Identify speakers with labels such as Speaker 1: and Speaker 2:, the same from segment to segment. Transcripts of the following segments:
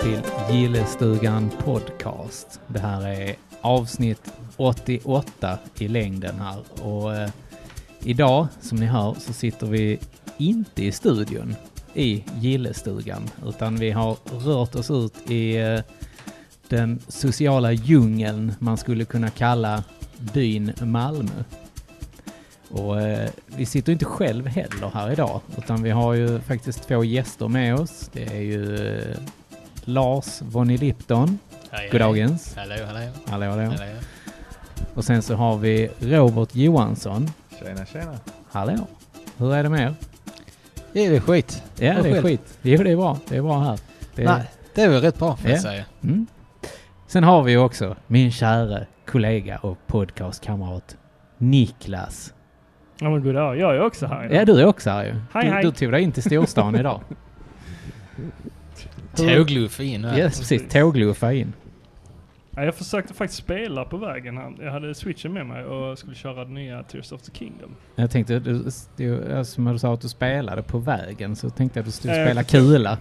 Speaker 1: till Gillestugan Podcast. Det här är avsnitt 88 i längden här och eh, idag, som ni hör, så sitter vi inte i studion i Gillestugan utan vi har rört oss ut i eh, den sociala djungeln man skulle kunna kalla byn Malmö. Och eh, vi sitter inte själv heller här idag, utan vi har ju faktiskt två gäster med oss. Det är ju eh, Lars von Lipton,
Speaker 2: Hej,
Speaker 1: goddagens.
Speaker 2: Hallå, hallå.
Speaker 1: Hallå, hallå.
Speaker 2: hallå.
Speaker 1: Och sen så har vi Robert Johansson.
Speaker 3: Tjena, tjena.
Speaker 1: Hallå! Hur är det med er?
Speaker 4: Det är skit.
Speaker 1: Ja,
Speaker 4: Och
Speaker 1: det är
Speaker 4: själv?
Speaker 1: skit. Jo, det är bra. Det är bra här. Det är...
Speaker 4: Nej, det är väl rätt bra.
Speaker 2: Får jag
Speaker 1: Ja.
Speaker 2: säga.
Speaker 1: Mm. Sen har vi ju också min kära kollega och podcastkamrat Niklas.
Speaker 5: Ja men goddag, jag är också här
Speaker 1: Ja,
Speaker 5: idag.
Speaker 1: du är också här ju.
Speaker 5: Hej,
Speaker 1: du,
Speaker 5: hej.
Speaker 1: du tog dig in till storstan idag.
Speaker 2: Tågluffa in
Speaker 1: Ja,
Speaker 2: här.
Speaker 1: precis. Tågluffa in.
Speaker 5: Ja, jag försökte faktiskt spela på vägen här. Jag hade switchen med mig och skulle köra den nya Tears of the Kingdom.
Speaker 1: Jag tänkte, du, du, som du sa att du spelade på vägen, så tänkte jag att du skulle
Speaker 5: Ja, jag
Speaker 1: spela kula.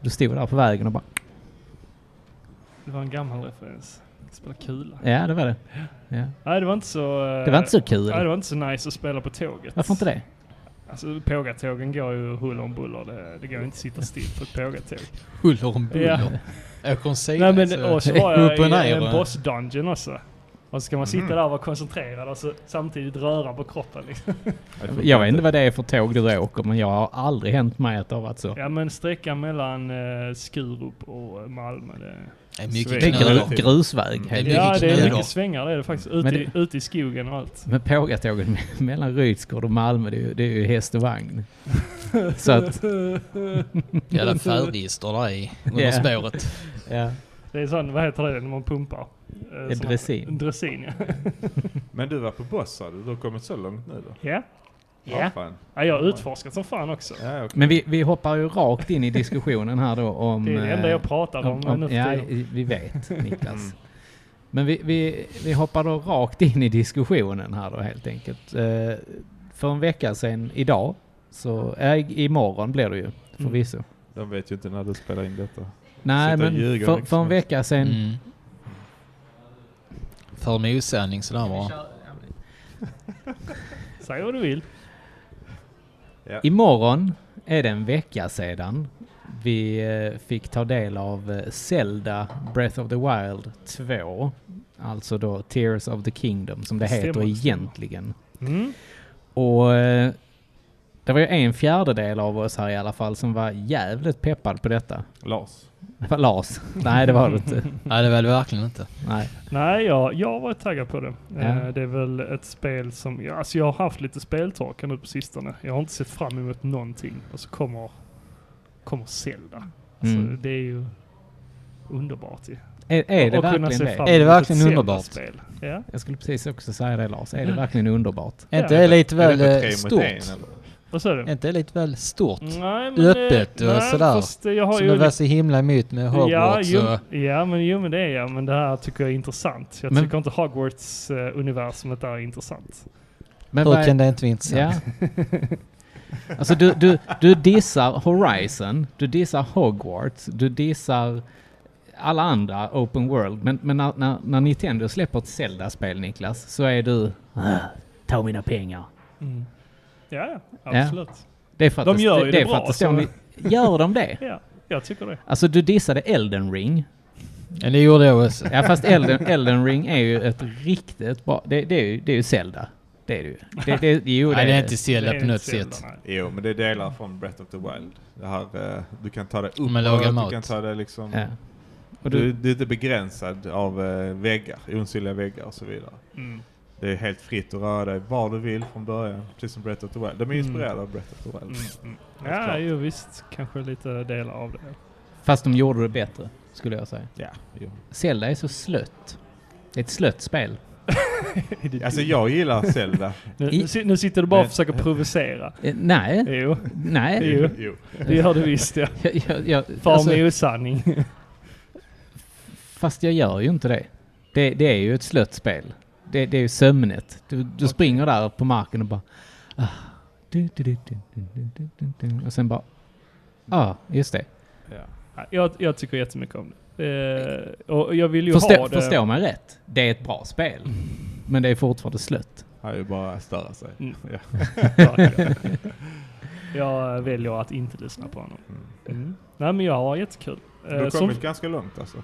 Speaker 1: Du stod där på vägen och bara,
Speaker 5: Det var en gammal referens. Spela kula.
Speaker 1: ja det var det. Ja.
Speaker 5: Nej det var inte så... eh,
Speaker 1: Det var inte så kul.
Speaker 5: Nej det var inte så nice att spela på tåget.
Speaker 1: Varför inte det?
Speaker 5: Alltså pågatågen går ju huller om buller. Det, det går ju inte att sitta still på ett pågatåg.
Speaker 2: Huller om
Speaker 5: Ja.
Speaker 2: buller. Åker en sida
Speaker 5: Nej men och så var jag
Speaker 2: upp och
Speaker 5: i
Speaker 2: ner. Mm.
Speaker 5: en boss dungeon också. Och så ska man sitta där och vara koncentrerad och så samtidigt röra på kroppen liksom.
Speaker 1: Jag vet inte vad det är för tåg du åker, men jag har aldrig hänt mig att det har varit så.
Speaker 5: Ja men sträckan mellan eh, Skurup och eh, Malmö det...
Speaker 2: Det är mycket
Speaker 5: Det är
Speaker 1: Det är
Speaker 2: knölar.
Speaker 1: gru, grusväg.
Speaker 2: Det är
Speaker 1: Helt.
Speaker 5: Ja,
Speaker 2: mycket
Speaker 5: det är
Speaker 2: knölar.
Speaker 5: mycket svängar det är det faktiskt. Ute,
Speaker 1: Mm. Men
Speaker 5: i- ute i skogen och allt.
Speaker 1: Men pågatågen mellan Rydsgård och Malmö, det är ju, det är ju häst och vagn. Så att,
Speaker 2: Jävla färdister där i. Under
Speaker 1: Ja.
Speaker 2: spåret.
Speaker 1: ja.
Speaker 5: Det är sån, vad heter det när man pumpar? Eh,
Speaker 1: En
Speaker 5: sån-
Speaker 1: dressin.
Speaker 5: En dressin ja.
Speaker 3: Men du var på boss sa du, du har kommit så långt nu då?
Speaker 5: ja.
Speaker 3: Ja,
Speaker 5: Ja.
Speaker 3: fan.
Speaker 5: ja, jag har utforskat som fan också.
Speaker 3: Ja, okej.
Speaker 1: Men vi, vi hoppar ju rakt in i diskussionen här då om...
Speaker 5: Det är det enda
Speaker 1: eh,
Speaker 5: jag pratar om, nu för
Speaker 1: ja,
Speaker 5: tiden.
Speaker 1: vi vet Niklas.
Speaker 3: Mm.
Speaker 1: Men vi, vi, vi hoppar då rakt in i diskussionen här då helt enkelt. Eh, för en vecka sedan idag, så, äh, imorgon blir det ju förvisso.
Speaker 5: Mm.
Speaker 3: De vet ju inte när du spelar in detta.
Speaker 1: Nej
Speaker 3: Sitter och
Speaker 1: men
Speaker 3: ljuger
Speaker 1: för,
Speaker 3: liksom.
Speaker 1: för en vecka sedan.
Speaker 2: Mm. För med osanning sådär bara.
Speaker 5: Säg vad du vill.
Speaker 1: Imorgon är det en vecka sedan vi eh, fick ta del av eh, Zelda Breath of the Wild 2. Alltså då Tears of the Kingdom som det heter
Speaker 5: Stämmer, stämmer.
Speaker 1: egentligen.
Speaker 5: Mm.
Speaker 1: Och eh, det var ju en fjärdedel av oss här i alla fall som var jävligt peppad på detta.
Speaker 3: Lars.
Speaker 1: Det var Lars. Nej, det var det inte.
Speaker 2: Nej, det var det verkligen inte.
Speaker 1: Nej. Mm.
Speaker 5: Nej, jag, jag var taggad på det. Eh,
Speaker 1: Ja.
Speaker 5: Det är väl ett spel som... Ja, alltså jag har haft lite speltorka nu på sistone. Jag har inte sett fram emot någonting. Och så kommer, kommer Zelda. Alltså,
Speaker 1: Mm.
Speaker 5: Det är ju underbart ju.
Speaker 1: Är, är det
Speaker 5: Och kunna
Speaker 1: verkligen
Speaker 5: se
Speaker 1: det?
Speaker 5: fram
Speaker 4: Är det
Speaker 5: emot ett
Speaker 4: verkligen underbart?
Speaker 5: Zelda-spel. Ja.
Speaker 1: Jag skulle precis också säga det Lars. Är det verkligen underbart?
Speaker 4: Är inte
Speaker 5: Ja.
Speaker 4: det lite
Speaker 3: Är
Speaker 4: väl
Speaker 3: det på tre
Speaker 4: eh,
Speaker 3: mot
Speaker 4: stort?
Speaker 3: en, eller?
Speaker 5: Vad sa du?
Speaker 4: Är inte det lite väl stort?
Speaker 5: Nej,
Speaker 4: öppet
Speaker 5: eh,
Speaker 4: och
Speaker 5: nej,
Speaker 4: sådär.
Speaker 5: Fast eh, jag Mm. har
Speaker 4: Som
Speaker 5: ju
Speaker 4: det var
Speaker 5: lite-
Speaker 4: så himla emot med
Speaker 5: ja,
Speaker 4: Hogwarts
Speaker 5: jo,
Speaker 4: och...
Speaker 5: ja, men jo men det är jag. Men det här tycker jag är intressant. Jag
Speaker 1: Men-
Speaker 5: tycker inte Hogwarts-universumet där är intressant.
Speaker 1: Men vad
Speaker 4: Hur
Speaker 1: är-
Speaker 4: kan det inte vara intressant?
Speaker 1: Ja. Liksom. Alltså du, du, du dissar Horizon, du dissar Hogwarts, du dissar alla andra open world. Men, men när, när, när Nintendo släpper ett Zelda-spel Niklas, så är du... "Ah, Ta mina pengar.
Speaker 5: Ja, ja, absolut.
Speaker 1: Det är för att
Speaker 5: De
Speaker 1: det,
Speaker 5: gör ju det
Speaker 1: är för
Speaker 5: bra,
Speaker 1: att det står,
Speaker 5: så-
Speaker 1: ni- Gör de det?
Speaker 5: Ja. jag tycker det.
Speaker 1: Alltså du dissade Elden Ring.
Speaker 4: Ja, det gjorde jag också.
Speaker 1: Ja fast Elden, Elden Ring är ju ett riktigt bra... Det, det, är, ju, det är ju Zelda. Det är det ju. Det, det, jo,
Speaker 2: Nej, det är
Speaker 1: det.
Speaker 2: inte Zelda på
Speaker 5: är
Speaker 2: något
Speaker 5: Zelda,
Speaker 2: sätt.
Speaker 5: nej.
Speaker 3: Jo, men det är delar från Breath of the Wild. Det här, eh, du kan ta det upp
Speaker 2: Men laga mat.
Speaker 3: du kan ta det liksom...
Speaker 1: Ja. Och
Speaker 3: Du,
Speaker 1: du,
Speaker 3: du är inte begränsad av eh, väggar, osynliga väggar och så vidare.
Speaker 5: Mm.
Speaker 3: Det är helt fritt att röra dig var du vill från början, precis som Breath of the Wild. De är
Speaker 5: Mm.
Speaker 3: inspirerade av Breath of the Wild.
Speaker 5: Mm. Mm.
Speaker 3: Helt
Speaker 5: Ja,
Speaker 3: klart.
Speaker 5: jo visst. Kanske lite delar av det.
Speaker 1: fast de gjorde det bättre, skulle jag säga.
Speaker 3: Ja, jo.
Speaker 1: Zelda är så slött. Det är ett slött spel.
Speaker 5: Är det
Speaker 3: Alltså
Speaker 5: dumt?
Speaker 3: jag gillar Zelda.
Speaker 5: nu,
Speaker 1: i-
Speaker 5: nu si- nu sitter du bara och
Speaker 3: Eh,
Speaker 5: försöker provocera.
Speaker 1: Eh, nej,
Speaker 5: Jo,
Speaker 1: nej.
Speaker 5: Jo.
Speaker 3: jo.
Speaker 5: det gör du visst ja.
Speaker 1: Jag, jag, jag,
Speaker 5: Far
Speaker 1: alltså,
Speaker 5: med osanning.
Speaker 1: fast jag gör ju inte det. Det, det är ju ett slött spel. Det, det är ju sömnet. Du, du springer där på marken och bara... Ah, du, du, du, du, du, du, du, du, du, och sen bara... Ja, ah, just det.
Speaker 3: Ja.
Speaker 5: Ja, Jag, jag tycker jättemycket om det. Eh, och jag vill ju
Speaker 1: Förstå,
Speaker 5: ha det.
Speaker 1: förstå mig rätt. Det är ett bra spel. Men det är fortfarande slött.
Speaker 6: Han är ju bara att störa sig.
Speaker 5: Mm.
Speaker 6: Ja.
Speaker 5: Verkligen. jag väljer att inte lyssna på honom. Mm. Nej men jag har jättekul.
Speaker 6: Du har
Speaker 5: Eh,
Speaker 6: kommit
Speaker 5: som,
Speaker 6: ganska långt alltså.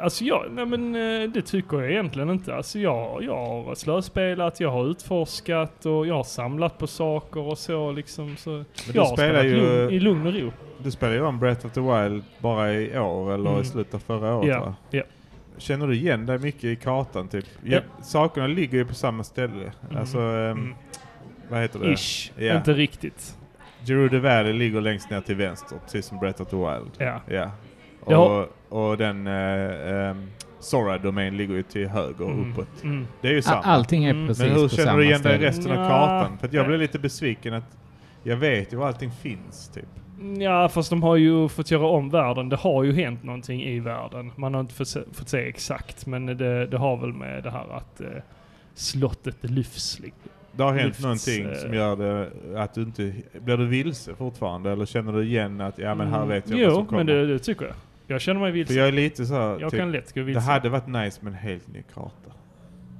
Speaker 5: alltså jag, nej men eh, det tycker jag egentligen inte. Alltså jag, jag har slöspelat, jag har utforskat och jag har samlat på saker och så liksom. Så
Speaker 6: du
Speaker 5: jag har
Speaker 6: spelar
Speaker 5: spelat
Speaker 6: ju-
Speaker 5: lugn, i lugn och ro.
Speaker 6: Du spelade ju om Breath of the Wild bara i år eller
Speaker 5: Mm.
Speaker 6: i slutet av förra året
Speaker 5: Ja,
Speaker 6: va?
Speaker 5: ja.
Speaker 6: Känner du igen dig mycket i kartan typ? Ja,
Speaker 5: Ja.
Speaker 6: Sakerna ligger ju på samma ställe. Alltså, ehm,
Speaker 5: Mm.
Speaker 6: vad heter det?
Speaker 5: Ish.
Speaker 6: Ja.
Speaker 5: Inte riktigt.
Speaker 6: Gerudo Valley ligger längst ner till vänster, precis som Breath of the Wild.
Speaker 5: Ja.
Speaker 6: Ja. Och,
Speaker 5: Ja.
Speaker 6: och den uh, Sora Domain ligger ju till höger och
Speaker 5: Mm.
Speaker 6: uppåt.
Speaker 5: Mm.
Speaker 6: Det är ju samma.
Speaker 1: A- Allting är
Speaker 5: Mm. Men
Speaker 1: precis
Speaker 6: Men hur
Speaker 1: på
Speaker 6: känner
Speaker 1: samma
Speaker 6: du igen dig i
Speaker 1: ställe.
Speaker 6: resten av
Speaker 5: Nja.
Speaker 6: kartan? För att jag blev lite besviken att jag vet ju var allting finns typ.
Speaker 5: Ja, fast de har ju fått göra om världen. Det har ju hänt någonting i världen. Man har inte fått se, fått se exakt, men det, det har väl med det här att eh, slottet lyfts. liksom.
Speaker 6: Det har hänt
Speaker 5: Lyfts, eh,
Speaker 6: någonting som gör det att du inte... Blir du vilse fortfarande? Eller känner du igen att ja men här
Speaker 1: Mm.
Speaker 6: vet jag vad som
Speaker 5: Mm, Jo,
Speaker 6: kommer?
Speaker 5: men det, det tycker jag. Jag känner mig
Speaker 6: För
Speaker 5: vilsen. Jag,
Speaker 6: jag är lite så här, typ,
Speaker 5: kan lätt gå
Speaker 6: Det
Speaker 5: vilsen.
Speaker 6: hade varit nice med en helt ny karta.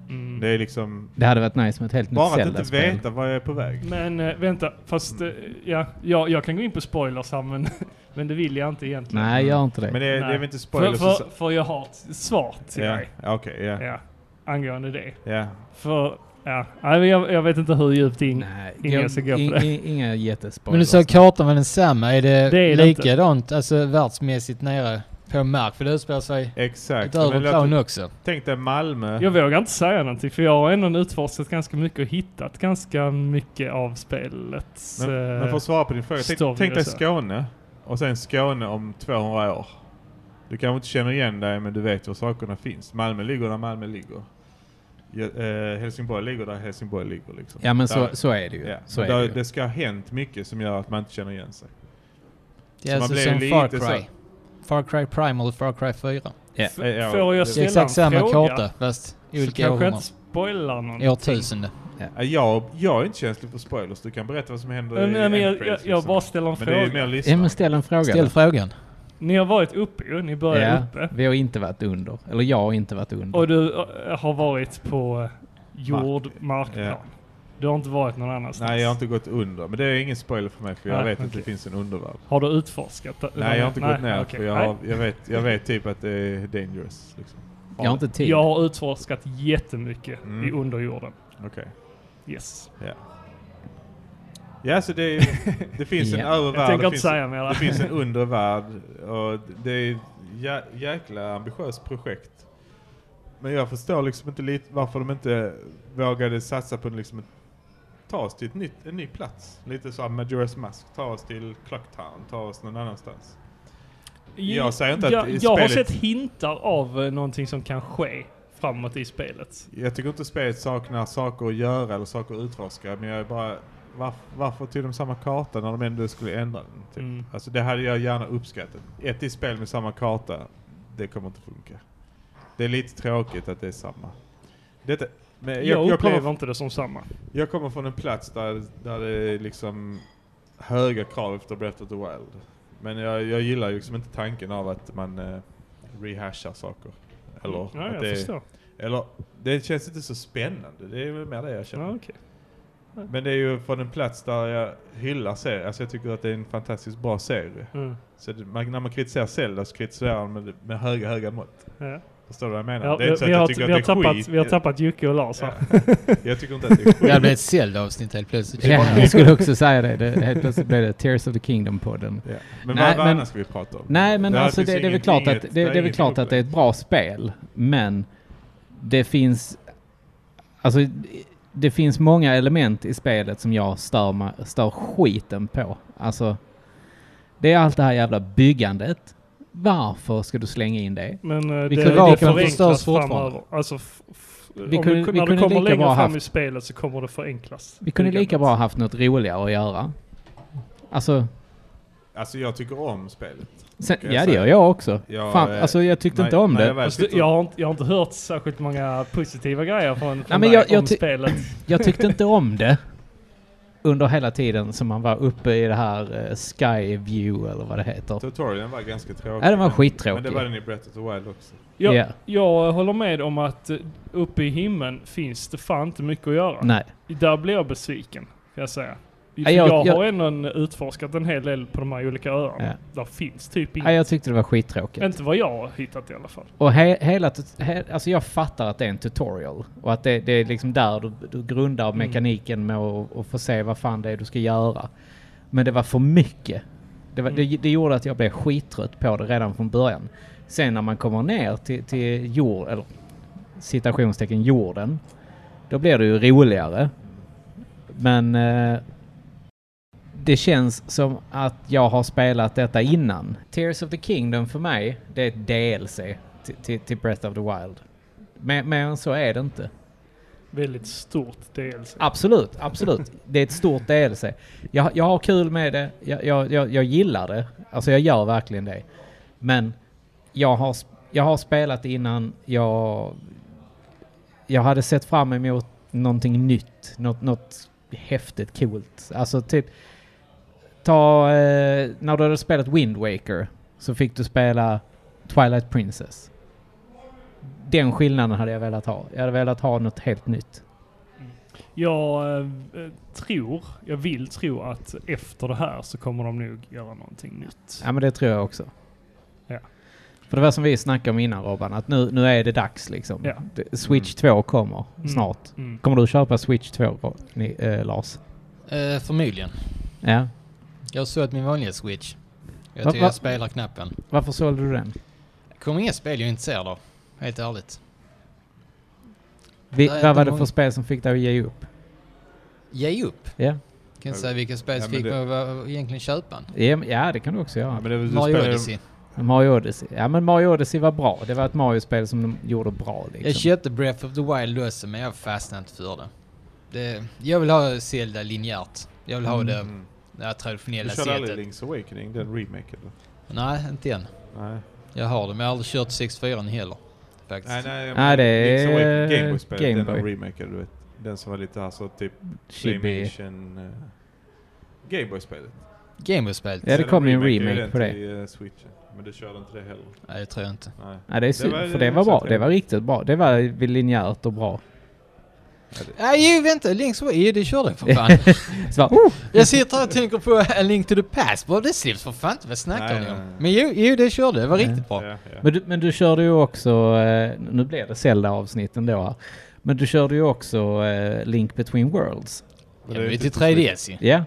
Speaker 5: Mm.
Speaker 6: Det är liksom...
Speaker 1: Det hade varit nice med ett helt
Speaker 6: Bara
Speaker 1: nytt
Speaker 6: att inte
Speaker 1: Zelda-spel.
Speaker 6: veta var jag är på väg.
Speaker 5: Men eh, vänta, fast eh, ja, ja, jag kan gå in på spoilers här, men, men det vill jag inte egentligen.
Speaker 1: Nej, gör inte det.
Speaker 6: Men det, är- det är
Speaker 5: Nej.
Speaker 6: väl inte spoilers?
Speaker 5: för,
Speaker 6: så-
Speaker 5: för, för jag har ett svar till
Speaker 6: ja,
Speaker 5: dig.
Speaker 6: ja, okej, ja.
Speaker 5: Ja, angående det.
Speaker 6: ja.
Speaker 5: För, ja, nej, men jag, jag vet inte hur djupt in,
Speaker 1: Nej,
Speaker 5: Ingen
Speaker 1: gå-
Speaker 5: ska gå på
Speaker 1: in-
Speaker 5: det.
Speaker 1: in- Inga jättespoilers.
Speaker 4: Men du sa kartan var densamma. Är det,
Speaker 5: Det är det inte.
Speaker 4: likadant, alltså världsmässigt nere på mark? För det utspelar sig
Speaker 6: Exakt.
Speaker 4: utöver
Speaker 6: Men låt-
Speaker 4: plan också.
Speaker 6: Tänk dig Malmö.
Speaker 5: Jag vågar inte säga någonting för jag har ändå utforskat ganska mycket och hittat ganska mycket av spelets...
Speaker 6: Men,
Speaker 5: eh,
Speaker 6: men för att svara på din fråga.
Speaker 5: Story
Speaker 6: Tänk, tänk dig
Speaker 5: och så.
Speaker 6: Skåne. Och sen Skåne om 200 år. Du kanske inte känner igen dig men du vet var sakerna finns. Malmö ligger där Malmö ligger. Ja, eh, Helsingborg ligger där Helsingborg ligger liksom.
Speaker 1: Ja, men så,
Speaker 6: Där-
Speaker 1: så är det ju.
Speaker 6: ja.
Speaker 1: Så
Speaker 6: där,
Speaker 1: är det ju.
Speaker 6: det ska ha hänt mycket som gör att man inte känner igen sig.
Speaker 4: Det
Speaker 6: Så
Speaker 4: är
Speaker 6: man
Speaker 4: alltså
Speaker 6: blir
Speaker 4: som
Speaker 6: lite
Speaker 4: Far
Speaker 6: så-
Speaker 4: Cry. Far Cry Primal och Far Cry 4.
Speaker 1: Ja.
Speaker 5: f-
Speaker 6: Eh, ja,
Speaker 5: får
Speaker 6: det-
Speaker 5: jag
Speaker 4: Det är
Speaker 5: ställa
Speaker 4: exakt
Speaker 5: en
Speaker 4: samma
Speaker 5: fråga?
Speaker 4: karta fast i
Speaker 5: Så
Speaker 4: olika
Speaker 5: kanske jag
Speaker 4: århundrar.
Speaker 5: inte spoilar någonting.
Speaker 4: Årtusende.
Speaker 6: Ja, Jag, jag är inte känslig för spoilers. Du kan berätta vad som händer
Speaker 5: Nej,
Speaker 6: i
Speaker 5: men, men jag,
Speaker 6: Endcredits,
Speaker 5: jag, jag
Speaker 6: liksom.
Speaker 5: bara ställer en
Speaker 6: Men det är ju
Speaker 5: fråga.
Speaker 6: mer
Speaker 1: ja, men
Speaker 6: lyssnare.
Speaker 1: ställ en fråga.
Speaker 4: Ställ
Speaker 1: då.
Speaker 4: frågan.
Speaker 5: Ni har varit uppe ju, ni började
Speaker 1: Ja,
Speaker 5: uppe.
Speaker 1: vi har inte varit under. Eller jag har inte varit under.
Speaker 5: Och du eh, har varit på eh, jord, markplan.
Speaker 6: Ja.
Speaker 5: Du har inte varit någon annanstans.
Speaker 6: Nej, jag har inte gått under. Men det är ingen spoiler för mig för jag
Speaker 5: Nej,
Speaker 6: vet att
Speaker 5: okej.
Speaker 6: det finns en undervärld.
Speaker 5: Har du utforskat? det?
Speaker 6: Nej, jag har inte gått ner.
Speaker 5: okej.
Speaker 6: För jag,
Speaker 5: Nej.
Speaker 6: har, jag, vet, jag vet typ att det är dangerous. Liksom.
Speaker 1: jag har inte tid.
Speaker 5: jag har utforskat jättemycket
Speaker 6: Mm.
Speaker 5: i underjorden.
Speaker 6: Okej.
Speaker 5: Yes.
Speaker 6: Ja, så det, är- det finns en
Speaker 1: Ja.
Speaker 5: Jag
Speaker 6: övervärld.
Speaker 5: tänker
Speaker 6: Det
Speaker 5: inte
Speaker 6: finns,
Speaker 5: säga mer.
Speaker 6: det finns en undervärld. Och det är ett jä, jäkla ambitiöst projekt. Men jag förstår liksom inte lite varför de inte vågade satsa på liksom ett, ta oss till ett nytt, en ny plats. Lite så här Majora's Mask. Ta oss till Clocktown. Ta oss någon annanstans. Jag säger inte att
Speaker 5: jag,
Speaker 6: i
Speaker 5: jag har
Speaker 6: spelet-
Speaker 5: sett hintar av eh, någonting som kan ske framåt i spelet.
Speaker 6: Jag tycker inte spelet saknar saker att göra eller saker att utforska, men jag är bara... Varför, varför tog de samma karta när de ändå skulle ändra den? Typ?
Speaker 5: Mm.
Speaker 6: Alltså det hade jag gärna uppskattat. Ett i spel med samma karta, det kommer inte funka. Det är lite tråkigt att det är samma. Detta, men jag,
Speaker 5: Jag,
Speaker 6: jag,
Speaker 5: upplever
Speaker 6: kommer,
Speaker 5: inte det som samma.
Speaker 6: jag kommer från en plats där, där det är liksom höga krav efter Breath of the Wild. Men jag, jag gillar ju liksom inte tanken av att man eh, rehashar saker. Eller
Speaker 5: ja,
Speaker 6: att
Speaker 5: jag
Speaker 6: det är-
Speaker 5: förstår.
Speaker 6: eller, det känns inte så spännande. Det är väl mer det jag känner.
Speaker 5: Ja, okej.
Speaker 6: Men det är ju från en plats där jag hyllar serien. Alltså jag tycker att det är en fantastiskt bra serie.
Speaker 5: mm.
Speaker 6: Så det, man, när man kritiserar Zelda så kritiserar man med, med höga, höga mått.
Speaker 5: ja.
Speaker 6: Förstår du vad jag menar?
Speaker 5: Ja,
Speaker 6: det är
Speaker 5: vi,
Speaker 6: inte så
Speaker 5: vi,
Speaker 6: att
Speaker 5: har,
Speaker 6: jag tycker
Speaker 5: vi, har
Speaker 6: att det är
Speaker 5: tappat,
Speaker 6: skit.
Speaker 5: vi har tappat Jocke och Lars här.
Speaker 6: Ja. Jag tycker inte att det är
Speaker 4: Det
Speaker 6: skit.
Speaker 4: här blir ett Zelda-avsnitt helt plötsligt.
Speaker 1: Ja, jag skulle också säga det. det. Helt plötsligt blev det Tears of the Kingdom-podden.
Speaker 6: Ja. Men
Speaker 1: Nej,
Speaker 6: vad, vad
Speaker 1: men-
Speaker 6: annars ska vi prata om?
Speaker 1: Nej, men
Speaker 6: Det här
Speaker 1: alltså
Speaker 6: finns
Speaker 1: det, det är väl
Speaker 6: inget-
Speaker 1: klart att
Speaker 6: inget-
Speaker 1: det, det är väl
Speaker 6: inget
Speaker 1: klart att det är ett bra spel, men det finns... Alltså, det finns många element i spelet som jag stör, mig- stör skiten på. Alltså, det är allt det här jävla byggandet. Varför ska du slänga in det?
Speaker 5: Men eh, det,
Speaker 4: Vilket
Speaker 5: det
Speaker 4: vapen
Speaker 5: förenklas
Speaker 4: förstörs fortfarande.
Speaker 5: framöver. Alltså, f- f- om
Speaker 1: kunde-
Speaker 5: du,
Speaker 1: vi
Speaker 5: när du
Speaker 1: kunde
Speaker 5: kommer
Speaker 1: lika
Speaker 5: längre
Speaker 1: bra
Speaker 5: fram
Speaker 1: haft-
Speaker 5: i spelet så kommer det förenklas.
Speaker 1: Vi kunde lika
Speaker 5: Byggandet.
Speaker 1: bra haft något roligare att göra. Alltså,
Speaker 6: Alltså jag tycker om spelet.
Speaker 1: sen,
Speaker 6: Kan jag
Speaker 1: ja det
Speaker 6: säga.
Speaker 1: gör jag också.
Speaker 6: Jag,
Speaker 1: Fan,
Speaker 6: eh,
Speaker 1: alltså jag tyckte
Speaker 6: när-
Speaker 1: inte om
Speaker 6: när
Speaker 1: det.
Speaker 6: Jag, väl
Speaker 5: Fast du,
Speaker 6: sitter-
Speaker 5: jag, har inte, jag har inte hört särskilt många positiva grejer från,
Speaker 1: men
Speaker 5: från dig
Speaker 1: jag- jag
Speaker 5: om
Speaker 1: ty-
Speaker 5: spelet.
Speaker 1: Jag tyckte inte om det. under hela tiden som man var uppe i det här eh, Sky View eller vad det heter.
Speaker 3: Tutorialen var ganska tråkig.
Speaker 1: Ja, den var
Speaker 3: Men det
Speaker 1: skittråkig.
Speaker 3: var den i Breath of the Wild också.
Speaker 5: Jag,
Speaker 1: Ja.
Speaker 5: jag håller med om att eh, uppe i himlen finns det fan inte mycket att göra.
Speaker 1: Nej.
Speaker 5: Där blir jag besviken, kan jag säga.
Speaker 1: Ja,
Speaker 5: Jag,
Speaker 1: jag-
Speaker 5: jag,
Speaker 1: jag-
Speaker 5: har ändå utforskat en hel del på de här olika öarna. Där finns typ
Speaker 1: Ja,
Speaker 5: inget.
Speaker 1: jag tyckte det var skittråkigt.
Speaker 5: inte vad jag har hittat i alla fall.
Speaker 1: Och he, hela, tut- he, alltså jag fattar att det är en tutorial och att det, det är liksom där du, du grundar mekaniken med att och få se vad fan det är du ska göra. Men det var för mycket. Det, var, det, det gjorde att jag blev skittrött på det redan från början. Sen när man kommer ner till, till jord, eller citationstecken jorden, då blir det ju roligare. Men eh, det känns som att jag har spelat detta innan. Tears of the Kingdom för mig, det är ett DLC till, till, till Breath of the Wild. Mer mer än så är det inte.
Speaker 5: Väldigt stort DLC.
Speaker 1: Absolut, absolut. Det är ett stort DLC. Jag, jag har kul med det, jag, jag, jag, jag gillar det. Alltså jag gör verkligen det. Men jag har, sp- jag har spelat innan, jag, jag hade sett fram emot någonting nytt, något, något häftigt coolt. Alltså typ, ta, eh, när du hade spelat Wind Waker så fick du spela Twilight Princess. Den skillnaden hade jag velat ha. Jag hade velat ha något helt nytt.
Speaker 5: Jag eh, tror, jag vill tro att efter det här så kommer de nog göra någonting nytt.
Speaker 1: Ja men det tror jag också.
Speaker 5: Ja.
Speaker 1: För det var som vi snackade om innan Robban, att nu, nu är det dags liksom.
Speaker 5: Ja.
Speaker 1: Det- Switch
Speaker 4: Mm.
Speaker 1: 2 kommer snart.
Speaker 5: Mm.
Speaker 1: Kommer du köpa Switch 2 Ro- ni, eh, Lars?
Speaker 4: Eh, förmodligen.
Speaker 1: Ja.
Speaker 4: Jag såg att min vanliga Switch. Jag
Speaker 1: Va-
Speaker 4: tycker
Speaker 1: va-
Speaker 4: jag spelar knappen.
Speaker 1: Varför sålde du den?
Speaker 4: kommer inga spel jag är intresserad av. Helt ärligt.
Speaker 1: Vi,
Speaker 4: Nej,
Speaker 1: vad var
Speaker 4: det
Speaker 1: det
Speaker 4: var-
Speaker 1: för spel som fick dig att ge upp?
Speaker 4: Ge upp.
Speaker 1: Ja,
Speaker 4: Kan inte säga vilka spel
Speaker 3: Ja,
Speaker 4: som
Speaker 3: men
Speaker 4: fick
Speaker 3: det-
Speaker 4: mig att vara- egentligen köpa en.
Speaker 1: ja, men- ja det kan du också
Speaker 3: Ja,
Speaker 1: göra.
Speaker 3: men det, var- du
Speaker 4: Mario
Speaker 3: spelar-
Speaker 4: Odyssey.
Speaker 1: Mario Odyssey. Ja men Mario Odyssey var bra. Det var ett Mario-spel som de gjorde bra
Speaker 4: Jag
Speaker 1: liksom.
Speaker 4: köpte Breath of the Wild också men jag fastnade inte för det. det jag vill ha Zelda linjärt. Jag vill ha det,
Speaker 3: Mm.
Speaker 4: det här
Speaker 3: Du
Speaker 4: traditionella
Speaker 3: körde aldrig
Speaker 4: sättet.
Speaker 3: Link's Awakening, den remaken? va?
Speaker 4: Nej, inte än.
Speaker 3: Nej.
Speaker 4: Jag har det, men jag har aldrig kört 64 heller. Faktiskt.
Speaker 3: Nej, nej. jag
Speaker 1: Nej, det
Speaker 3: menar, Link's
Speaker 1: är-
Speaker 3: Awakening, Gameboy-spelet,
Speaker 1: Game
Speaker 3: den
Speaker 1: Boy.
Speaker 3: de remakade, du vet. Den som var lite alltså typ
Speaker 1: Chibi.
Speaker 3: Playmation... eh, Gameboy-spelet.
Speaker 4: Gameboy-spelet?
Speaker 1: Ja, det
Speaker 3: Sen
Speaker 1: kom ju en
Speaker 3: remakade
Speaker 1: remake
Speaker 3: den
Speaker 1: på det.
Speaker 3: till, eh, Switchen. Men du körde inte det heller?
Speaker 4: Nej, det tror jag inte.
Speaker 3: Nej.
Speaker 1: Ja, det är synd,
Speaker 3: var-
Speaker 1: för
Speaker 3: det
Speaker 1: det
Speaker 3: var
Speaker 1: var bra.
Speaker 3: exakt
Speaker 1: Det
Speaker 3: det.
Speaker 1: var riktigt bra. Det var linjärt och bra.
Speaker 4: Nej, ju, vänta! Link's Awakening? Jo, det körde jag för fan.
Speaker 1: Så bara, oh!
Speaker 4: jag sitter här och tänker på A Link to the Past. Bara, det släpps för fan inte. Vad
Speaker 3: Nej,
Speaker 4: snackar ni
Speaker 3: nej,
Speaker 4: om?
Speaker 3: nej.
Speaker 4: Men jo, jo, det körde jag. Det var
Speaker 1: Ja.
Speaker 4: riktigt bra.
Speaker 3: Ja, ja.
Speaker 1: Men du, men du körde ju också, eh, nu blir det Zelda-avsnitten då här. Men du körde ju också eh, Link Between Worlds.
Speaker 4: Ja,
Speaker 3: Men
Speaker 4: men det är
Speaker 3: inte
Speaker 4: till
Speaker 3: så
Speaker 4: 3DS ju.
Speaker 1: Ja,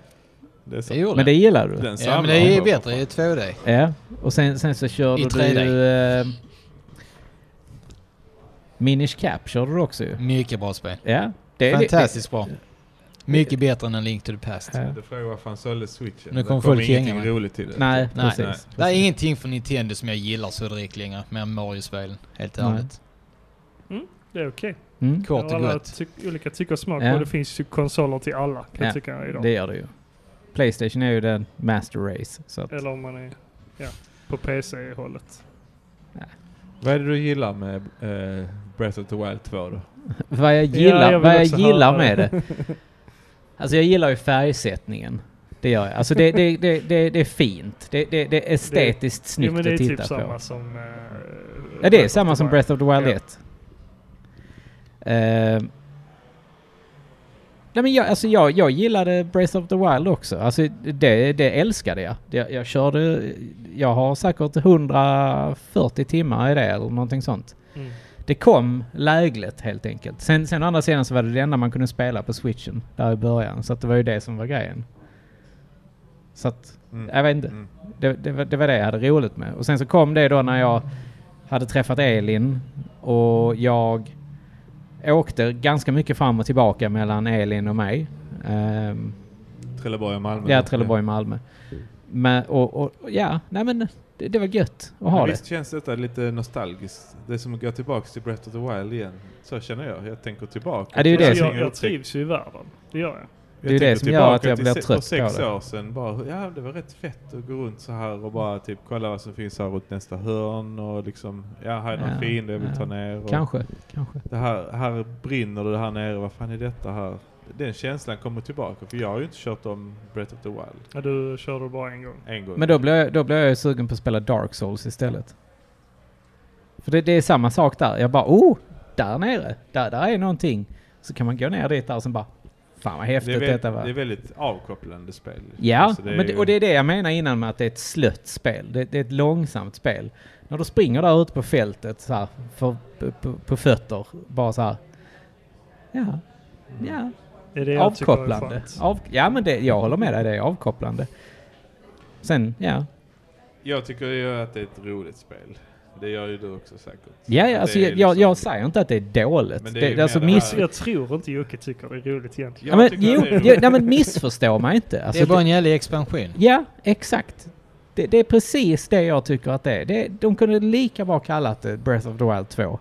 Speaker 3: Det är
Speaker 4: Det
Speaker 3: sant.
Speaker 4: gjorde
Speaker 1: men det
Speaker 4: jag.
Speaker 1: gillar du.
Speaker 3: Den
Speaker 4: Ja, men
Speaker 3: samlar
Speaker 4: det är
Speaker 3: jag.
Speaker 4: bättre i 2D.
Speaker 1: Ja, och sen, sen så körde
Speaker 4: I
Speaker 1: du
Speaker 4: 3D.
Speaker 1: ju... Eh, Minish Cap körde du också ju.
Speaker 4: Mycket bra spel.
Speaker 1: Ja, det är
Speaker 4: Fantastiskt bra. Mycket bättre än A Link to the Past.
Speaker 1: Ja.
Speaker 3: Du frågar varför han sålde switchen.
Speaker 4: Nu
Speaker 3: Det
Speaker 4: kommer folk
Speaker 3: ingenting
Speaker 4: hänga med.
Speaker 3: roligt till det.
Speaker 1: Det, nej,
Speaker 4: Nej.
Speaker 1: precis.
Speaker 4: Det är
Speaker 1: precis.
Speaker 4: ingenting från Nintendo som jag gillar så direkt längre, mer än Mario-spelen. Helt
Speaker 1: Nej.
Speaker 4: ärligt.
Speaker 5: Det är okej.
Speaker 1: Mm,
Speaker 5: Jag
Speaker 4: Kort
Speaker 5: har
Speaker 4: och
Speaker 5: alla
Speaker 4: gott.
Speaker 5: ty- olika tycker och smak
Speaker 1: Ja.
Speaker 5: och det finns ju konsoler till alla kan
Speaker 1: Ja,
Speaker 5: jag tycka idag.
Speaker 1: det gör det ju. Playstation är ju den master race. Så att,
Speaker 5: Eller om man är ja, på PC-hållet.
Speaker 3: Vad är det du gillar med eh, Breath of the Wild 2 då?
Speaker 1: vad jag
Speaker 5: Ja,
Speaker 1: gillar,
Speaker 5: jag vill
Speaker 1: vad jag
Speaker 5: också
Speaker 1: gillar
Speaker 5: höra
Speaker 1: med det. Alltså jag gillar ju färgsättningen. Det gör jag. Alltså det, det, det, det, det är fint. Det, det, det är estetiskt
Speaker 5: Jo,
Speaker 1: snyggt
Speaker 5: men det är
Speaker 1: att
Speaker 5: typ
Speaker 1: titta på.
Speaker 5: samma som... eh,
Speaker 1: Ja, det är
Speaker 5: Breath
Speaker 1: samma
Speaker 5: of the
Speaker 1: som
Speaker 5: Wild.
Speaker 1: Breath of the Wild
Speaker 5: Ja.
Speaker 1: 1. Eh, nej men jag, alltså jag, jag gillade Breath of the Wild också. Alltså det, det älskade jag. jag. Jag körde... Jag har säkert 140 timmar i det eller någonting sånt.
Speaker 5: Mm.
Speaker 1: Det kom lägligt helt enkelt. Sen, sen å andra sidan så var det det enda man kunde spela på switchen där i början. Så att det var ju det som var grejen. Så att,
Speaker 3: Mm.
Speaker 1: jag vet inte.
Speaker 3: Mm.
Speaker 1: Det, det, var- det var det jag hade roligt med. Och sen så kom det då när jag hade träffat Elin och jag åkte ganska mycket fram och tillbaka mellan Elin och mig. Ehm,
Speaker 3: Mm. Trelleborg och Malmö.
Speaker 1: ja, Trelleborg, Malmö. Men, och, och, och ja, nej men det, det var gött att ha
Speaker 3: Men
Speaker 1: det.
Speaker 3: Visst känns detta lite nostalgiskt? Det är som att gå tillbaka till Breath of the Wild igen. Så känner jag. Jag tänker tillbaka.
Speaker 1: Ja, det är ju
Speaker 5: Alltså,
Speaker 1: det
Speaker 3: som
Speaker 1: som-
Speaker 5: jag, jag trivs ju i världen. Det gör jag.
Speaker 1: det är ju det
Speaker 3: tänker
Speaker 1: som gör att
Speaker 3: tillbaka
Speaker 1: jag
Speaker 3: till
Speaker 1: blir
Speaker 3: se-
Speaker 1: trött på
Speaker 3: För sex
Speaker 1: det.
Speaker 3: år sedan bara, ja det var rätt fett att gå runt så här och bara typ kolla vad som finns här runt nästa hörn och liksom, ja här är någon
Speaker 1: Ja,
Speaker 3: fiende jag vill
Speaker 1: ja.
Speaker 3: ta ner. Och
Speaker 1: Kanske, kanske.
Speaker 3: Det här, här brinner det här nere, vad fan är detta här?
Speaker 6: den känslan kommer tillbaka. För jag har ju inte kört om Breath of the Wild
Speaker 5: Ja, du körde bara en gång.
Speaker 6: en gång.
Speaker 1: Men då blir, jag, då blir jag ju sugen på att spela Dark Souls istället. För det, det är samma sak där. Jag bara oh, där nere, där, där är någonting. Så kan man gå ner dit där och sen bara fan vad
Speaker 6: det,
Speaker 1: häftigt
Speaker 6: är väldigt,
Speaker 1: detta var.
Speaker 6: det är väldigt avkopplande spel.
Speaker 1: Ja,
Speaker 6: Alltså,
Speaker 1: men det,
Speaker 6: ju-
Speaker 1: och det är det jag menar innan med att det är ett slött spel. Det, det är ett långsamt spel. När du springer där ute på fältet så här, för, på, på, på fötter, bara så här. Ja, ja.
Speaker 5: Det är det jag tycker är
Speaker 1: avkopplande.
Speaker 5: skönt.
Speaker 1: Av, ja, men det, jag håller med dig, det är avkopplande. Sen, ja.
Speaker 6: Jag tycker ju att det är ett roligt spel. Det gör ju du också säkert.
Speaker 1: Ja,
Speaker 6: Men
Speaker 1: ja
Speaker 6: det
Speaker 1: alltså,
Speaker 6: är
Speaker 1: jag,
Speaker 6: liksom-
Speaker 1: jag, jag säger inte att det är dåligt.
Speaker 6: Men
Speaker 1: Det,
Speaker 6: det är
Speaker 1: det
Speaker 6: ju
Speaker 1: är alltså
Speaker 6: mer det här-
Speaker 1: miss...
Speaker 5: Så jag tror inte Jocke tycker det är roligt egentligen.
Speaker 1: Ja, men,
Speaker 6: tycker
Speaker 1: jo,
Speaker 6: att det är
Speaker 1: jo,
Speaker 6: roligt.
Speaker 1: nej, men missförstå mig inte.
Speaker 4: Det
Speaker 1: Alltså,
Speaker 4: är bara en jävla expansion.
Speaker 1: Ja, exakt. Det, det är precis det jag tycker att det är. Det, de kunde lika bra kallat det Breath of the Wild 2.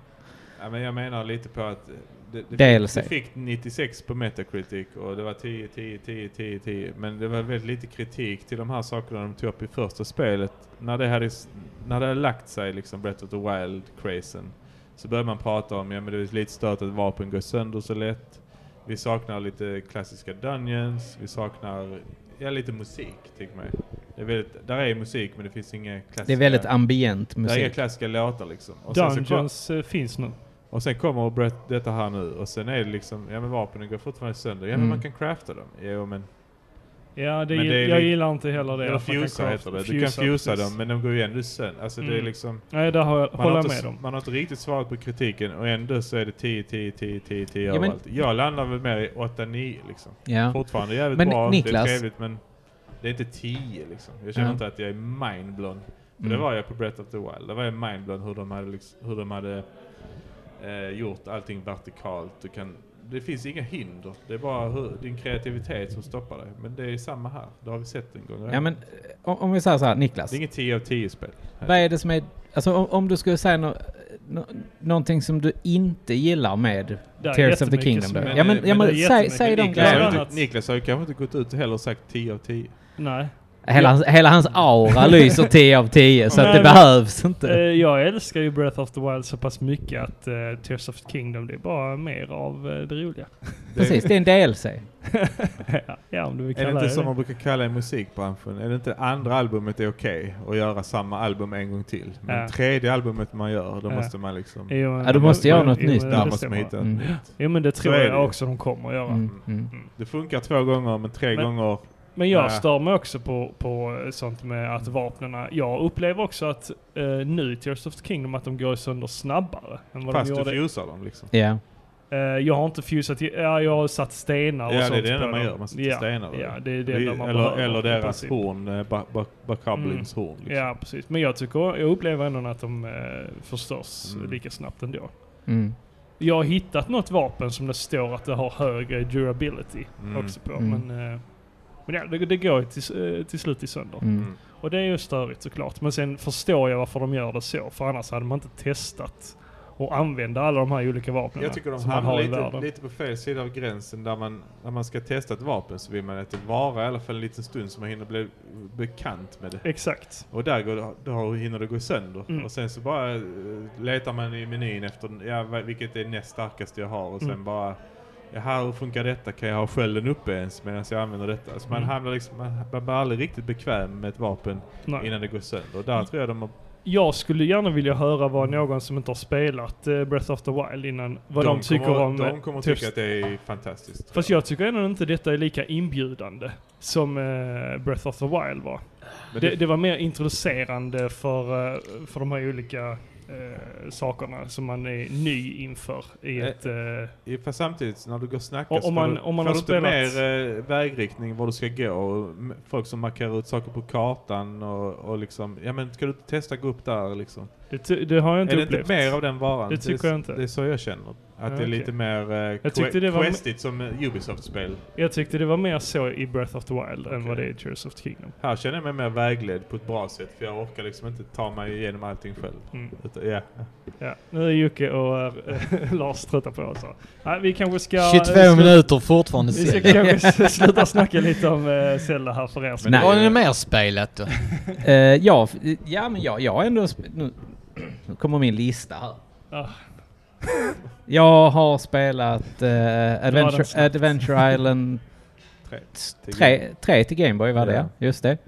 Speaker 6: Ja, men jag menar lite på att det, det,
Speaker 1: DLC.
Speaker 6: Fick, det fick 96 på Metacritic och det var 10, 10, 10, 10, 10. Men det var väldigt lite kritik till de här sakerna de tog upp i första spelet. När det hade, s- när det hade lagt sig, liksom Breath of the Wild-crazen, så började man prata om ja men det är lite stört att vapen går sönder så lätt. Vi saknar lite klassiska dungeons, vi saknar ja, lite musik, tycker man. Det är väldigt, där är musik men det finns inga klassiska...
Speaker 1: Det är väldigt ambient
Speaker 6: där är inga
Speaker 1: musik.
Speaker 6: klassiska låtar liksom. Och sen så kom-
Speaker 5: Dungeons eh, finns nu.
Speaker 6: och sen kommer och berätt, detta här nu och sen är det liksom, ja men vapnen går fortfarande sönder. Ja men
Speaker 1: Mm.
Speaker 6: man kan crafta dem. Jo men,
Speaker 5: Ja, det,
Speaker 6: Men
Speaker 5: gill-
Speaker 6: det är
Speaker 5: jag
Speaker 6: li-
Speaker 5: gillar inte heller det.
Speaker 6: eller
Speaker 5: att man kan
Speaker 6: fusa
Speaker 5: crafta-
Speaker 6: heter det. Du kan fusa
Speaker 5: precis.
Speaker 6: dem men de går ju ändå sönder. Alltså det är
Speaker 5: Mm.
Speaker 6: liksom,
Speaker 5: Nej, där har jag,
Speaker 6: man
Speaker 5: håller
Speaker 6: har,
Speaker 5: jag
Speaker 6: inte,
Speaker 5: med
Speaker 6: s-
Speaker 5: om.
Speaker 6: man har inte riktigt svarat på kritiken och ändå så är det 10, 10, 10, 10, 10
Speaker 1: Ja, men-
Speaker 6: överallt. Jag landar väl mer i 8, 9 liksom.
Speaker 1: Ja.
Speaker 6: Fortfarande jävligt
Speaker 1: Men
Speaker 6: bra, det
Speaker 1: Niklas-
Speaker 6: är trevligt men det är inte 10 liksom. Jag känner
Speaker 1: Ja.
Speaker 6: inte att jag är mindblown. För
Speaker 1: Mm.
Speaker 6: Det var jag på Breath of the Wild. Det var jag mindblown hur de hade, liksom, hur de hade eh, gjort allting vertikalt. Du kan, det finns inga hinder. Det är bara hur, din kreativitet som stoppar dig. Men det är samma här. Det har vi sett en gång redan.
Speaker 1: ja, men o- om vi säger så här, Niklas.
Speaker 6: Det är inget 10 av 10 spel.
Speaker 1: Vad är det som är... Alltså om, om du skulle säga no, no, någonting som du inte gillar med
Speaker 5: Det är
Speaker 1: Tears of the
Speaker 5: jättemycket
Speaker 1: Kingdom
Speaker 5: som
Speaker 1: då?
Speaker 6: är-
Speaker 1: Ja men,
Speaker 6: men
Speaker 1: ja,
Speaker 5: det är
Speaker 1: men säg,
Speaker 5: jättemycket.
Speaker 1: säg de
Speaker 6: Niklas,
Speaker 5: bland
Speaker 6: har ju
Speaker 1: grejerna.
Speaker 5: annat.
Speaker 6: inte, Niklas har ju kanske inte gått ut och heller sagt 10 av 10.
Speaker 5: Nej.
Speaker 1: Hela, hans- hela hans aura lyser 10 av 10 så att det
Speaker 5: Men-
Speaker 1: behövs inte.
Speaker 5: Eh, jag älskar ju Breath of the Wild så pass mycket att eh, Tears of the Kingdom, det är bara mer av eh, det roliga.
Speaker 1: Precis, det är en DLC.
Speaker 5: ja, om du vill
Speaker 6: Är det
Speaker 5: kalla
Speaker 6: inte
Speaker 5: det
Speaker 6: som
Speaker 5: det.
Speaker 6: man brukar kalla i musikbranschen? Är det inte andra albumet är okej att göra samma album en gång till? Men
Speaker 5: Ja.
Speaker 6: tredje albumet man gör, då
Speaker 5: Ja.
Speaker 6: måste man liksom...
Speaker 5: Jo, men-
Speaker 1: Ja, du måste göra
Speaker 5: jo,
Speaker 1: något
Speaker 5: jo, men
Speaker 1: nytt.
Speaker 5: det
Speaker 6: Där måste
Speaker 5: stämmer.
Speaker 6: man hitta ett
Speaker 1: Mm.
Speaker 6: nytt.
Speaker 5: Jo, men det tror
Speaker 6: är
Speaker 5: jag
Speaker 6: det ju.
Speaker 5: också de kommer att göra.
Speaker 1: Mm, mm.
Speaker 6: Det funkar två gånger, men tre
Speaker 5: Men-
Speaker 6: gånger...
Speaker 5: Men jag
Speaker 6: Nej.
Speaker 5: stör mig också på, på sånt med att vapnen... Jag upplever också att eh, nu i Tears of the Kingdom att de går sönder snabbare än vad
Speaker 6: Fast
Speaker 5: de
Speaker 6: du
Speaker 5: gjorde.
Speaker 6: fusar dem liksom.
Speaker 1: Ja. mm,
Speaker 5: Eh, jag har inte fusat... Ja, jag har satt stenar och
Speaker 6: Ja, det är
Speaker 5: sånt
Speaker 6: det
Speaker 5: på
Speaker 6: enda man
Speaker 5: dem.
Speaker 6: gör. Man sätter
Speaker 5: ja,
Speaker 6: stenar där.
Speaker 5: Ja, det är det
Speaker 6: Vi-
Speaker 5: enda man
Speaker 6: eller,
Speaker 5: behöver
Speaker 6: eller
Speaker 5: i
Speaker 6: deras
Speaker 5: princip. Mm.
Speaker 6: horn, eh, ba- ba- Bakablins horn. Liksom.
Speaker 5: Ja, precis. Men jag tycker... Jag upplever ändå att de eh, förstörs
Speaker 6: Mm.
Speaker 5: lika snabbt ändå.
Speaker 1: Mm.
Speaker 5: Jag har hittat något vapen som det står att det har högre durability
Speaker 6: Mm.
Speaker 5: också på.
Speaker 1: Mm.
Speaker 5: Men, eh, men ja, det, det går ju till, eh, till slut i sönder.
Speaker 1: Mm.
Speaker 5: Och det är ju störigt såklart. Men sen förstår jag varför de gör det så. För annars hade man inte testat att använda alla de här olika vapnen.
Speaker 6: Jag tycker de
Speaker 5: som man
Speaker 6: hamnar
Speaker 5: har i
Speaker 6: lite,
Speaker 5: världen.
Speaker 6: lite på fel sida av gränsen där man, när man ska testa ett vapen så vill man att det varar i alla fall en liten stund så man hinner bli bekant med det.
Speaker 5: Exakt.
Speaker 6: Och där går, det- då hinner det gå sönder.
Speaker 5: Mm.
Speaker 6: Och sen så bara eh, letar man i menyn efter ja, va- vilket är näst starkaste jag har och sen
Speaker 5: Mm.
Speaker 6: bara ja, här hur funkar detta? Kan jag ha skölden uppe ens medan jag använder detta? Så man
Speaker 5: Mm.
Speaker 6: hamnar liksom, man, man blir aldrig riktigt bekväm med ett vapen
Speaker 5: Nej.
Speaker 6: innan det går sönder. Och
Speaker 5: Mm.
Speaker 6: där tror jag de har
Speaker 5: Jag skulle gärna vilja höra vad någon som inte har spelat eh, Breath of the Wild innan, vad de, tycker
Speaker 6: kommer,
Speaker 5: om... eh,
Speaker 6: De kommer
Speaker 5: Tears-
Speaker 6: tycka att det är fantastiskt.
Speaker 5: Fast jag tycker ändå inte detta är lika inbjudande som eh, Breath of the Wild var.
Speaker 6: Men
Speaker 5: Det, det var mer introducerande för, eh, för de här olika eh, sakerna som man är ny inför i
Speaker 6: Eh,
Speaker 5: ett... Eh,
Speaker 6: i- Fast samtidigt, när du går och
Speaker 5: Och
Speaker 6: snackar
Speaker 5: om
Speaker 6: så får
Speaker 5: man-
Speaker 6: du,
Speaker 5: om man
Speaker 6: får
Speaker 5: har
Speaker 6: du
Speaker 5: spelat-
Speaker 6: inte mer eh, vägriktning var du ska gå och m- folk som markerar ut saker på kartan och, och liksom, ja men ska du inte testa gå upp där liksom?
Speaker 5: det, ty- det har jag inte
Speaker 6: är det
Speaker 5: upplevt.
Speaker 6: inte mer av den varan?
Speaker 5: Det
Speaker 6: är
Speaker 5: tycker
Speaker 6: s-
Speaker 5: jag inte.
Speaker 6: Det är så jag känner. Att det är
Speaker 5: okej.
Speaker 6: lite mer eh,
Speaker 5: Jag tyckte
Speaker 6: que-
Speaker 5: det var-
Speaker 6: questigt som eh, Ubisoft-spel.
Speaker 5: Jag tyckte det var mer så i Breath of the Wild än
Speaker 6: Okej.
Speaker 5: vad det är i Tears of the Kingdom.
Speaker 6: Här känner jag mig mer vägledd på ett bra sätt för jag orkar liksom inte ta mig igenom allting själv.
Speaker 5: Mm.
Speaker 6: Utan, ja.
Speaker 5: Ja. Nu är Jocke och eh, Lars trötta på oss. här. Nej, vi kanske ska...
Speaker 4: 22 minuter fortfarande
Speaker 5: Vi ska
Speaker 4: säljer.
Speaker 5: kanske s- sluta snacka lite om eh, Zelda här för er. som-
Speaker 1: Nej.
Speaker 4: Vad är det mer spelat då?
Speaker 1: Eh, ja, f- ja, men jag, jag har ändå... sp- Nu, nu kommer min lista här.
Speaker 5: Ah,
Speaker 1: Jag har spelat eh,
Speaker 5: den
Speaker 1: Adventure,
Speaker 5: snabbt.
Speaker 1: Adventure Island
Speaker 3: Tre. Till Game
Speaker 1: tre tre till Gameboy var det,
Speaker 3: Ja.
Speaker 1: ja. just det.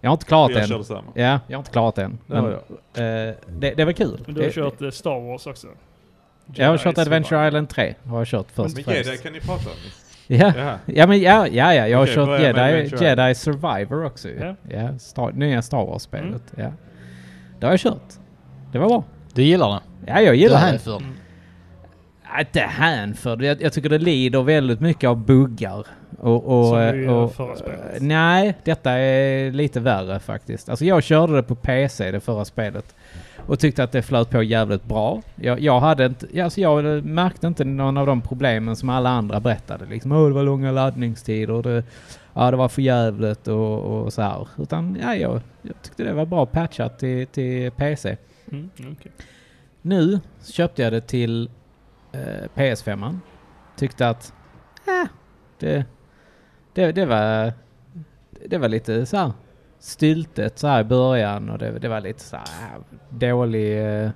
Speaker 1: Jag har inte klarat
Speaker 3: Boy. Jag
Speaker 1: den.
Speaker 3: körde samma.
Speaker 1: Ja, jag har inte klarat den.
Speaker 3: Det har
Speaker 1: Men, eh, det, det var kul.
Speaker 5: Men du har
Speaker 1: Det-
Speaker 5: kört eh, Star Wars också?
Speaker 1: jag har
Speaker 5: Jedi
Speaker 1: kört Adventure
Speaker 5: Survivor.
Speaker 1: Island 3. Har jag kört först
Speaker 3: Men
Speaker 1: och
Speaker 3: ge dig,
Speaker 1: främst.
Speaker 3: kan ni prata om?
Speaker 1: Ja.
Speaker 3: Jaha.
Speaker 1: Ja, men ja, ja, ja. jag har
Speaker 3: Okej,
Speaker 1: kört
Speaker 3: börja med
Speaker 1: Jedi,
Speaker 3: Adventure Island.
Speaker 1: Jedi Survivor också ju.
Speaker 5: Ja.
Speaker 1: Ja, Star, nya Star Wars-spelet.
Speaker 3: Mm.
Speaker 1: Ja. Det har jag kört. Det var bra.
Speaker 4: Du gillar den?
Speaker 1: Ja, jag
Speaker 4: Du är
Speaker 1: gillar det.
Speaker 4: hänförd.
Speaker 1: Ja, Äh, Inte hänförd. Jag, jag tycker det lider väldigt mycket av buggar. Och, och,
Speaker 5: Som i, eh,
Speaker 1: och,
Speaker 5: förra spelet.
Speaker 1: Nej, detta är lite värre faktiskt. Alltså jag körde det på PC, det förra spelet. Och tyckte att det flöt på jävligt bra. Jag, jag, hade inte, ja, alltså jag märkte inte någon av de problemen som alla andra berättade. Liksom, oh, det var långa laddningstider, och det, ja, det var för jävligt och, och så här. Utan ja, jag, jag tyckte det var bra patchat till, till PC.
Speaker 5: Mm, okej.
Speaker 1: Nu köpte jag det till eh, PS5. Tyckte att äh, det, det, det, var, det var lite så här styltet så här i början och det, det var lite så här äh, dålig eh,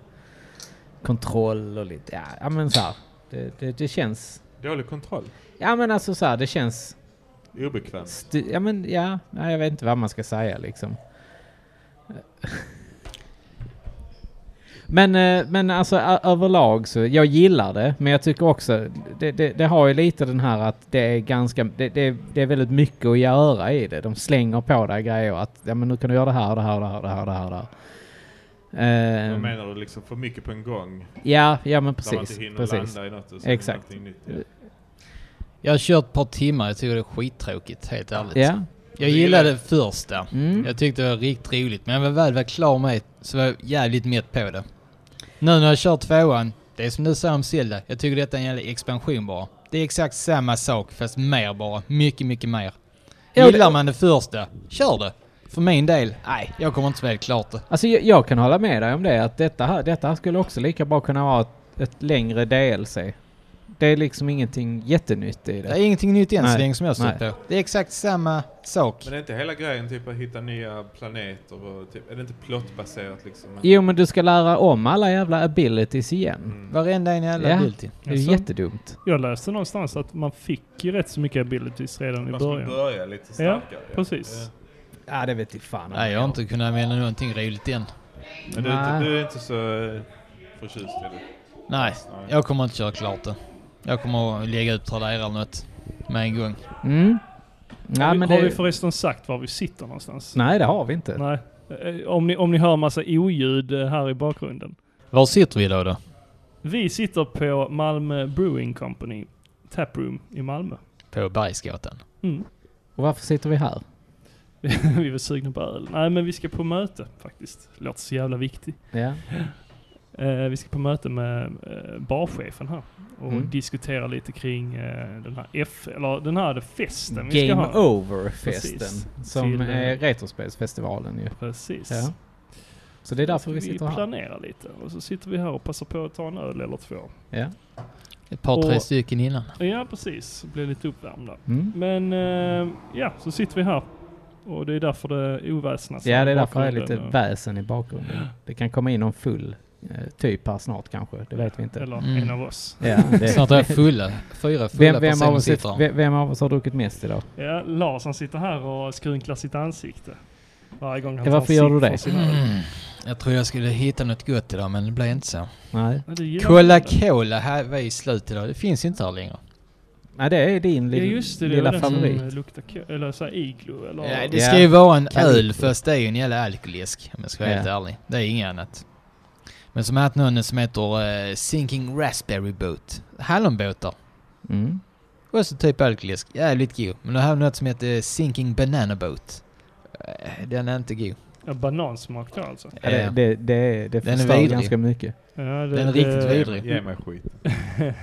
Speaker 1: kontroll och lite, ja, ja men så här. Det, det, det känns,
Speaker 3: Dålig kontroll.
Speaker 1: ja men alltså så här, det känns
Speaker 3: Obekvämt.
Speaker 1: Sty- ja men ja, nej, jag vet inte vad man ska säga liksom. Men, eh, men alltså ö- överlag så, jag gillar det, men jag tycker också, det, det, det har ju lite den här att det är ganska, det, det, det är väldigt mycket att göra i det. De slänger på dig grejer att, ja men nu kan du göra det här, det här, det här, det här, det här. Det här.
Speaker 3: Vad
Speaker 1: Ehm,
Speaker 3: menar du liksom för mycket på en gång?
Speaker 1: Eh, ja, ja men
Speaker 3: Där man inte
Speaker 1: precis.
Speaker 3: hinner
Speaker 1: precis.
Speaker 3: landa i något och så är det
Speaker 1: Exakt.
Speaker 3: någonting nytt.
Speaker 4: Jag har kört ett par timmar, jag tycker det är skittråkigt helt ärligt.
Speaker 1: Ja.
Speaker 4: Jag gillade det första.
Speaker 1: Mm.
Speaker 4: Jag tyckte det var riktigt roligt, men när jag väl var klar med det så var jag jävligt mätt på det. Nu när jag kör tvåan, det är som du säger om Zelda, jag tycker detta är en jävla expansion bara. Det är exakt samma sak, fast mer bara. Mycket, mycket mer.
Speaker 1: Ja, det-
Speaker 4: Gillar man det första, kör det. För min del, nej, jag kommer inte spela klart det.
Speaker 1: Alltså jag, jag kan hålla med dig om det, att detta, här- detta här skulle också lika bra kunna vara ett, ett längre DLC. Det är liksom ingenting jättenytt i
Speaker 4: Det är
Speaker 1: det.
Speaker 4: ingenting nytt än så
Speaker 1: Nej,
Speaker 4: länge som jag har
Speaker 1: nej.
Speaker 4: stött på. Det är exakt samma sak.
Speaker 3: Men är inte hela grejen typ att hitta nya planeter och typ, är det inte plottbaserat liksom?
Speaker 1: Jo, men du ska lära om alla jävla abilities igen.
Speaker 3: Mm.
Speaker 4: Varenda en jävla
Speaker 1: Ja.
Speaker 4: ability.
Speaker 1: Det är ju
Speaker 5: Jaså?
Speaker 1: jättedumt.
Speaker 5: Jag läste någonstans att man fick ju rätt så mycket abilities redan i
Speaker 3: Man skulle
Speaker 5: början.
Speaker 3: börja lite starkare. ja.
Speaker 5: precis.
Speaker 3: Ja.
Speaker 1: Ja, det vet jag fan.
Speaker 4: Nej, jag har inte kunnat använda någonting roligt än.
Speaker 3: Men du, är
Speaker 1: Nej.
Speaker 3: inte, du är inte så eh, förtjust i det?
Speaker 4: Nej,
Speaker 3: Nej.
Speaker 4: jag kommer inte köra klart det. Jag kommer att lägga ut Tradera eller något med en gång.
Speaker 1: Mm. Nej,
Speaker 5: har vi,
Speaker 1: men
Speaker 5: har vi
Speaker 1: det,
Speaker 5: förresten sagt var vi sitter någonstans?
Speaker 1: nej, det har vi inte.
Speaker 5: Nej. Eh, Om ni, om ni hör massa oljud eh, här i bakgrunden.
Speaker 4: Var sitter vi då? då?
Speaker 5: Vi sitter på Malmö Brewing Company Taproom i Malmö.
Speaker 4: På Bergsgatan.
Speaker 5: Mm.
Speaker 1: Och varför sitter vi här?
Speaker 5: vi var sugna på öl. Nej men vi ska på möte faktiskt. Låter så jävla viktigt.
Speaker 1: Ja.
Speaker 5: Eh, vi ska på möte med eh, barchefen här och
Speaker 1: Mm.
Speaker 5: diskutera lite kring eh, den här F, eller den här festen vi ska
Speaker 1: Game
Speaker 5: ha. Precis.
Speaker 1: Over-festen. Som
Speaker 5: Till, eh,
Speaker 1: är Retrospelsfestivalen ju.
Speaker 5: Precis.
Speaker 1: Ja. Så det är därför vi sitter
Speaker 5: Vi
Speaker 1: här.
Speaker 5: planerar lite och så sitter vi här och passar på att ta en öl eller två.
Speaker 1: Ja.
Speaker 4: Ett par, tre
Speaker 5: Och-
Speaker 4: stycken innan.
Speaker 5: Ja precis, blir lite uppvärmda.
Speaker 1: Mm.
Speaker 5: Men eh, ja, så sitter vi här. Och det är därför det oväsnas.
Speaker 1: Ja,
Speaker 5: här
Speaker 1: det
Speaker 5: i
Speaker 1: är därför det är lite
Speaker 5: bakgrunden.
Speaker 1: väsen i bakgrunden. Det kan komma in någon full eh, typ här snart kanske, det vet vi inte.
Speaker 5: Eller
Speaker 4: Mm.
Speaker 5: en av oss.
Speaker 1: Ja, det,
Speaker 4: Snart är jag fulla. Fyra fulla
Speaker 1: vem, vem, av
Speaker 4: personer
Speaker 1: oss
Speaker 4: sitter
Speaker 1: är,
Speaker 4: här.
Speaker 1: vem, vem av oss har druckit mest idag?
Speaker 5: Ja, Lars han sitter här och skrynklar sitt ansikte. Varje gång han
Speaker 1: Ja, varför
Speaker 5: tar en
Speaker 1: gör
Speaker 5: sipp
Speaker 1: du det?
Speaker 5: från sin öl.
Speaker 4: Mm. Jag tror jag skulle hitta något gott idag, men det blev inte så.
Speaker 1: Nej,
Speaker 5: Ja, du gillar
Speaker 4: Cola
Speaker 5: inte det.
Speaker 4: Cola här var i slut idag. Det finns inte här längre.
Speaker 1: Nej det är din
Speaker 5: Ja
Speaker 1: lilla,
Speaker 5: just det, det är
Speaker 1: lilla
Speaker 5: den
Speaker 1: favorit.
Speaker 5: som luktar ko- eller så här iglo eller...
Speaker 4: Ja, det
Speaker 1: Ja.
Speaker 4: ska ju vara en
Speaker 1: Kan-
Speaker 4: öl fast det är ju en jävla alkoläsk om jag ska vara helt
Speaker 1: Ja.
Speaker 4: ärlig. Det är inget annat. Men som har haft någon som heter eh, Sinking Raspberry Boat. Hallonbåtar.
Speaker 1: Mm.
Speaker 4: Och så typ alkoläsk. Jävligt god. Men nu har jag något som heter Sinking Banana Boat. Eh, Den är inte god.
Speaker 5: Ja, banansmak då alltså.
Speaker 1: Ja,
Speaker 4: Eh,
Speaker 1: det, det, det, det
Speaker 4: Den är
Speaker 1: förstör
Speaker 4: vidrig.
Speaker 1: ganska mycket.
Speaker 5: Ja, det,
Speaker 4: Den är riktigt
Speaker 5: det,
Speaker 4: vidrig.
Speaker 3: Ge mig skit.
Speaker 4: Nej,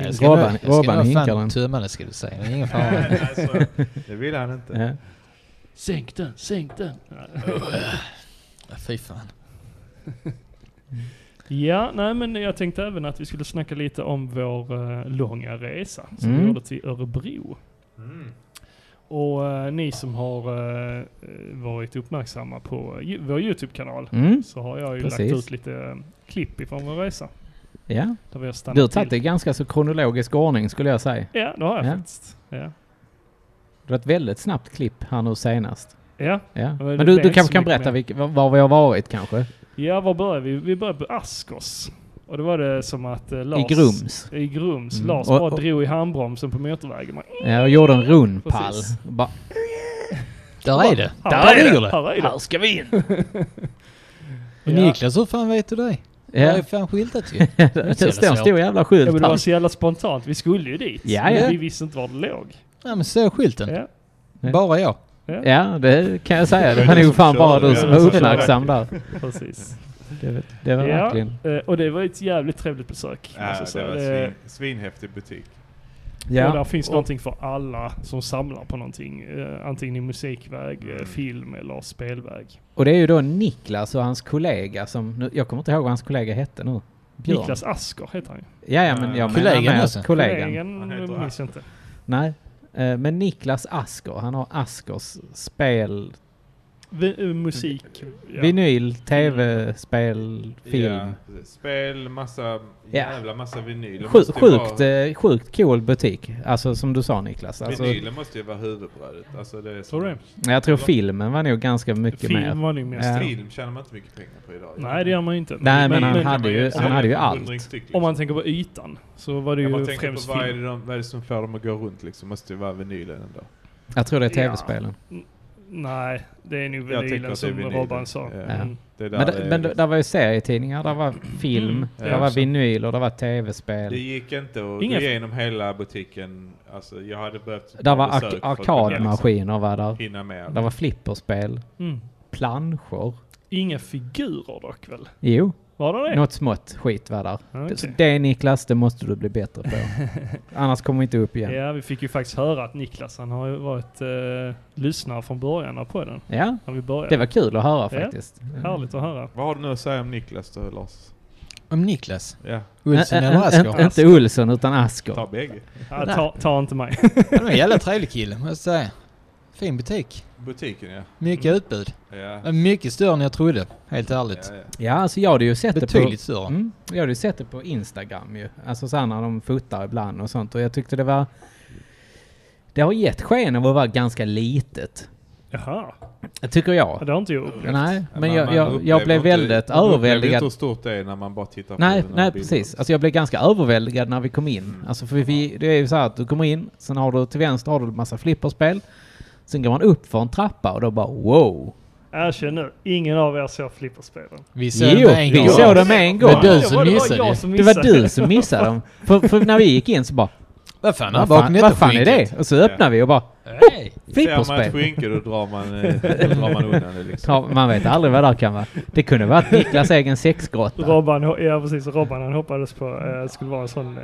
Speaker 4: jag ska
Speaker 1: Robban-
Speaker 4: nog- jag ska
Speaker 1: Robban
Speaker 4: nog
Speaker 1: hinkar
Speaker 4: fan
Speaker 1: den.
Speaker 4: tömma det ska du säga. Det är ingen fara.
Speaker 3: Nej, alltså, det vill han inte.
Speaker 1: Ja.
Speaker 5: Sänk den, sänk den!
Speaker 4: Fy fan.
Speaker 5: Ja, nej men jag tänkte även att vi skulle snacka lite om vår eh, långa resa som
Speaker 1: Mm.
Speaker 5: vi gjorde till Örebro.
Speaker 3: Mm.
Speaker 5: Och eh, ni som har eh, varit uppmärksamma på ju- vår YouTube-kanal
Speaker 1: Mm.
Speaker 5: så har jag ju
Speaker 1: Precis.
Speaker 5: lagt ut lite eh, klipp ifrån vår resa.
Speaker 1: Ja,
Speaker 5: Där vi har stannat
Speaker 1: du har tagit det
Speaker 5: till.
Speaker 1: i ganska så kronologisk ordning skulle jag säga.
Speaker 5: Ja, det har jag
Speaker 1: Ja.
Speaker 5: faktiskt. Ja.
Speaker 1: Det var ett väldigt snabbt klipp här nu senast.
Speaker 5: Ja.
Speaker 1: Ja.
Speaker 5: det
Speaker 1: Men
Speaker 5: blev
Speaker 1: du,
Speaker 5: inte
Speaker 1: du
Speaker 5: så
Speaker 1: kanske kan
Speaker 5: mycket
Speaker 1: berätta
Speaker 5: mer.
Speaker 1: vilk, var- var vi har varit kanske?
Speaker 5: ja, var började vi? Vi började på Askos. Och det var det som att eh, Lars...
Speaker 1: I Grums.
Speaker 5: I Grums.
Speaker 1: Mm.
Speaker 5: Lars
Speaker 1: Och-
Speaker 5: bara
Speaker 1: och-
Speaker 5: drog i handbromsen på motorvägen. Man,
Speaker 1: Ja, och gjorde en rundpall.
Speaker 5: Precis.
Speaker 1: Bara,
Speaker 4: Där är det.
Speaker 5: här
Speaker 7: Där ligger det.
Speaker 5: Här är det!
Speaker 7: ska vi in!
Speaker 4: Och
Speaker 5: Ja.
Speaker 4: Niklas, hur fan vet du det? Ja. Där är
Speaker 1: ja.
Speaker 4: fan skyltat ju.
Speaker 1: Det står en stor jävla skylt
Speaker 5: Ja, men det var
Speaker 1: här.
Speaker 5: så jävla spontant. Vi skulle ju dit.
Speaker 1: Ja,
Speaker 5: men
Speaker 1: ja.
Speaker 5: Vi visste inte var det låg.
Speaker 4: Ja men så är skylten.
Speaker 5: Ja.
Speaker 1: Ja.
Speaker 4: Bara jag.
Speaker 1: Ja, det kan jag säga. Det
Speaker 6: Det
Speaker 1: var
Speaker 6: var du
Speaker 1: nog
Speaker 6: som
Speaker 1: fan bara
Speaker 6: körde,
Speaker 1: du
Speaker 6: ja.
Speaker 1: som var uppmärksam där.
Speaker 5: Precis.
Speaker 1: Det, var- det var
Speaker 5: Ja.
Speaker 1: verkligen...
Speaker 5: Eh, och det var ett jävligt trevligt besök. måste
Speaker 6: Ja,
Speaker 5: jag
Speaker 6: det
Speaker 5: säga.
Speaker 6: var
Speaker 5: Alltså, Det-
Speaker 6: svin, svinhäftig butik.
Speaker 5: Och där
Speaker 1: Ja.
Speaker 5: finns någonting för alla som samlar på någonting. Eh, antingen i musikväg, eh,
Speaker 6: Mm.
Speaker 5: film eller spelväg.
Speaker 1: Och det är ju då Niklas och hans kollega som... Nu, jag kommer inte ihåg vad hans kollega hette nu. Björn.
Speaker 5: Niklas Asker heter han ju.
Speaker 1: Ja, ja, men jag menar
Speaker 4: Kollegan
Speaker 1: med
Speaker 4: alltså?
Speaker 1: kollegan.
Speaker 6: Han heter
Speaker 5: Kollegan minns jag inte.
Speaker 1: Nej. Eh, Men Niklas Asker, han har Askers spel,
Speaker 5: Vi, eh, musik. Ja.
Speaker 1: vinyl, tv-spel, film.
Speaker 6: Ja, precis. spel, massa, jävla massa vinyl. Det
Speaker 1: Sju,
Speaker 6: måste ju
Speaker 1: sjukt,
Speaker 6: vara-
Speaker 1: eh, sjukt cool butik. Alltså som du sa Niklas. Alltså,
Speaker 6: Vinylen måste ju vara huvudbrödet. Alltså det är
Speaker 5: Tror du det?
Speaker 1: jag tror filmen var nog ganska mycket
Speaker 5: Film
Speaker 1: mer.
Speaker 5: var nog mest.
Speaker 1: Ja.
Speaker 6: Film tjänar man inte mycket pengar på idag.
Speaker 5: Nej, det gör man ju inte.
Speaker 1: Nej, men han
Speaker 6: Det kan
Speaker 1: hade
Speaker 6: man
Speaker 1: ju-
Speaker 6: sälja
Speaker 1: han hade ju
Speaker 6: för
Speaker 1: allt.
Speaker 6: 100 styck, liksom.
Speaker 5: Om man tänker på ytan så var det
Speaker 6: Ja,
Speaker 5: ju
Speaker 6: man tänker på
Speaker 5: främst
Speaker 6: vad är,
Speaker 5: film.
Speaker 6: det de, vad är det som får dem att gå runt liksom? Måste ju vara vinylen ändå.
Speaker 1: Jag tror det är
Speaker 5: Ja.
Speaker 1: tv-spelen.
Speaker 5: Nej, det är nog
Speaker 6: Jag tänker
Speaker 5: vinylen
Speaker 6: att det är
Speaker 5: som
Speaker 6: vinylen.
Speaker 5: Robban sa.
Speaker 6: Ja.
Speaker 5: Mm.
Speaker 6: Det är där
Speaker 1: Men,
Speaker 6: det,
Speaker 1: det,
Speaker 6: är
Speaker 1: men det,
Speaker 6: liksom.
Speaker 1: där var ju serietidningar, där var film,
Speaker 6: Ja,
Speaker 1: där var
Speaker 6: också.
Speaker 1: vinyl och där var
Speaker 6: det
Speaker 1: tv-spel.
Speaker 6: gick inte att
Speaker 5: Inga-
Speaker 6: gå igenom hela butiken. Alltså jag hade behövt...
Speaker 1: Där var
Speaker 6: besök
Speaker 1: ark-
Speaker 6: för att kunna
Speaker 1: arkadmaskiner var där.
Speaker 6: liksom Hinna med.
Speaker 1: Där var flipperspel,
Speaker 5: Mm.
Speaker 1: planscher.
Speaker 5: Inga figurer dock väl?
Speaker 1: Jo,
Speaker 5: Var det det?
Speaker 1: något smått skit var där.
Speaker 5: Ja,
Speaker 1: Så
Speaker 5: okej.
Speaker 1: det Niklas, det måste du bli bättre på. Annars kommer vi inte upp igen.
Speaker 5: Ja, vi fick ju faktiskt höra att Niklas, han har ju varit eh, lyssnare från början av podden.
Speaker 1: Ja,
Speaker 5: När vi började.
Speaker 1: det var kul att höra
Speaker 5: Ja.
Speaker 1: faktiskt.
Speaker 5: Härligt att höra.
Speaker 6: Vad har du nu att säga om Niklas då Lars?
Speaker 4: Om Niklas.
Speaker 6: Ja,
Speaker 4: Wilson
Speaker 1: Ä-
Speaker 4: eller
Speaker 1: ä-
Speaker 4: Asker.
Speaker 1: ä- Inte Ulsson utan Asker.
Speaker 6: ta bägge.
Speaker 5: Ja, ta, ta inte mig.
Speaker 4: Han var en jävla trevlig kille måste jag säga. Fin butik.
Speaker 6: Butiken ja.
Speaker 4: Mycket utbud.
Speaker 6: Ja,
Speaker 4: Mycket större än jag trodde. Helt
Speaker 6: ja,
Speaker 4: ärligt.
Speaker 6: ja.
Speaker 1: Mm. Ja, alltså jag hade ju sett det på...
Speaker 4: Betydligt större.
Speaker 1: Mm, jag hade ju sett det på Instagram ju. Alltså så här när de fotar ibland och sånt. Och jag tyckte det var... Det har gett sken av att vara ganska litet.
Speaker 5: Jaha,
Speaker 1: Tycker
Speaker 5: Ja,
Speaker 1: jag.
Speaker 5: det har inte jag upplevt.
Speaker 1: Nej,
Speaker 6: Ja,
Speaker 1: men jag,
Speaker 6: man
Speaker 1: jag,
Speaker 6: upplever
Speaker 1: jag blev
Speaker 6: inte-
Speaker 1: väldigt
Speaker 6: man upplever inte
Speaker 1: överväldigad.
Speaker 6: hur stort det är när man bara tittar på
Speaker 1: Nej,
Speaker 6: den här
Speaker 1: nej
Speaker 6: bilden. Mm.
Speaker 1: precis. Alltså jag blev ganska överväldigad när vi kom in. Alltså för vi- vi, det är ju så här att du kommer in, sen har du till vänster har du en massa flipperspel. Sen går man upp för en trappa och då bara wow.
Speaker 5: Erkänn nu, ingen av er såg flipperspelen.
Speaker 4: Vi såg
Speaker 1: Jo,
Speaker 4: det en
Speaker 1: vi
Speaker 4: gång.
Speaker 1: såg dem med en gång.
Speaker 4: Men du som
Speaker 5: det var
Speaker 4: missade
Speaker 5: jag
Speaker 4: det.
Speaker 5: som
Speaker 1: Det var du som missade dem. För, för när vi gick in så bara,
Speaker 4: Vad fan har
Speaker 1: vad fan,
Speaker 4: bakom detta
Speaker 1: vad fan är det? Och så öppnar vi och bara,
Speaker 4: Hej!
Speaker 6: Ser man ett
Speaker 1: flipperspel.
Speaker 6: skynke då drar man, eh, då drar man undan det liksom.
Speaker 1: Ja, man vet aldrig vad det här kan vara. Det kunde varit Niklas egen sexgrotta.
Speaker 5: Robban, ho- ja precis, Robban han hoppades på eh, det skulle vara en sån eh,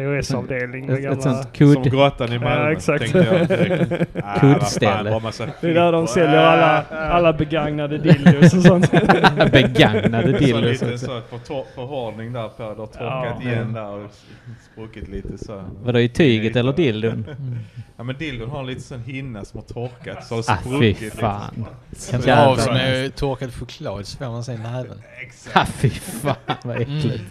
Speaker 5: VHS-avdelning med
Speaker 1: Ett, ett
Speaker 5: gamla...
Speaker 1: sånt
Speaker 6: Som
Speaker 1: kudd...
Speaker 6: grottan i Malmö,
Speaker 5: Ja, exakt.
Speaker 6: tänkte jag direkt. Ah,
Speaker 1: Kuddställe.
Speaker 6: vad fan, bara massa
Speaker 5: Det är där de
Speaker 6: skit.
Speaker 5: säljer alla, alla begagnade dildos och sånt.
Speaker 1: Begagnade
Speaker 6: Så en
Speaker 1: dildos.
Speaker 6: liten
Speaker 1: också.
Speaker 6: så förtor- förhårdning där på, det har torkat
Speaker 5: Ja.
Speaker 6: igen där och spruckit lite så.
Speaker 1: Vadå, i tyget eller dildon?
Speaker 6: Ja men dildon har en liten sån hinna som har torkat så har det
Speaker 1: Ah, fy
Speaker 6: spruckit. liksom.
Speaker 1: fan.
Speaker 4: Kan ta
Speaker 1: Jävlar.
Speaker 4: av som är torkad choklad så får man sig i näven.
Speaker 6: Exakt.
Speaker 1: Ah, fy fan
Speaker 6: Mm.
Speaker 1: vad äckligt.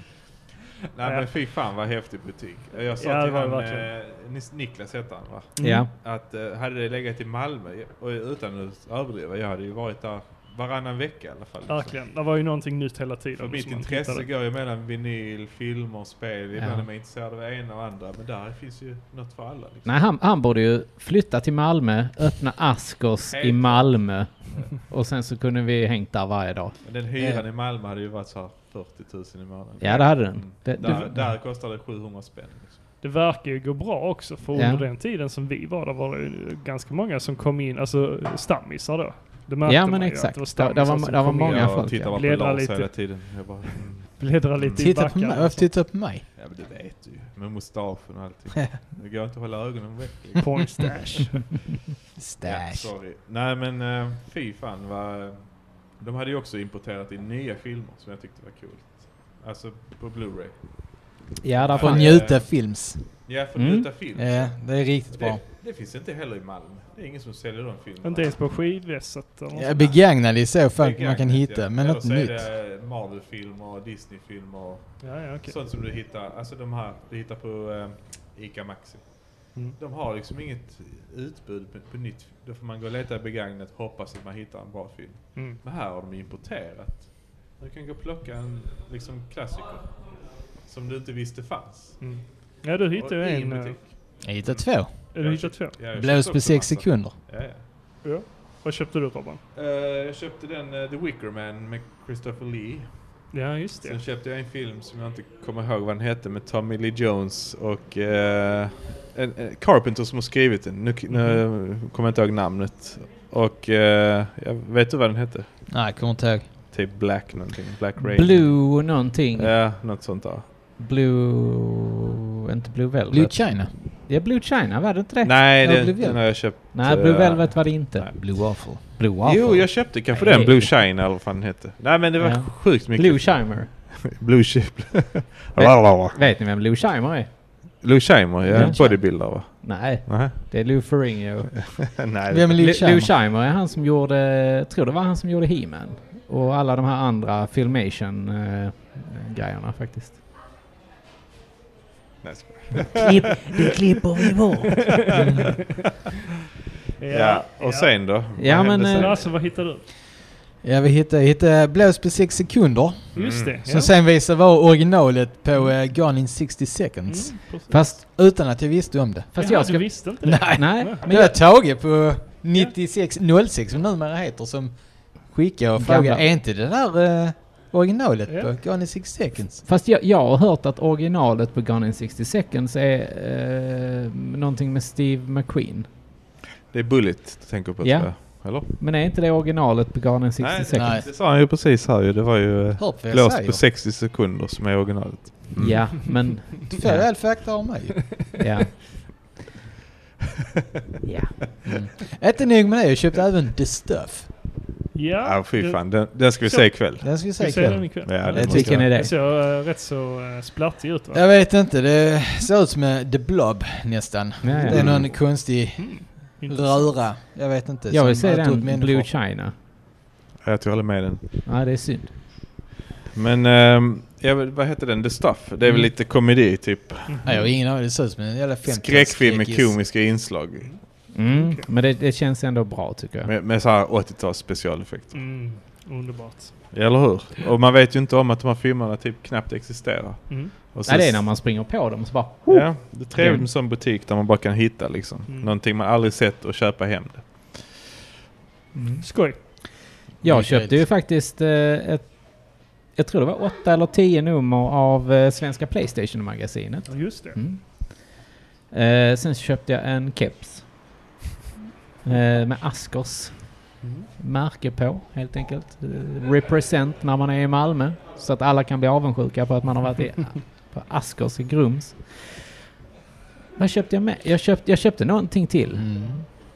Speaker 6: Nej men fy fan vad häftig butik. Jag sa
Speaker 5: Ja, det
Speaker 6: till
Speaker 5: var det
Speaker 6: han,
Speaker 5: verkligen.
Speaker 6: eh, Nis- Niklas hette han va?
Speaker 1: Ja.
Speaker 6: Att eh, hade det legat i Malmö, och utan att överdriva, jag hade ju varit där varannan vecka i alla fall. liksom.
Speaker 5: Verkligen, det var ju någonting nytt hela tiden.
Speaker 6: För mitt
Speaker 5: som man
Speaker 6: intresse
Speaker 5: tittade.
Speaker 6: går ju mellan vinyl, filmer och spel. Ibland
Speaker 1: Ja.
Speaker 6: är man intresserad av det ena och andra. Men där finns ju något för alla. Liksom.
Speaker 1: Nej, han, han borde ju flytta till Malmö, öppna Askers
Speaker 6: Helt
Speaker 1: i
Speaker 6: klart.
Speaker 1: Malmö. Och sen så kunde vi hängt där varje dag.
Speaker 6: Men den hyran i Malmö hade ju varit så här 40 000 i månaden.
Speaker 1: Eh. Ja, det hade den.
Speaker 6: Mm.
Speaker 1: Det,
Speaker 6: där,
Speaker 1: det,
Speaker 6: där kostade det 700 spänn. Liksom.
Speaker 5: Det verkar ju gå bra också, för
Speaker 1: Ja.
Speaker 5: under den tiden som vi var där var det ju ganska många som kom in, alltså stammisar då. Det märkte
Speaker 1: Ja, men
Speaker 5: man ju
Speaker 1: exakt.
Speaker 5: att det var
Speaker 1: Där- där var-
Speaker 5: stammisar som
Speaker 1: där var
Speaker 5: kom in
Speaker 1: många.
Speaker 5: och
Speaker 1: folk,
Speaker 6: jag tittar
Speaker 1: ja.
Speaker 6: bara på
Speaker 5: Bläddra
Speaker 6: Lars
Speaker 5: lite.
Speaker 6: hela tiden. Jag bara, mm.
Speaker 5: bläddrade lite i
Speaker 4: Titta
Speaker 5: alltså.
Speaker 4: på mig.
Speaker 5: backarna.
Speaker 4: Varför tittar du på mig?
Speaker 6: ja, men det vet du ju. Med mustaschen och allting. Det går inte att hålla ögonen väck. liksom.
Speaker 5: Porn stash.
Speaker 6: Ja,
Speaker 4: Stash.
Speaker 6: sorry. Nej men eh, fy fan vad... De hade ju också importerat in nya filmer som jag tyckte var coolt. Alltså på Blu-ray.
Speaker 1: ja, där
Speaker 6: Från
Speaker 1: fanns,
Speaker 4: Från Njuta Films.
Speaker 6: Ja, för
Speaker 1: Mm.
Speaker 6: luta film.
Speaker 4: Ja, det är riktigt bra.
Speaker 6: Det, det finns inte heller i Malmö. Det är ingen som säljer de filmerna.
Speaker 5: Inte ens på skivvässet eller något
Speaker 4: Ja,
Speaker 5: sånt.
Speaker 4: begagnade i så fall
Speaker 6: Begagnat,
Speaker 4: man kan hitta, men
Speaker 6: Eller
Speaker 4: något
Speaker 6: så är
Speaker 4: nytt.
Speaker 6: det Marvel-filmer och Disney-filmer och
Speaker 5: Ja, ja, okej.
Speaker 6: sånt som du hittar. Alltså de här du hittar på eh, Ica Maxi.
Speaker 5: Mm.
Speaker 6: De har liksom inget utbud på, på nytt. Då får man gå och leta i begagnat hoppas att man hittar en bra film.
Speaker 5: Mm.
Speaker 6: Men här har de importerat. Du kan gå och plocka en liksom, klassiker som du inte visste fanns.
Speaker 5: Mm. Ja, du hittade ju
Speaker 6: Och i
Speaker 5: en... eh,
Speaker 6: butik.
Speaker 4: Jag hittade två.
Speaker 5: Du hittade två.
Speaker 6: Ja, jag
Speaker 4: Blås
Speaker 6: köpte
Speaker 4: på
Speaker 6: också
Speaker 4: sex
Speaker 6: massa.
Speaker 4: sekunder.
Speaker 6: Ja, ja.
Speaker 5: Ja. Vad köpte du Robban?
Speaker 6: Eh, jag köpte den eh, The Wicker Man med Christopher Lee.
Speaker 5: Ja, just
Speaker 6: Sen
Speaker 5: det.
Speaker 6: köpte jag en film som jag inte kommer ihåg vad den hette med Tommy Lee Jones och eh, en, en Carpenter som har skrivit den. Nu, nu kommer jag inte ihåg namnet. Och eh, jag vet du vad den hette?
Speaker 4: Nej, kommer inte ihåg.
Speaker 6: Typ Black någonting. Black Rain.
Speaker 1: Blue någonting.
Speaker 6: Ja, något sånt där.
Speaker 1: Blue... Inte Blue Velvet.
Speaker 4: Blue China.
Speaker 1: ja, Blue China var det inte det?
Speaker 6: Nej,
Speaker 1: Eh, Ja,
Speaker 6: den,
Speaker 1: Blue Velvet.
Speaker 6: den har jag köpt.
Speaker 1: Nej, Blue
Speaker 6: eh,
Speaker 1: Velvet var det inte.
Speaker 6: nej.
Speaker 4: Blue Waffle.
Speaker 1: Blue Waffle.
Speaker 6: Jo, jag köpte kanske
Speaker 1: Nej.
Speaker 6: den. Blue Shine eller vad fan den hette. Nej, men det var
Speaker 1: Ja.
Speaker 6: sjukt mycket.
Speaker 1: Blue Shimer.
Speaker 6: Blue Ship. Blablabla.
Speaker 1: Vet ni vem Blue Shimer är?
Speaker 6: Lou Scheimer, ja.
Speaker 1: Lou Scheimer.
Speaker 6: Bodybuilder va?
Speaker 1: Nej,
Speaker 6: Nej.
Speaker 1: det är Lou Ferrigno.
Speaker 6: Nej.
Speaker 4: Vem är
Speaker 1: Lu-
Speaker 4: Lou
Speaker 1: Lou
Speaker 4: China?
Speaker 1: Scheimer är han som gjorde, jag tror det var han som gjorde He-Man. Och alla de här andra filmation-grejerna faktiskt.
Speaker 6: Nej, jag skojar.
Speaker 1: Klipp, det klipper vi bort.
Speaker 6: Ja, och sen då?
Speaker 1: Ja,
Speaker 6: Vad
Speaker 1: men,
Speaker 6: hände
Speaker 1: eh,
Speaker 5: Men
Speaker 6: sen?
Speaker 5: alltså vad hittade du?
Speaker 4: Ja, vi hittade, hittade Blås på sex sekunder.
Speaker 6: Mm.
Speaker 5: Just det.
Speaker 4: Som sen visade vara originalet på eh, Gone in 60 seconds.
Speaker 5: precis.
Speaker 1: Fast,
Speaker 4: Utan att jag visste om det.
Speaker 1: fast
Speaker 5: Mm, Jaha,
Speaker 1: jag
Speaker 5: du
Speaker 1: ska...
Speaker 5: visste inte det?
Speaker 4: Nej.
Speaker 1: Nej,
Speaker 4: Men jag taget på 9606 som numera heter som skickade och frågade
Speaker 1: Gamla.
Speaker 4: är inte det där eh, originalet
Speaker 5: Ja.
Speaker 4: på Gone in 60 seconds?
Speaker 1: fast jag, jag har hört att originalet på Gone in 60 seconds är eh, någonting med Steve McQueen.
Speaker 6: Det är Bullet du tänker på
Speaker 1: Ja.
Speaker 6: tror jag. Eller?
Speaker 1: Men är inte det originalet på Gone in 60
Speaker 6: Nej,
Speaker 1: seconds?
Speaker 4: nej.
Speaker 6: Det sa han ju precis här ju. Det var ju eh,
Speaker 4: Hör på vad jag
Speaker 6: blåst
Speaker 4: säger.
Speaker 6: på 60 sekunder som är originalet.
Speaker 1: Mm.
Speaker 6: Mm.
Speaker 1: Ja, men...
Speaker 4: Du får all fakta av mig.
Speaker 1: Ja. ja.
Speaker 4: Inte nog med det, jag köpte även The Stuff.
Speaker 5: Ja.
Speaker 6: Ja, ah, fy
Speaker 5: du-
Speaker 6: fan. Den, den ska vi
Speaker 5: Så-
Speaker 6: se ikväll.
Speaker 4: Den ska vi se
Speaker 5: Vi ser den
Speaker 4: ikväll.
Speaker 5: ikväll.
Speaker 6: Ja, det
Speaker 5: Den
Speaker 6: måste
Speaker 1: Vilken
Speaker 6: jag.
Speaker 1: är det?
Speaker 5: ser eh, rätt så eh, splattig ut va?
Speaker 4: Jag vet inte, det ser ut som eh, The Blob nästan.
Speaker 1: Ja, ja.
Speaker 4: Det är någon konstig
Speaker 5: Intressant.
Speaker 4: röra. Jag vet inte.
Speaker 1: Jag vill
Speaker 4: som
Speaker 1: se
Speaker 4: äter upp
Speaker 1: den,
Speaker 4: människor.
Speaker 1: Blue China.
Speaker 6: Ja, Jag tog aldrig med den.
Speaker 1: Ja, det är synd.
Speaker 6: Men ehm, ja, men vad heter den? The Stuff? Det är väl
Speaker 4: Mm.
Speaker 6: lite komedi typ.
Speaker 4: Nej, jag har ingen aning. Det ser ut som en jävla 50
Speaker 6: Skräckfilm med komiska inslag.
Speaker 1: Mm. Men det, det känns ändå bra tycker jag.
Speaker 6: Med, med så här 80-tals specialeffekter.
Speaker 5: Mm, underbart.
Speaker 6: Eller hur? Och man vet ju inte om att de här filmerna typ knappt existerar.
Speaker 5: Mm.
Speaker 6: Och så-
Speaker 1: Nej, det är när man springer på dem och så bara...
Speaker 6: Ja, det är trevligt med en sån butik där man bara kan hitta liksom.
Speaker 5: Mm.
Speaker 6: Någonting man aldrig sett och köpa hem det.
Speaker 5: Skoj.
Speaker 1: Jag
Speaker 4: Mycket
Speaker 1: köpte ju
Speaker 4: rätt.
Speaker 1: faktiskt eh, ett... Jag tror det var åtta eller tio nummer av eh, svenska Playstation-magasinet.
Speaker 5: Ja, Just det.
Speaker 1: Mm. Eh, sen så köpte jag en keps. Eh, med Askers
Speaker 5: Mm.
Speaker 1: märke på, helt enkelt. Eh, represent när man är i Malmö. Så att alla kan bli avundsjuka på att man har varit i, på Askers i Grums. Vad köpte jag med? Jag köpte, jag köpte någonting till.
Speaker 4: Mm.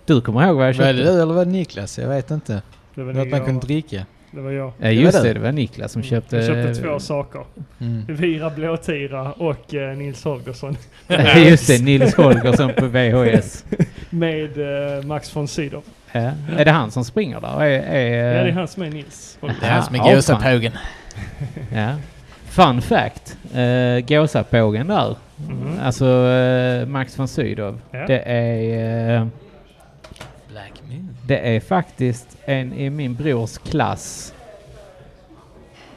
Speaker 1: Du kommer ihåg vad jag
Speaker 4: Var det
Speaker 1: köpte?
Speaker 4: du eller var det Niklas? Jag vet inte.
Speaker 5: Det var,
Speaker 4: Något man
Speaker 5: jag,
Speaker 4: kunde dricka.
Speaker 5: det var jag.
Speaker 1: Eh,
Speaker 4: Det
Speaker 1: just
Speaker 4: var
Speaker 1: det,
Speaker 4: det.
Speaker 1: det var Niklas som
Speaker 5: Mm.
Speaker 1: köpte...
Speaker 5: Jag köpte två saker.
Speaker 4: Mm.
Speaker 5: Vira Blåtira och eh, Nils Holgersson.
Speaker 1: Eh, just det, Nils Holgersson på VHS.
Speaker 5: Med eh, Max von Sydow.
Speaker 1: Ja. Eh, Är det han som springer där? Är, är,
Speaker 5: Ja, det är han som är Nils. Holgersson.
Speaker 4: Det är han som
Speaker 1: Ja,
Speaker 4: är
Speaker 1: fan.
Speaker 4: gåsapågen.
Speaker 1: Ja. Fun fact. Uh, Gåsapågen där.
Speaker 5: Mhm.
Speaker 1: Alltså eh, Max von Sydow.
Speaker 5: Ja.
Speaker 1: Det är... eh,
Speaker 4: Black Moon.
Speaker 1: Det är faktiskt en i min brors klass.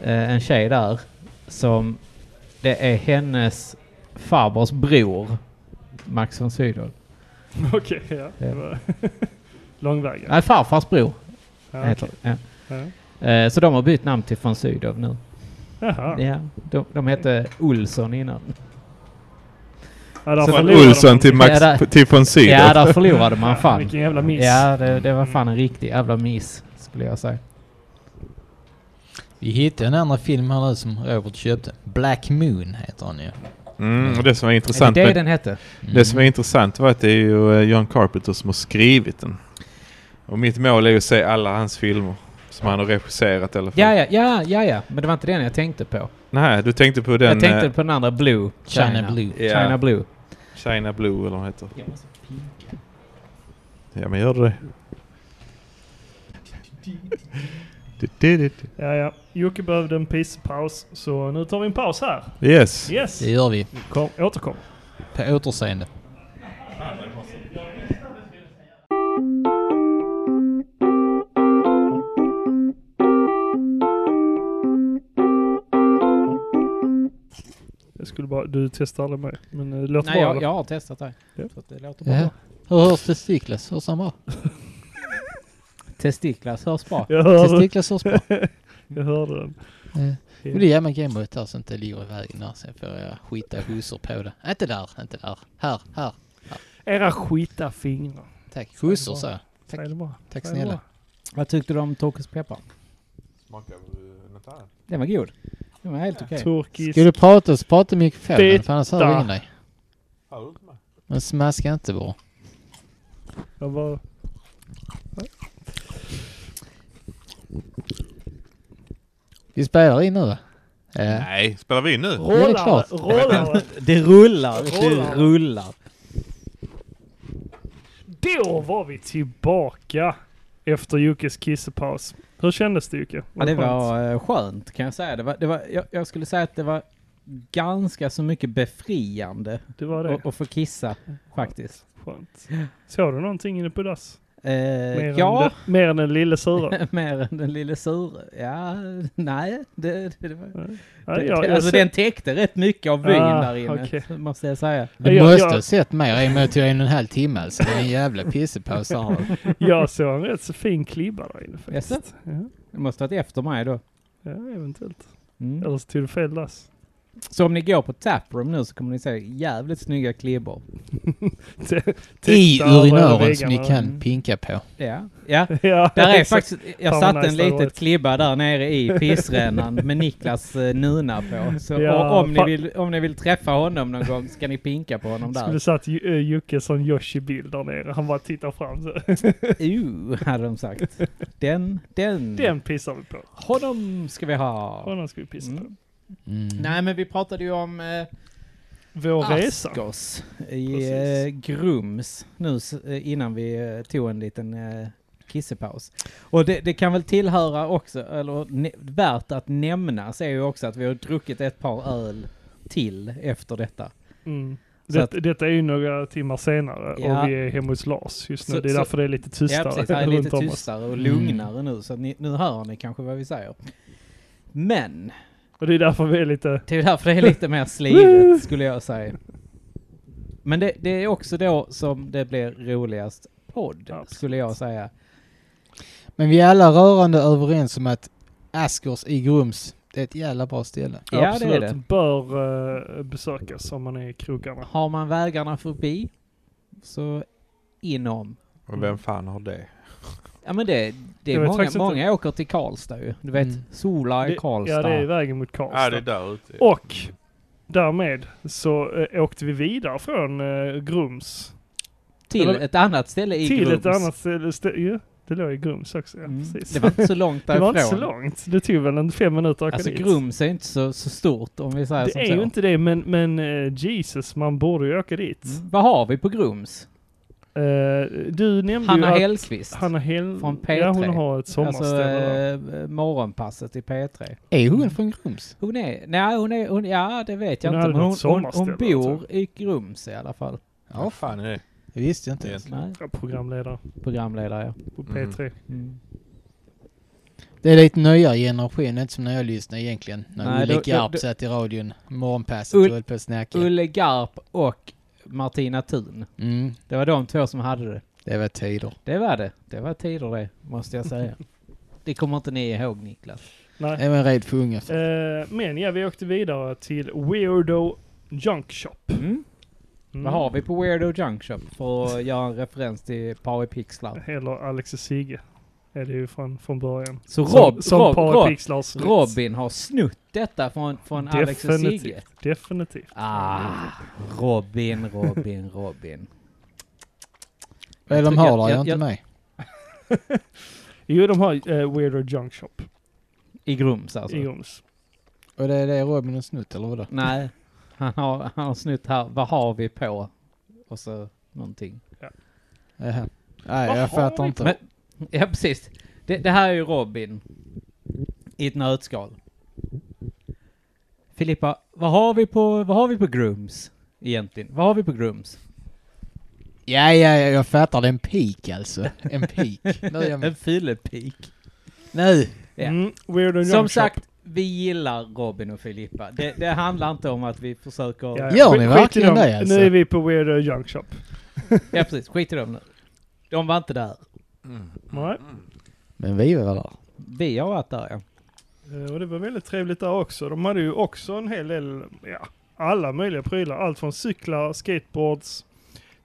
Speaker 1: Eh, en tjej där. Som... Det är hennes farbers bror. Max von Sydow.
Speaker 5: Okej, ja. Det var långväga.
Speaker 1: Nej, farfars bror.
Speaker 5: Ja,
Speaker 1: heter
Speaker 5: okej.
Speaker 1: det. Ja.
Speaker 5: Ja.
Speaker 1: Eh, Så de har bytt namn till von Sydow nu.
Speaker 5: Jaha.
Speaker 1: Ja, de, de hette Olsson innan.
Speaker 5: Ja, där
Speaker 6: Från
Speaker 5: förlorade
Speaker 6: Olsson
Speaker 5: de.
Speaker 6: till Max
Speaker 1: Ja, där-
Speaker 6: till von Sydow.
Speaker 1: Ja, där förlorade man fan.
Speaker 5: Vilken jävla miss.
Speaker 1: Ja, det, det var fan en riktig jävla miss, skulle jag säga.
Speaker 4: Vi hittade en annan film här nu som Robert köpte. Black Moon heter han ju. Mm.
Speaker 6: Mm, och det som är
Speaker 1: Är
Speaker 6: intressant
Speaker 1: det det
Speaker 6: med,
Speaker 1: den hette?
Speaker 6: det som är intressant var att det är ju eh, John Carpenter som har skrivit den. Och mitt mål är ju att se alla hans filmer som han har regisserat i alla fall.
Speaker 1: Ja, ja, ja, ja, ja. Men det var inte den jag tänkte på.
Speaker 6: Nej, du tänkte på den...
Speaker 1: jag tänkte
Speaker 6: eh,
Speaker 1: på den andra Blue.
Speaker 4: China Blue.
Speaker 6: ja.
Speaker 1: China Blue.
Speaker 3: China Blue eller vad den heter.
Speaker 1: Jag måste pinka.
Speaker 3: Ja men gör du det. Du, du, du, du.
Speaker 5: Ja, ja. Jocke behövde en pissepaus, så nu tar vi en paus här.
Speaker 3: Yes.
Speaker 5: Yes!
Speaker 4: Det gör vi.
Speaker 5: Kom, återkom.
Speaker 4: På återseende.
Speaker 5: Jag skulle bara, du testar aldrig mig, men eh, det låter
Speaker 1: Nej,
Speaker 5: bra.
Speaker 1: jag,
Speaker 5: eller?
Speaker 1: jag har testat det.
Speaker 5: Ja.
Speaker 1: Så att det låter
Speaker 4: Ja.
Speaker 1: bra.
Speaker 4: Hur hörs testiklas? Hörs han bra?
Speaker 1: Testiklas hörs bra.
Speaker 5: jag hörde,
Speaker 4: Testiklas hörs bra. Eh,
Speaker 5: jag hörde den.
Speaker 4: Men det är jävla gameboyt här så inte ligger i vägen här. Sen får jag skita hosor på det. Inte där, inte där. Här, här.
Speaker 5: Era skita fingrar.
Speaker 4: Tack. Hosor sa jag. Tack.
Speaker 5: Säg det bara.
Speaker 4: Tack
Speaker 5: Säg det
Speaker 4: snälla.
Speaker 1: Vad tyckte du om Tokus peppar?
Speaker 3: Smakar eh, något annat?
Speaker 1: Den var god. Den var helt okej.
Speaker 5: bara. Turkisk.
Speaker 4: Ska du prata så prata i mikrofonen för annars hör
Speaker 5: Titta.
Speaker 4: ingen dig.
Speaker 3: Har du inte med?
Speaker 4: Men smaska inte bara.
Speaker 5: Jag bara,
Speaker 4: Vi spelar in nu va? Eh, Ja.
Speaker 3: Nej, spelar vi in nu?
Speaker 4: det är
Speaker 5: rollar,
Speaker 4: klart.
Speaker 5: rollar.
Speaker 1: Det rullar.
Speaker 5: Rullar.
Speaker 1: Det rullar.
Speaker 5: Då var vi tillbaka efter Jockes kissepaus. Hur kändes det Jocke?
Speaker 1: Ja, det
Speaker 5: skönt?
Speaker 1: var eh, skönt kan jag säga. Det var, det var, jag, jag skulle säga att det var ganska så mycket befriande
Speaker 5: Det var det.
Speaker 1: att- att få kissa faktiskt.
Speaker 5: Skönt. Såg du någonting inne på dass?
Speaker 1: Eh,
Speaker 5: Mer, än
Speaker 1: ja,
Speaker 5: den, mer än den lille sura?
Speaker 1: mer än den lille sur. Ja, nej. Det, det, det var,
Speaker 5: Ja,
Speaker 1: det,
Speaker 5: jag- jag
Speaker 1: alltså
Speaker 5: ser-
Speaker 1: den täckte rätt mycket av byn
Speaker 5: Ah,
Speaker 1: där inne,
Speaker 5: okej.
Speaker 1: måste jag säga.
Speaker 4: Du
Speaker 5: Jag-
Speaker 4: måste
Speaker 5: jag-
Speaker 4: ha sett mer i och med att jag är en och en halv timme alltså. Det är en jävla pissepaus här.
Speaker 5: Jag såg en rätt så fin klibba där inne faktiskt.
Speaker 1: Jaså?
Speaker 5: Ja,
Speaker 1: Det måste varit efter mig då.
Speaker 5: ja, eventuellt.
Speaker 1: Mm.
Speaker 5: Eller så tog du fel dass.
Speaker 1: Så om ni går på Taproom nu så kommer ni se jävligt snygga klibbor.
Speaker 4: I
Speaker 5: Titta över
Speaker 4: urinören som
Speaker 5: väggarna.
Speaker 4: ni kan pinka på.
Speaker 1: Ja, ja.
Speaker 5: Ja,
Speaker 1: Där är
Speaker 5: exakt.
Speaker 1: faktiskt, jag
Speaker 5: Fan, vad
Speaker 1: satte en
Speaker 5: nice det hade
Speaker 1: litet
Speaker 5: varit.
Speaker 1: klibba där nere i pissrännan med Niklas eh, nuna på. Så
Speaker 5: Ja,
Speaker 1: och om, ni
Speaker 5: fan.
Speaker 1: vill, om ni vill träffa honom någon gång ska ni pinka på honom
Speaker 5: Skulle
Speaker 1: där.
Speaker 5: satt Ju- eh, Jocke som Yoshi-bild där nere. Han bara tittar fram så.
Speaker 1: Ooh, hade de sagt. Den, den,
Speaker 5: Den pissar vi på.
Speaker 1: honom ska vi ha.
Speaker 5: Honom ska vi pissa på.
Speaker 1: Mm.
Speaker 4: Mm.
Speaker 1: Nej men vi pratade ju om eh,
Speaker 5: Vår
Speaker 1: Ah,
Speaker 5: resa.
Speaker 1: Askos i eh, Grums nu s- eh, innan vi eh, tog en liten eh, kissepaus. Och det, det kan väl tillhöra också, eller ne- värt att nämnas är ju också att vi har druckit ett par öl till efter detta.
Speaker 5: Mm.
Speaker 1: Så
Speaker 5: Det,
Speaker 1: att-
Speaker 5: Detta är ju några timmar senare
Speaker 1: Ja.
Speaker 5: och vi är hemma hos Lars just nu.
Speaker 1: Så-
Speaker 5: det är
Speaker 1: så-
Speaker 5: därför det är lite
Speaker 1: ja,
Speaker 5: tystare
Speaker 1: precis, här är lite
Speaker 5: runt om oss.
Speaker 1: tystare och lugnare nu, så att ni, nu hör ni kanske vad vi säger. Men,
Speaker 5: Och det är därför vi är lite...
Speaker 1: det är därför det är lite mer slivet skulle jag säga. Men det, det är också då som det blir roligast podd,
Speaker 5: Absolut.
Speaker 1: skulle jag säga.
Speaker 4: Men vi är alla rörande överens om att Askers i Grums, det är ett jävla bra ställe.
Speaker 1: Ja, det är
Speaker 5: absolut
Speaker 1: det.
Speaker 5: bör eh, besökas om man är i krogarna.
Speaker 1: Har man vägarna förbi så inom.
Speaker 3: Och vem fan har det?
Speaker 1: Ja men det, det
Speaker 5: Jag
Speaker 1: är
Speaker 5: vet
Speaker 1: många,
Speaker 5: faktiskt
Speaker 1: många åker till Karlstad ju. Du vet,
Speaker 4: Mm.
Speaker 1: Sola i
Speaker 5: Det- Ja,
Speaker 1: Karlstad.
Speaker 5: det är vägen mot Karlstad.
Speaker 3: Ja, det är där ute.
Speaker 5: Och därmed så eh, åkte vi vidare från eh, Grums
Speaker 1: till
Speaker 5: eller-
Speaker 1: ett annat ställe i
Speaker 5: till
Speaker 1: Grums.
Speaker 5: ett annat ställe. stä- Ju, det låg i Grums också, ja,
Speaker 1: Mm.
Speaker 5: precis.
Speaker 1: Det var inte så långt
Speaker 5: Det
Speaker 1: därifrån.
Speaker 5: var inte så långt. Det tog väl en fem minuter att åka
Speaker 1: Alltså
Speaker 5: dit.
Speaker 1: Grums är inte så, så stort om vi säger
Speaker 5: det
Speaker 1: som
Speaker 5: är
Speaker 1: så.
Speaker 5: ju inte det, men, men eh, Jesus, man borde ju åka dit.
Speaker 1: Mm. Vad har vi på Grums? Mm.
Speaker 5: Eh, du nämnde
Speaker 1: Hanna
Speaker 5: ju att
Speaker 1: Hellqvist.
Speaker 5: Hanna Hell...
Speaker 1: Från P3.
Speaker 5: Ja, hon har ett
Speaker 1: Alltså
Speaker 5: sommarställe där.
Speaker 1: eh, morgonpasset i P3.
Speaker 4: Är hon från Grums?
Speaker 1: Hon är, nej hon är, hon, ja det vet jag
Speaker 5: Hon hade
Speaker 1: inte. Men hon,
Speaker 5: något
Speaker 1: hon, hon
Speaker 5: sommarställe,
Speaker 1: bor i Grums i alla fall.
Speaker 3: Ja, fan är det?
Speaker 4: Det visste jag inte.
Speaker 3: Ja.
Speaker 1: Nej,
Speaker 5: Ja, Programledare
Speaker 1: programledare
Speaker 5: på
Speaker 3: Mm.
Speaker 5: P3.
Speaker 1: ja. Mm.
Speaker 4: Det är lite nyare generation, inte som när jag lyssnade egentligen.
Speaker 1: Nej,
Speaker 4: När Olle
Speaker 1: då- då- då-
Speaker 4: Garp satt i radion, morgonpasset och
Speaker 1: Ull-
Speaker 4: höll på att snacka.
Speaker 1: Ulle Garp och Martina Thun.
Speaker 4: Mm,
Speaker 1: Det var de två som hade det.
Speaker 4: det var tider.
Speaker 1: Det var det. Det var tider det, måste jag säga. Det kommer inte ni ihåg Niklas.
Speaker 5: Nej.
Speaker 4: Jag var rädd för unga.
Speaker 1: Mm.
Speaker 5: Eh, men ja, vi åkte vidare till Weirdo Junk Shop. Mm.
Speaker 1: Vad har vi på Weirdo Junk Shop för att göra en referens till Pari Pixlar?
Speaker 5: Eller Alex och Sigge. Är det ju från, från början.
Speaker 1: Så Rob,
Speaker 5: som
Speaker 1: Rob,
Speaker 5: Power
Speaker 1: Rob,
Speaker 5: Pixlars slut.
Speaker 1: Robin har snott detta från, från Alex och
Speaker 5: Definitivt.
Speaker 1: Sigge.
Speaker 5: Definitivt.
Speaker 1: Ah, Robin, Robin, Robin.
Speaker 4: Vad är de
Speaker 1: Jag
Speaker 4: har
Speaker 1: tror-
Speaker 4: där?
Speaker 1: jag-
Speaker 4: Jag är inte
Speaker 1: jag-
Speaker 4: med.
Speaker 5: Jo, de har eh, Weirdo Junk Shop
Speaker 1: I Grums alltså?
Speaker 5: i Grums.
Speaker 4: Och det är det Robin har snott eller vadå?
Speaker 1: Nej, han har, han har snott här. Vad har vi på och så någonting.
Speaker 4: Jaha. Nej,
Speaker 5: Vad
Speaker 4: jag
Speaker 5: har
Speaker 4: fattar
Speaker 5: ni
Speaker 4: inte.
Speaker 1: Men- Ja, precis. Det, det här är ju Robin i ett nötskal. Filippa, vad har vi på, vad har vi på Grooms egentligen? Vad har vi på Grooms?
Speaker 4: Ja, ja, ja, jag fattar. Det är en pik alltså. En pik. Nu är jag
Speaker 1: En
Speaker 4: med.
Speaker 1: fyllepik.
Speaker 4: Nu!
Speaker 1: Ja.
Speaker 5: Mm, weird and
Speaker 1: Som
Speaker 5: Young Shop.
Speaker 1: sagt, vi gillar Robin och Filippa. Det, det handlar inte om att vi försöker... Ja,
Speaker 4: Gör
Speaker 5: skit-
Speaker 4: ni
Speaker 5: skit i
Speaker 4: verkligen
Speaker 5: dem.
Speaker 4: det, alltså?
Speaker 5: Nu är vi på Weird and Young Shop.
Speaker 1: precis. Skit i dem nu. De var inte där.
Speaker 4: Mm.
Speaker 6: Mm.
Speaker 5: Nej.
Speaker 4: Men vi var där.
Speaker 1: Vi har varit där, ja.
Speaker 5: Eh, Och det var väldigt trevligt där också. De hade ju också en hel del, ja, alla möjliga prylar. Allt från cyklar, skateboards,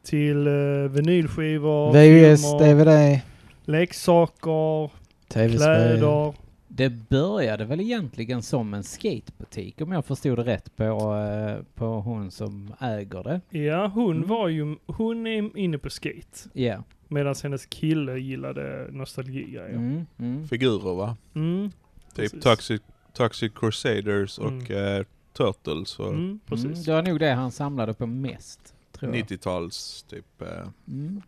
Speaker 5: till eh, vinylskivor,
Speaker 4: VHS,
Speaker 5: filmer,
Speaker 4: DVD,
Speaker 5: leksaker,
Speaker 4: tv-spel.
Speaker 5: kläder.
Speaker 1: Det började väl egentligen som en skatebutik om jag förstod det rätt på, eh, på hon som äger det.
Speaker 5: Ja, hon
Speaker 1: Mm.
Speaker 5: var ju, hon är inne på skate.
Speaker 1: Ja.
Speaker 5: Medan hennes kille gillade nostalgigrejer. Mm.
Speaker 1: Mm, mm.
Speaker 6: Figurer va?
Speaker 5: Mm,
Speaker 6: Typ
Speaker 5: Precis.
Speaker 6: Toxic, Toxic Crusaders och
Speaker 5: Mm.
Speaker 6: eh, Turtles och
Speaker 1: Mm,
Speaker 5: precis.
Speaker 1: det var nog det han samlade på mest. Tror jag.
Speaker 6: 90-tals typ eh,
Speaker 1: Mm,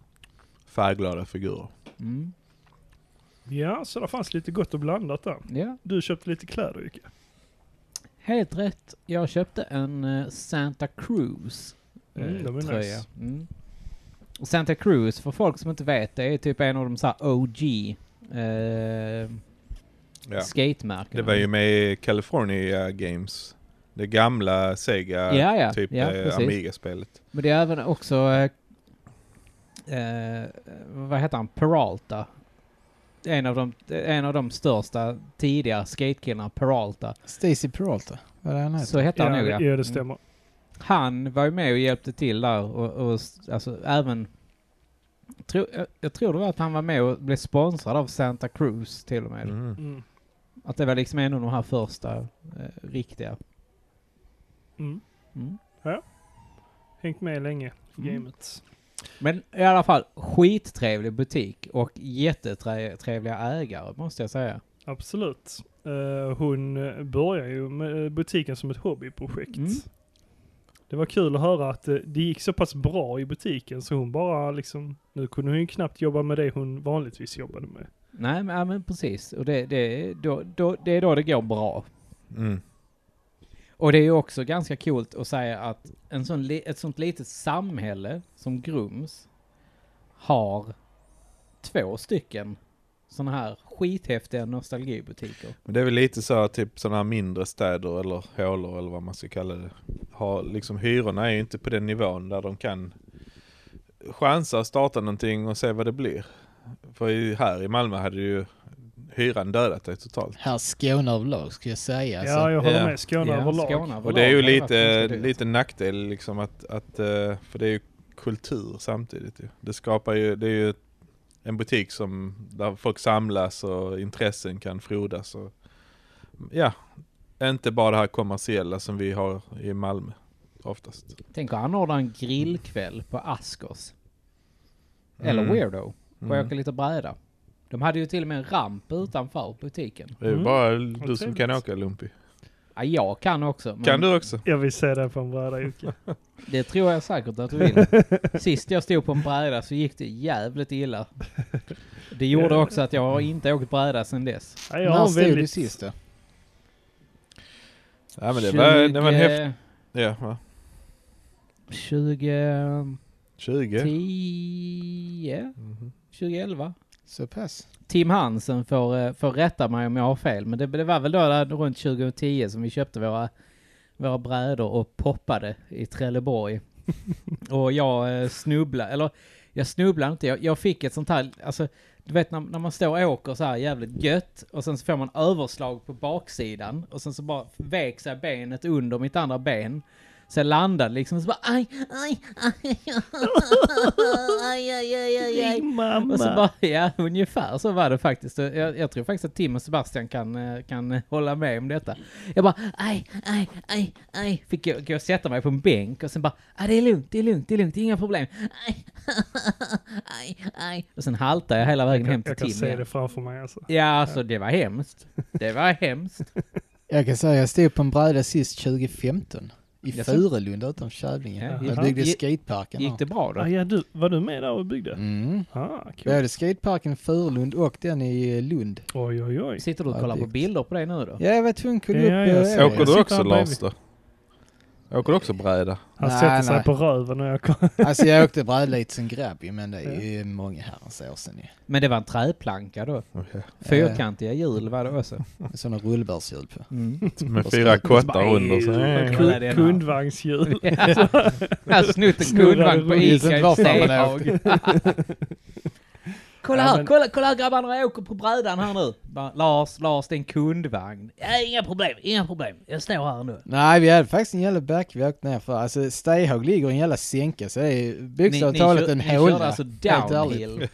Speaker 6: färgglada figurer.
Speaker 1: mm,
Speaker 5: Ja, så det fanns lite gott och blandat där.
Speaker 1: ja,
Speaker 5: Du köpte lite kläder Jocke.
Speaker 1: helt rätt. Jag köpte en eh, Santa Cruz eh,
Speaker 5: Mm, de är
Speaker 1: tröja.
Speaker 5: nice.
Speaker 1: Mm. Och Santa Cruz, för folk som inte vet, det är typ en av de så här OG eh,
Speaker 6: Ja.
Speaker 1: skatemärkena.
Speaker 6: Det var ju med i California Games. Det gamla Sega,
Speaker 1: Ja, ja,
Speaker 6: typ
Speaker 1: ja,
Speaker 6: eh,
Speaker 1: precis.
Speaker 6: Amiga-spelet.
Speaker 1: Men det är även också... Eh, eh, vad heter han? Peralta. En av de, en av de största tidiga skatekillarna, Peralta.
Speaker 4: Stacy Peralta. Vad är det han heter?
Speaker 1: Så hette han nog Mm.
Speaker 5: ja, ja, det stämmer.
Speaker 1: Han var ju med och hjälpte till där och, och s- alltså även... Tro, jag, jag tror det var att han var med och blev sponsrad av Santa Cruz till och med.
Speaker 6: Mm.
Speaker 5: Mm.
Speaker 1: Att det var liksom en av de här första eh, riktiga.
Speaker 5: Mm.
Speaker 1: Mm.
Speaker 5: Hängt med länge i
Speaker 1: Mm.
Speaker 5: gamet.
Speaker 1: Men i alla fall, skittrevlig butik och jättetrevliga ägare måste jag säga.
Speaker 5: Absolut. Eh, hon eh, började ju med eh, butiken som ett hobbyprojekt.
Speaker 1: Mm.
Speaker 5: Det var kul att höra att eh, det gick så pass bra i butiken så hon bara liksom, nu kunde hon ju knappt jobba med det hon vanligtvis jobbade med.
Speaker 1: Nej, men, ja, men precis. Och det, det, är då, då, det är då det går bra.
Speaker 6: Mm.
Speaker 1: Och det är ju också ganska coolt att säga att en sån li, ett sånt litet samhälle som Grums har två stycken såna här skithäftiga nostalgibutiker.
Speaker 6: Men det är väl lite så här, typ sådana här mindre städer eller hålor eller vad man ska kalla det. Har, liksom, hyrorna är ju inte på den nivån där de kan chansa att starta någonting och se vad det blir. För i, här i Malmö hade ju hyran dödat dig totalt.
Speaker 4: Här Skåne överlag ska jag säga. Alltså.
Speaker 5: ja, jag håller
Speaker 6: ja.
Speaker 5: med. Skåne
Speaker 1: Ja,
Speaker 5: överlag.
Speaker 1: Skåne
Speaker 6: Och det är ju
Speaker 1: överlag har varit
Speaker 6: lite,
Speaker 1: ganska dyrt.
Speaker 6: lite nackdel liksom att, att, eh, för det är ju kultur samtidigt ju. Det skapar ju, det är ju en butik som, där folk samlas och intressen kan frodas och, ja, inte bara det här kommersiella som vi har i Malmö oftast.
Speaker 1: Tänk att anordna en grillkväll på Askos. Eller
Speaker 6: Mm.
Speaker 1: Weirdo. Och
Speaker 6: Mm.
Speaker 1: åka lite bräda. De hade ju till och med en ramp utanför butiken.
Speaker 6: Det är ju
Speaker 5: Mm.
Speaker 6: bara du som kan
Speaker 5: trevligt.
Speaker 6: åka Lumpy.
Speaker 1: Mm. Ja, jag kan också. men-
Speaker 6: Kan du också?
Speaker 5: Jag vill se den på en bräda Jocke.
Speaker 1: Det tror jag säkert att du vill. Sist jag stod på en bräda så gick det jävligt illa. Det gjorde också att jag har inte åkt bräda sedan dess.
Speaker 5: Nej, jag har
Speaker 4: När
Speaker 5: en
Speaker 4: stod du
Speaker 5: väldigt...
Speaker 4: sist då?
Speaker 6: Ja men det var, det var en häftig,
Speaker 1: 20
Speaker 6: ja va? 20?
Speaker 1: 2010?
Speaker 6: Mhm.
Speaker 1: 2011?
Speaker 4: Så pass.
Speaker 1: Tim Hansen får, eh, får rätta mig om jag har fel, men det, det var väl då där runt 2010 som vi köpte våra, våra brädor och poppade i Trelleborg. och jag eh, snubblade, eller jag snubblade inte, jag, jag fick ett sånt här, alltså du vet när, när man står och åker så här jävligt gött och sen så får man överslag på baksidan och sen så bara vek sig benet under mitt andra ben. Så jag landade liksom så bara aj, aj, aj, aj, aj, aj, aj, aj.
Speaker 5: Ring mamma!
Speaker 1: Och så bara, ja, ungefär så var det faktiskt. Och Jag, jag tror faktiskt att Tim och Sebastian kan, eh, kan eh, hålla med om detta. Jag bara, aj, aj, aj, aj. Fick jag gå och sätta mig på en bänk och sen bara, ah, det är lugnt, det är lugnt, det är lugnt, inga problem. Aj, aj, aj. Och sen haltade jag hela vägen hem till
Speaker 5: jag kan
Speaker 1: Tim
Speaker 5: se det
Speaker 1: igen.
Speaker 5: framför mig alltså.
Speaker 1: Ja, alltså det var hemskt. Det var hemskt.
Speaker 4: Jag kan säga jag stod på en bräda sist 2015. I
Speaker 1: Jaså?
Speaker 4: Furulunda utanför Kävlinge.
Speaker 1: Ja,
Speaker 4: Jag
Speaker 5: ja.
Speaker 4: byggde
Speaker 1: Gick-
Speaker 4: skateparken
Speaker 1: Gick det bra
Speaker 5: Ah,
Speaker 1: då?
Speaker 5: ja, du, var du med där och
Speaker 4: där.
Speaker 5: byggde?
Speaker 4: Mm.
Speaker 5: Ah, cool.
Speaker 4: Både skateparken i Furulund och den i Lund.
Speaker 5: Oj, oj, oj.
Speaker 1: Sitter du och kollar på bilder på det nu då?
Speaker 4: Ja, jag var tvungen att kolla
Speaker 5: Ja,
Speaker 4: upp...
Speaker 5: ja, jag
Speaker 4: eh,
Speaker 5: ser.
Speaker 6: Åker
Speaker 5: Jag
Speaker 6: du
Speaker 5: sitter
Speaker 6: också
Speaker 5: här
Speaker 6: Lars då? Åker du också bräda?
Speaker 5: Han
Speaker 4: Nej,
Speaker 5: sätter sig
Speaker 4: nej.
Speaker 5: på röven och jag kom.
Speaker 4: Alltså jag åkte bräda lite som grabb ju, men det är ju många herrans år sedan ju.
Speaker 1: Men det var en träplanka då? Fyrkantiga hjul var det också?
Speaker 4: Med sådana rullbärshjul på.
Speaker 1: Mm.
Speaker 6: Med fyra kottar under. Så.
Speaker 1: Nej.
Speaker 5: Ku- Kundvagnshjul.
Speaker 1: Ja. Jag har snott en
Speaker 5: Snurrar
Speaker 1: kundvagn på
Speaker 5: runt.
Speaker 1: Ica i
Speaker 4: Varför man
Speaker 1: Stehag. kolla
Speaker 5: Ja,
Speaker 1: här,
Speaker 5: men-
Speaker 1: kolla, kolla här grabbarna, jag åker på brädan här nu. Bara, Lars, Lars, det är en kundvagn.
Speaker 8: Ja, inga problem, inga problem. Jag står här nu.
Speaker 4: Nej, vi hade faktiskt en jävla back vi åkte ner för. Alltså Stehag ligger i en jävla sänka så det är bokstavligt talat
Speaker 1: kör-
Speaker 4: en
Speaker 1: ni körde
Speaker 4: håla.
Speaker 1: alltså
Speaker 4: Helt ärligt.
Speaker 1: downhill.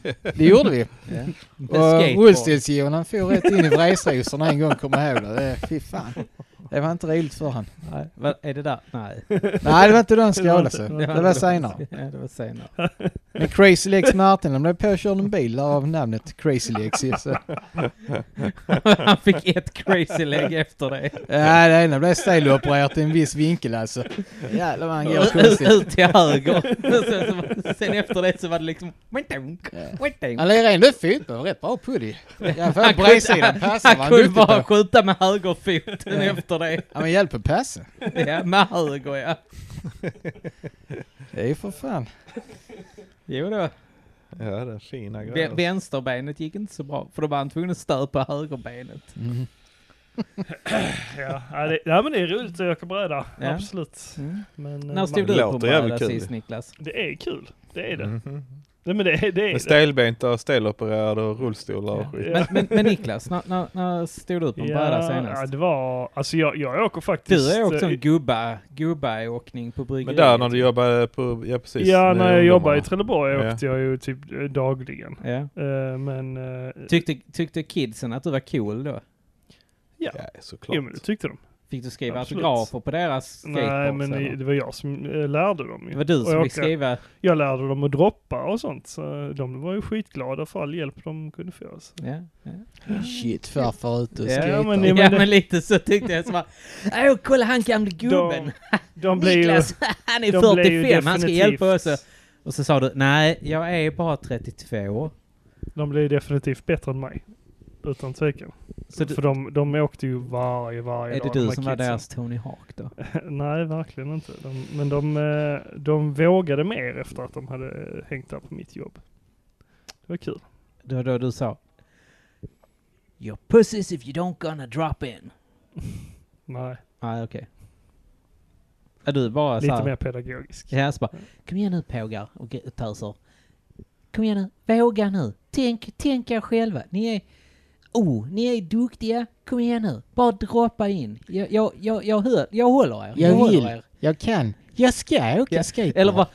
Speaker 4: Det gjorde vi.
Speaker 1: Med
Speaker 4: Och
Speaker 1: skateboard.
Speaker 4: rullstolsgivaren han for rätt in i vresrosorna en gång kommer jag ihåg det. det. Fy fan. Det var inte roligt för han.
Speaker 1: Nej, vad är det där? Nej.
Speaker 4: Nej, det var inte då han skadade
Speaker 5: Det
Speaker 4: sig.
Speaker 5: var
Speaker 1: inte-
Speaker 4: Det var senare.
Speaker 1: Ja, det var senare.
Speaker 4: Men Crazy Legs Martin, de blev påkörd en bil av namnet Crazy Legs ju, så.
Speaker 1: Han fick ett crazy leg efter det.
Speaker 4: Ja, det ena blev stelopererat i en viss vinkel alltså. Jävlar vad han går
Speaker 1: Ut,
Speaker 4: konstigt.
Speaker 1: ut till höger. Sen, så, var- sen efter det så var det liksom...
Speaker 4: Han lirar ändå fotboll, rätt bra puddy. Ja, för
Speaker 1: Han kunde-
Speaker 4: bredsidan passar var
Speaker 1: Han
Speaker 4: han
Speaker 1: kunde
Speaker 4: duktig
Speaker 1: bara
Speaker 4: på.
Speaker 1: skjuta med högerfoten efter det.
Speaker 4: Ja men hjälp att passa.
Speaker 1: Ja, med höger ja.
Speaker 4: Det är ju för fan.
Speaker 1: Jo då.
Speaker 6: Ja, det är fina
Speaker 1: Vä-
Speaker 6: grejer.
Speaker 1: Vänsterbenet gick inte så bra, för då var han tvungen att stöpa högerbenet.
Speaker 4: Mm.
Speaker 5: ja, ja, det, ja, men det är roligt att åka bräda.
Speaker 1: Ja.
Speaker 5: Absolut.
Speaker 1: Mm.
Speaker 5: Men, eh,
Speaker 1: När stod du
Speaker 6: Det
Speaker 1: Mm. på
Speaker 6: låter jävligt
Speaker 1: bräda
Speaker 6: kul.
Speaker 1: sist Niklas?
Speaker 5: det är kul. Det är det.
Speaker 6: Mhm.
Speaker 5: Nej, men det, är- det är
Speaker 6: Med
Speaker 5: det.
Speaker 6: stelbenta, stelopererade och rullstolar och skit.
Speaker 5: Ja.
Speaker 1: Men, men, men Niklas, när, när, när stod du på en bräda
Speaker 5: ja,
Speaker 1: senast?
Speaker 5: det var... Alltså jag, jag åker faktiskt...
Speaker 1: Du har åkt
Speaker 5: eh,
Speaker 1: sån gubba, gubbaåkning på bryggeriet.
Speaker 6: Men där när du jobbade på, ja precis.
Speaker 5: Ja,
Speaker 6: med
Speaker 5: när jag
Speaker 6: ungdomarna.
Speaker 5: jobbade i Trelleborg
Speaker 6: Ja.
Speaker 5: åkte jag ju typ eh, dagligen.
Speaker 1: Ja.
Speaker 5: Eh, Men... eh,
Speaker 1: Tyckte, tyckte kidsen att du var cool då?
Speaker 6: Ja, såklart.
Speaker 5: Jo men det tyckte de.
Speaker 1: Fick du skriva
Speaker 5: Absolut.
Speaker 1: autografer på deras skateboards?
Speaker 5: Nej men
Speaker 1: eller?
Speaker 5: det det var jag som eh, lärde dem ju.
Speaker 1: det var du
Speaker 5: Och
Speaker 1: som
Speaker 5: jag
Speaker 1: fick
Speaker 5: åkte-
Speaker 1: skriva?
Speaker 5: Jag lärde dem att droppa och sånt. Så de var ju skitglada för all hjälp de kunde få. Så.
Speaker 1: Ja, ja.
Speaker 4: Shit farfar ute och
Speaker 1: Ja,
Speaker 4: skejtar.
Speaker 5: men det-
Speaker 1: ja men lite så tyckte jag. Så bara, Åh, kolla han gamle gubben!
Speaker 5: De blev ju...
Speaker 1: Niklas, han är
Speaker 5: de blev ju
Speaker 1: 45, han ska
Speaker 5: definitivt-
Speaker 1: hjälpa oss. Och så sa du, nej, jag är bara 32.
Speaker 5: De blev definitivt bättre än mig. Utan tvekan.
Speaker 1: Så du,
Speaker 5: För de, de åkte ju varje, varje
Speaker 1: är det
Speaker 5: dag.
Speaker 1: du
Speaker 5: de här
Speaker 1: som var
Speaker 5: kidsen.
Speaker 1: deras Tony Hawk då?
Speaker 5: Nej, verkligen inte. De, men de, eh, de vågade mer efter att de hade eh, hängt där på mitt jobb. Det var kul.
Speaker 1: Det var då du sa,
Speaker 8: Your pussies if you don't gonna drop in.
Speaker 5: Nej,
Speaker 1: nej okej. Är du bara så
Speaker 5: lite
Speaker 1: här,
Speaker 5: mer pedagogisk.
Speaker 1: Ja, så bara, kom igen nu pågar och g- töser. Kom igen nu, våga nu. Tänk, tänk er själva. Ni är, oh, ni är duktiga. Kom igen nu, bara droppa in. Jag, jag, jag, jag, hör, jag håller er.
Speaker 4: Jag vill.
Speaker 1: Håller er.
Speaker 4: Jag kan. Jag ska åka
Speaker 1: Ja,
Speaker 4: skateboard.
Speaker 1: Eller bara,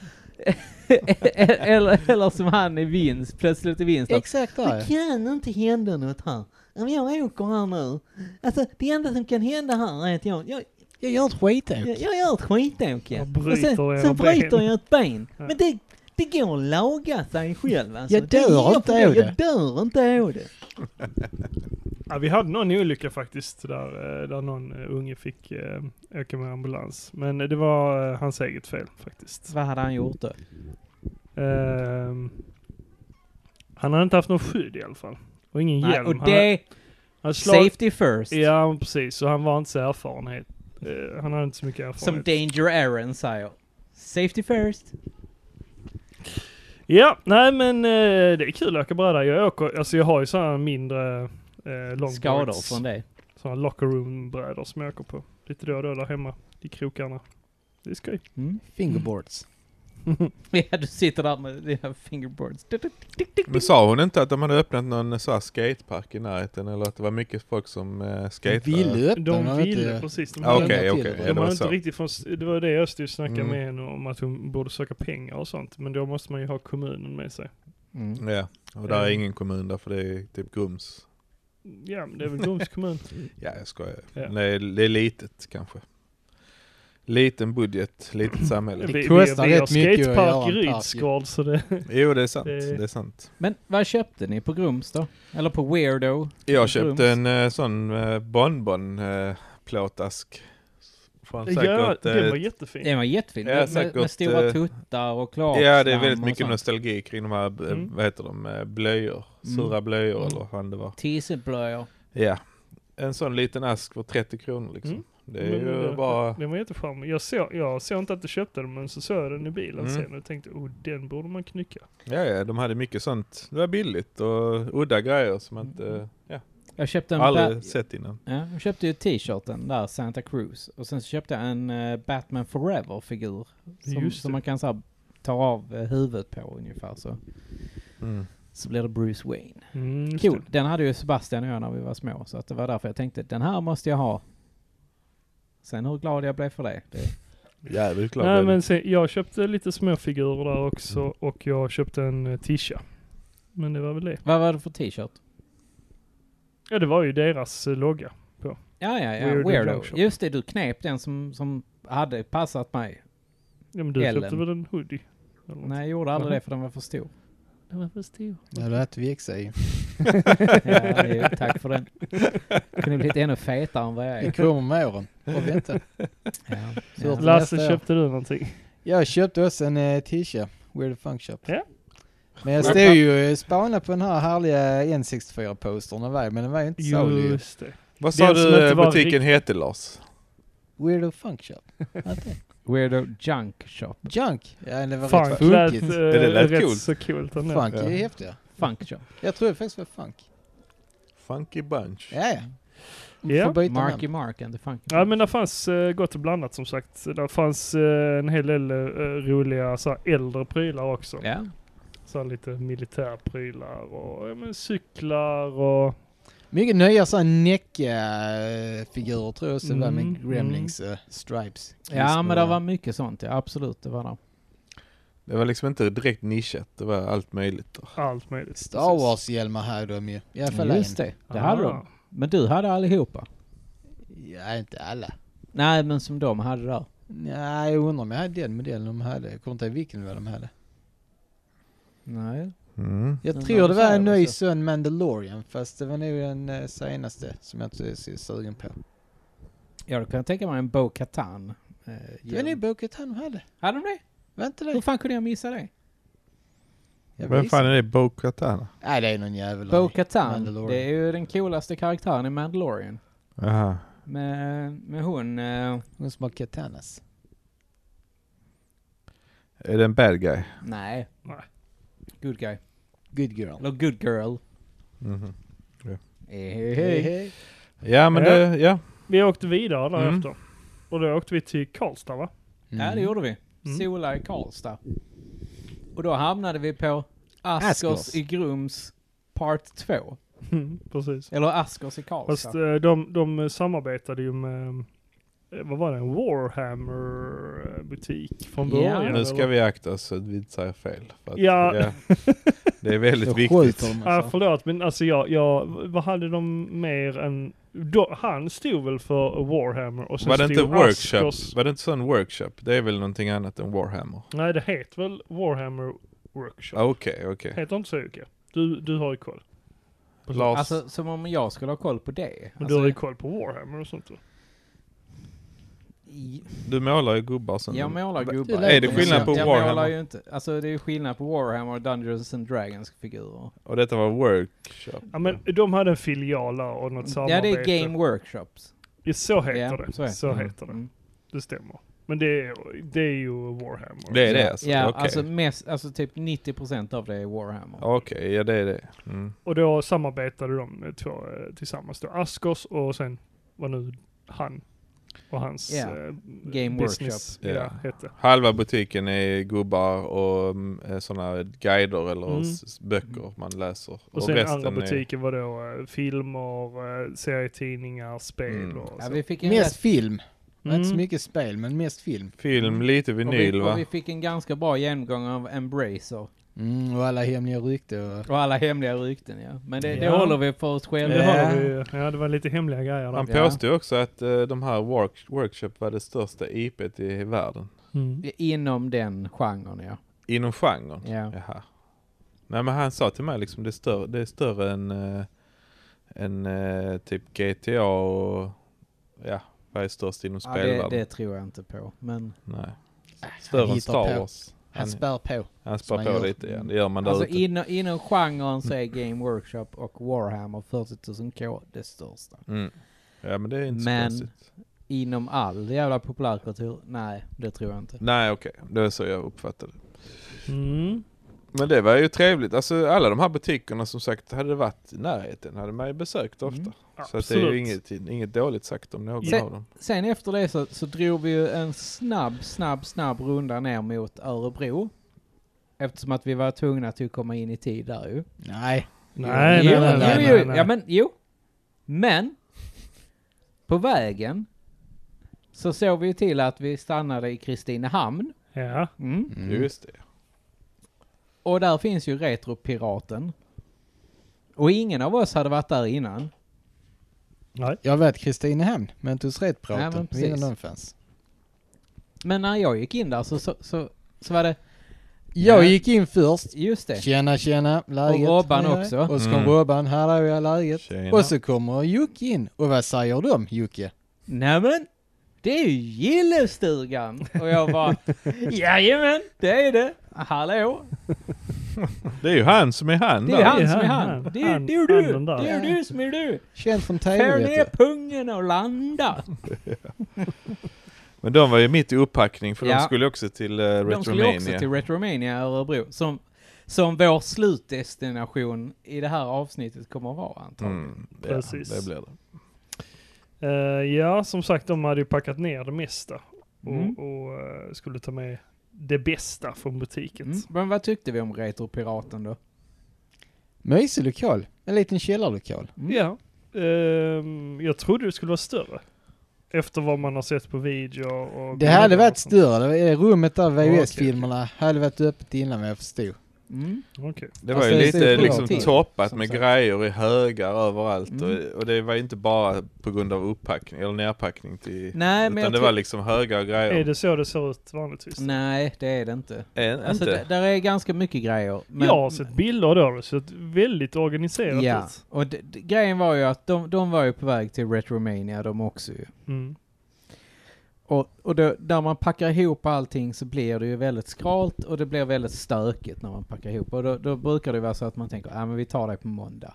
Speaker 1: eller, eller som han i vinst, plötsligt i vinst.
Speaker 4: Exakt där
Speaker 8: Det kan inte hända något här. Om jag åker här nu. Alltså det enda som kan hända här är att jag, jag,
Speaker 4: Jag gör ett skitåk.
Speaker 8: jag, jag gör ett skitåk. ja.
Speaker 5: Jag
Speaker 8: Och
Speaker 5: bryter
Speaker 8: sen,
Speaker 5: era
Speaker 8: sen bryter
Speaker 5: ben.
Speaker 8: jag ett ben.
Speaker 5: Ja.
Speaker 8: Men det, det går att laga sig själv alltså.
Speaker 4: Jag
Speaker 8: Det är
Speaker 4: dör
Speaker 8: inga
Speaker 4: inte
Speaker 8: problem.
Speaker 4: av
Speaker 8: Jag dör inte av det.
Speaker 5: Ja, vi hade någon olycka faktiskt där, eh, där någon eh, unge fick eh, åka med ambulans. Men det var eh, hans eget fel faktiskt.
Speaker 1: Vad hade han gjort då?
Speaker 5: Ehm, han hade inte haft någon skydd i alla fall. Och ingen
Speaker 1: Nej,
Speaker 5: hjälm.
Speaker 1: och
Speaker 5: Han hade-
Speaker 1: det,
Speaker 5: han hade slagit-
Speaker 1: safety first.
Speaker 5: Ja, men precis. Så han var inte så erfarenhet. Eh, han hade inte så mycket
Speaker 1: Som
Speaker 5: erfarenhet.
Speaker 1: Danger Aaron säger. Safety first.
Speaker 5: ja, nej men eh, det är kul att åka bräda. Jag åker, alltså jag har ju sådana mindre eh,
Speaker 1: Skador
Speaker 5: longboards.
Speaker 1: från det.
Speaker 5: Sådana locker room brädor som jag åker på. Lite då och då där hemma i krokarna. Det är skoj.
Speaker 1: Mm.
Speaker 4: Fingerboards.
Speaker 1: Ja, du sitter där med dina fingerboards. Du, du, tick, tick,
Speaker 6: Men
Speaker 1: tick.
Speaker 6: sa hon inte att de hade öppnat någon så här skatepark i närheten eller att det var mycket folk som eh, skatade?
Speaker 4: Vill du öppna
Speaker 5: De
Speaker 4: men
Speaker 5: ville
Speaker 4: inte-
Speaker 5: precis. De
Speaker 6: Ja,
Speaker 5: hade-
Speaker 6: Okej,
Speaker 4: till
Speaker 6: okej.
Speaker 4: det.
Speaker 6: Ja,
Speaker 5: de
Speaker 6: det
Speaker 5: hade
Speaker 6: var
Speaker 5: inte
Speaker 6: så.
Speaker 5: riktigt från, det var det jag stod och snackade
Speaker 6: Mm.
Speaker 5: med henne om att hon borde söka pengar och sånt. Men då måste man ju ha kommunen med sig.
Speaker 1: Mm.
Speaker 6: Ja, och där är
Speaker 5: Ja.
Speaker 6: ingen kommun där för det är typ Grums.
Speaker 5: Ja, men det är väl Grums kommun.
Speaker 6: Ja, jag skojar.
Speaker 5: Ja.
Speaker 6: Det, är, det är litet kanske. Liten budget, litet samhälle.
Speaker 5: Vi- vi-
Speaker 4: kostar
Speaker 5: vi har
Speaker 4: rätt mycket att
Speaker 5: skatepark
Speaker 4: göra en
Speaker 5: i
Speaker 4: park.
Speaker 5: Rydsgård så det...
Speaker 6: Jo, det är sant.
Speaker 5: Det-
Speaker 6: Det är sant.
Speaker 1: Men vad köpte ni på Grums då? Eller på Weirdo?
Speaker 6: Jag
Speaker 1: Grums.
Speaker 6: köpte en eh, sån eh, bonbon eh, plåtask får han säkert...
Speaker 5: Ja, den
Speaker 6: eh,
Speaker 5: var jättefin.
Speaker 1: Den var jättefin.
Speaker 6: Ja,
Speaker 1: Med- med,
Speaker 6: säkert,
Speaker 1: med stora
Speaker 6: eh,
Speaker 1: tuttar och klart.
Speaker 6: ja, det är väldigt
Speaker 1: och
Speaker 6: mycket
Speaker 1: sånt.
Speaker 6: nostalgi kring de här, eh,
Speaker 5: Mm.
Speaker 6: vad heter de, eh, blöjor. Sura blöjor eller vad fan det var.
Speaker 1: Tisseblöjor.
Speaker 6: Ja. En sån liten ask för 30 kronor liksom.
Speaker 5: Mm.
Speaker 6: Det är
Speaker 5: Men,
Speaker 6: ju
Speaker 5: eh,
Speaker 6: bara...
Speaker 5: Den var jättecharmig. Jag såg, jag såg inte att du köpte den, men så såg jag den i bilen
Speaker 6: Mm.
Speaker 5: sen och tänkte oh, den borde man knycka.
Speaker 6: Ja, ja, de hade mycket sånt. Det var billigt och udda grejer som
Speaker 5: Mm.
Speaker 6: man inte ja,
Speaker 1: Jag köpte en... Ba-
Speaker 6: aldrig sett innan.
Speaker 1: ja, jag köpte ju t-shirten där, Santa Cruz. Och sen så köpte jag en eh, Batman Forever-figur. Som,
Speaker 5: Just
Speaker 1: som
Speaker 5: det.
Speaker 1: man kan så här, ta av eh, huvudet på ungefär så.
Speaker 6: Mm.
Speaker 1: Så blir det Bruce Wayne.
Speaker 5: Mm, just
Speaker 1: Cool. Den hade ju Sebastian och jag när vi var små. Så att det var därför jag tänkte den här måste jag ha. Sen hur glad jag blev för det. det
Speaker 6: Jävligt
Speaker 5: det.
Speaker 6: glad
Speaker 5: Nej,
Speaker 6: blev
Speaker 5: men sen, jag köpte lite småfigurer där också och jag köpte en eh, tisha. Men det var väl det.
Speaker 1: vad var det för t-shirt?
Speaker 5: Ja, det var ju deras eh, logga.
Speaker 1: Ja, ja, ja.
Speaker 5: Weirdo
Speaker 1: Weirdo.
Speaker 5: Blowshop.
Speaker 1: Just det, du knep den som, som hade passat mig.
Speaker 5: Ja, men du
Speaker 1: Ellen.
Speaker 5: köpte väl en hoodie? Eller något.
Speaker 1: Nej, jag gjorde aldrig
Speaker 5: Jaha.
Speaker 1: det för den var för stor.
Speaker 5: Den var för stor.
Speaker 4: Ja, det lät vek sig.
Speaker 1: Ja, jo, tack för den. Kunde blivit ännu fetare än vad jag
Speaker 4: Det
Speaker 1: är.
Speaker 4: kommer med åren. Och vänta.
Speaker 1: Ja,
Speaker 4: Så-
Speaker 1: ja.
Speaker 4: Nästa
Speaker 5: Lasse,
Speaker 4: år.
Speaker 5: köpte du någonting?
Speaker 4: Jag köpte också en eh, t-shirt. Weird Funk Shop.
Speaker 5: Ja.
Speaker 4: Men jag stod ju och spanade på den här härliga N64-postern var, men den var ju inte salig. ju.
Speaker 5: Just det.
Speaker 6: Vad
Speaker 5: Den
Speaker 6: sa
Speaker 5: som
Speaker 6: du
Speaker 5: inte
Speaker 6: eh,
Speaker 5: var
Speaker 6: butiken
Speaker 5: rikt-
Speaker 6: hette Lars?
Speaker 4: Weird Funk Shop. Vad heter det?
Speaker 1: Weirdo Junk Shop.
Speaker 4: Junk. Ja, det var rätt
Speaker 5: Funk lät, eh,
Speaker 4: funkigt.
Speaker 6: där lät
Speaker 5: rätt
Speaker 6: coolt.
Speaker 5: så coolt ändå.
Speaker 4: Funk är
Speaker 6: Ja.
Speaker 4: ju häftiga.
Speaker 1: Funk Shop.
Speaker 4: Jag tror det faktiskt var funk.
Speaker 6: Funky Bunch.
Speaker 4: Ja, ja.
Speaker 5: Ja.
Speaker 4: Får byta namn.
Speaker 1: Marky Mark and the Funky
Speaker 5: Ja men där fanns eh, gott och blandat som sagt. Där fanns eh, en hel del eh, roliga så här, äldre prylar också.
Speaker 1: Ja.
Speaker 5: Så här, lite militärprylar och ja, men, cyklar och...
Speaker 4: Mycket nya sådana Necka-figurer tror jag också det var
Speaker 5: Mm,
Speaker 4: med Gremlings eh, Stripes.
Speaker 1: ja, men det var mycket sånt. Ja, absolut, det var det.
Speaker 6: Det var liksom inte direkt nischat, det var allt möjligt.
Speaker 5: Allt möjligt.
Speaker 4: Star Wars-hjälmar hade de ju. I alla fall
Speaker 1: Just
Speaker 4: en.
Speaker 1: det,
Speaker 5: Ah.
Speaker 1: det hade de. Men du hade allihopa?
Speaker 4: Ja, inte alla.
Speaker 1: Nej, men som de hade där.
Speaker 4: Nej, jag undrar om jag hade den modellen de hade. Jag kommer inte ihåg vilken vad de hade.
Speaker 1: Nej.
Speaker 6: Mm.
Speaker 4: Jag
Speaker 1: Men
Speaker 4: tror
Speaker 1: de
Speaker 4: det var
Speaker 1: säger
Speaker 4: en
Speaker 1: väl
Speaker 4: ny
Speaker 1: så.
Speaker 4: sån Mandalorian, fast det var nog den eh, senaste som jag inte är så sugen på.
Speaker 1: Jag kan tänka mig en Bo Katan. Eh,
Speaker 4: Det var
Speaker 1: hjälm.
Speaker 4: nog boket han hade.
Speaker 1: Hade de det?
Speaker 4: Var inte
Speaker 1: Hur
Speaker 4: det?
Speaker 1: fan kunde jag missa det?
Speaker 4: Jag
Speaker 6: Vem
Speaker 4: visste.
Speaker 6: fan är det? Bo Katana?
Speaker 4: Nej, det är någon jävel.
Speaker 1: Bo Katan,
Speaker 4: Mandalorian.
Speaker 1: det är ju den coolaste karaktären i Mandalorian.
Speaker 6: Aha.
Speaker 1: Med, med hon... eh,
Speaker 4: Hon som har katanas.
Speaker 6: Är det en bad guy?
Speaker 1: nej.
Speaker 5: Nej.
Speaker 1: Good guy.
Speaker 4: Good girl.
Speaker 1: Eller good girl.
Speaker 6: Mhm.
Speaker 1: Eh, hej, hej.
Speaker 6: Ja men
Speaker 5: Ja.
Speaker 6: det, ja.
Speaker 5: Vi åkte vidare
Speaker 6: Mm.
Speaker 5: därefter. Och då åkte vi till Karlstad va?
Speaker 1: Ja, det gjorde vi.
Speaker 5: Mm.
Speaker 1: Sola i Karlstad. Och då hamnade vi på Askers,
Speaker 4: Askers.
Speaker 1: i Grums Part 2.
Speaker 5: Precis.
Speaker 1: Eller Askers i Karlstad.
Speaker 5: Fast eh, de, de samarbetade ju med, eh, vad var det, en Warhammer-butik från
Speaker 1: Ja.
Speaker 5: början?
Speaker 6: Nu ska
Speaker 5: eller?
Speaker 6: vi akta oss så att vi inte säger fel. För att,
Speaker 5: Ja.
Speaker 6: Det är väldigt
Speaker 4: Jag
Speaker 6: viktigt.
Speaker 4: skjuter dem
Speaker 5: Ja,
Speaker 4: alltså.
Speaker 5: förlåt, men alltså jag, jag, vad hade de mer än... Då, han stod väl för Warhammer och sen
Speaker 6: Var det
Speaker 5: stod
Speaker 6: inte workshop?
Speaker 5: Askers-
Speaker 6: Var det inte sån workshop? Det är väl någonting annat än Warhammer?
Speaker 5: Nej, det heter väl Warhammer Workshop?
Speaker 6: Ah, Okej, okej.
Speaker 5: Heter inte så Jocke? Du, du har ju koll.
Speaker 6: Lars,
Speaker 1: Alltså som om jag skulle ha koll på det.
Speaker 5: eh, Men
Speaker 1: Alltså,
Speaker 5: du har ju koll på Warhammer och sånt va?
Speaker 1: i-
Speaker 6: du målar ju gubbar som...
Speaker 1: Jag målar gubbar.
Speaker 6: Är det skillnad på
Speaker 1: jag Jag målar
Speaker 6: Warhammer?
Speaker 1: ju inte. Alltså det är skillnad på Warhammer och Dungeons and Dragons figurer.
Speaker 6: Och detta var workshop?
Speaker 5: Ja men de hade en filial där och något
Speaker 1: Ja
Speaker 5: samarbete.
Speaker 1: det är Game Workshops.
Speaker 5: Ja, Så heter
Speaker 1: Ja,
Speaker 5: det.
Speaker 1: så
Speaker 5: Så
Speaker 1: heter
Speaker 5: heter,
Speaker 6: det.
Speaker 5: det.
Speaker 1: Mm.
Speaker 5: Det stämmer. Men det är, det är ju Warhammer.
Speaker 6: Det är
Speaker 1: Ja,
Speaker 6: det alltså?
Speaker 1: Ja,
Speaker 6: Okej,
Speaker 1: alltså, mest, alltså typ 90% av det är Warhammer.
Speaker 6: Okej, ja det är det. Mm.
Speaker 5: Och då samarbetade de eh, två eh, tillsammans då. Askers och sen vad nu han och hans
Speaker 1: Ja.
Speaker 5: eh,
Speaker 1: Game
Speaker 5: business
Speaker 6: Workshop.
Speaker 5: Ja,
Speaker 6: Ja.
Speaker 5: hette.
Speaker 6: Halva butiken är gubbar och sådana guider eller
Speaker 5: Mm.
Speaker 6: s- böcker man läser.
Speaker 5: Och, sen andra
Speaker 6: är-
Speaker 5: butiken var då eh, filmer, eh, serietidningar, spel
Speaker 6: Mm.
Speaker 5: och
Speaker 1: Ja,
Speaker 5: så.
Speaker 1: vi fick en
Speaker 4: Mest film.
Speaker 5: Mm.
Speaker 4: Inte så mycket spel, men mest film.
Speaker 6: Film, lite
Speaker 1: Mm. och
Speaker 6: vinyl
Speaker 1: vi,
Speaker 6: va?
Speaker 1: och vi fick en ganska bra genomgång av Embracer.
Speaker 4: Mm, och alla hemliga rykte och...
Speaker 1: Och alla hemliga rykten ja. Men det, det
Speaker 5: Ja.
Speaker 1: håller vi för oss
Speaker 5: Ja,
Speaker 1: själva.
Speaker 5: det
Speaker 4: Ja.
Speaker 5: har vi ju. ja, det var lite hemliga grejer där.
Speaker 6: Han
Speaker 1: Ja.
Speaker 6: påstod också att eh, de här work workshop var det största IPet i världen.
Speaker 5: Mm.
Speaker 1: Inom den genren ja.
Speaker 6: Inom genren.
Speaker 1: ja.
Speaker 6: Jaha. Nej men han sa till mig liksom det är större, det är större än, eh, än eh, typ GTA och ja, Vad är störst inom
Speaker 1: Ja, det,
Speaker 6: spelvärlden?
Speaker 1: det tror jag inte på. Men
Speaker 6: Nej.
Speaker 1: Äh,
Speaker 6: Större
Speaker 1: han
Speaker 6: än
Speaker 1: hittar
Speaker 6: Star
Speaker 1: på.
Speaker 6: Wars.
Speaker 1: han
Speaker 6: Han-
Speaker 1: spär på.
Speaker 6: Han
Speaker 1: Som
Speaker 6: spar
Speaker 1: han
Speaker 6: på
Speaker 1: gör.
Speaker 6: lite igen. Det gör man där
Speaker 1: Alltså
Speaker 6: ute.
Speaker 1: inom, inom genren så är Game Workshop och Warhammer 40 000 K det största.
Speaker 6: Mm. Ja men det är inte
Speaker 1: Men-
Speaker 6: så konstigt.
Speaker 1: Inom all jävla populärkultur? Nej, det tror jag inte.
Speaker 6: Nej okej, det är så jag uppfattade det.
Speaker 5: Mm.
Speaker 6: Men det var ju trevligt. Alltså alla de här butikerna som sagt, hade det varit i närheten hade man ju besökt ofta.
Speaker 1: Mm.
Speaker 6: Så att det är ju
Speaker 5: Absolut.
Speaker 6: inget, inget dåligt sagt om någon
Speaker 1: Se-
Speaker 6: av dem.
Speaker 1: Sen efter det så, så drog vi ju en snabb, snabb, snabb runda ner mot Örebro. Eftersom att vi var tvungna till att komma in i tid där ju.
Speaker 4: Nej.
Speaker 5: Nej,
Speaker 1: jo,
Speaker 5: nej, nej, nej,
Speaker 1: jo, jo,
Speaker 5: nej, nej.
Speaker 1: Ja, men jo. Men på vägen så såg vi ju till att vi stannade i Kristinehamn.
Speaker 5: Ja.
Speaker 1: Mm.
Speaker 4: Mm.
Speaker 6: Just det.
Speaker 1: Och där finns ju Retropiraten. Och ingen av oss hade varit där innan.
Speaker 5: Nej.
Speaker 4: Jag vet Kristinehamn, men du rätt
Speaker 1: Ja, men
Speaker 4: praten.
Speaker 1: precis.
Speaker 4: Innan den fanns.
Speaker 1: Men när jag gick in där så, så, så, så var det...
Speaker 4: Jag
Speaker 1: Nej.
Speaker 4: gick in först.
Speaker 1: Just det.
Speaker 4: Tjena tjena, läget?
Speaker 1: Och Robban
Speaker 4: Hej, hej.
Speaker 1: också.
Speaker 4: Och så kom
Speaker 6: Mm.
Speaker 4: Robban, hallå ja läget?
Speaker 6: Tjena.
Speaker 4: Och så kommer Jocke in. Och vad säger de Jocke?
Speaker 1: Nämen! Det är ju gillestugan! Och jag bara... Jajamän! Det är det! Hallå!
Speaker 6: Det är ju han som är Mm. han
Speaker 1: Det är
Speaker 6: där.
Speaker 1: han
Speaker 5: Ja,
Speaker 1: som är
Speaker 5: han.
Speaker 1: han! Det är
Speaker 5: Han-
Speaker 1: det är du!
Speaker 5: handen där.
Speaker 1: Det är du som är du!
Speaker 4: Känd från
Speaker 1: Fär
Speaker 4: tv
Speaker 1: ner
Speaker 4: vet
Speaker 1: pungen och landa!
Speaker 6: Men de var ju mitt i upppackning för
Speaker 1: Ja.
Speaker 6: de skulle också till uh, Retromania.
Speaker 1: De skulle också till Retromania i Örebro. Som, som vår slutdestination i det här avsnittet kommer att vara antagligen.
Speaker 6: Mm,
Speaker 5: Precis.
Speaker 6: Ja, det blir det.
Speaker 5: Eh, ja, som sagt, de hade ju packat ner det mesta och,
Speaker 1: Mm.
Speaker 5: och eh, skulle ta med det bästa från butiken.
Speaker 1: Mm. Men vad tyckte vi om Retropiraten då?
Speaker 4: Mysig lokal. En liten källarlokal.
Speaker 1: Mm.
Speaker 5: Ja. Ehm, jag trodde det skulle vara större. Efter vad man har sett på video och...
Speaker 4: Det hade varit
Speaker 5: och sånt.
Speaker 4: större. Det var- Rummet där,
Speaker 5: okej,
Speaker 4: VHS-filmerna, hade varit öppet innan vad jag förstod.
Speaker 1: Mm.
Speaker 5: Okej.
Speaker 6: Det var
Speaker 4: Fast
Speaker 6: ju
Speaker 4: det ser
Speaker 6: lite
Speaker 4: ju bra
Speaker 6: liksom
Speaker 4: till,
Speaker 6: toppat
Speaker 4: som
Speaker 6: med
Speaker 4: sagt.
Speaker 6: grejer i högar överallt
Speaker 1: Mm.
Speaker 6: och, och det var ju inte bara på grund av upppackning eller nerpackning till
Speaker 1: Nej, men
Speaker 6: utan
Speaker 1: jag
Speaker 6: det
Speaker 1: tror-
Speaker 6: var liksom högar och grejer.
Speaker 5: Är det så det ser ut vanligtvis?
Speaker 1: Nej, det är det inte.
Speaker 6: Än,
Speaker 1: Alltså,
Speaker 6: Eh, inte?
Speaker 1: d- där är ganska mycket grejer. Men,
Speaker 5: jag har sett bilder då, det ser väldigt organiserat
Speaker 1: Ja,
Speaker 5: ut.
Speaker 1: och d- d- grejen var ju att de, de var ju på väg till Retromania de också ju.
Speaker 5: Mm.
Speaker 1: Och, och då, där man packar ihop allting så blir det ju väldigt skralt och det blir väldigt stökigt när man packar ihop. Och då, då brukar det vara så att man tänker, ja men vi tar det på måndag.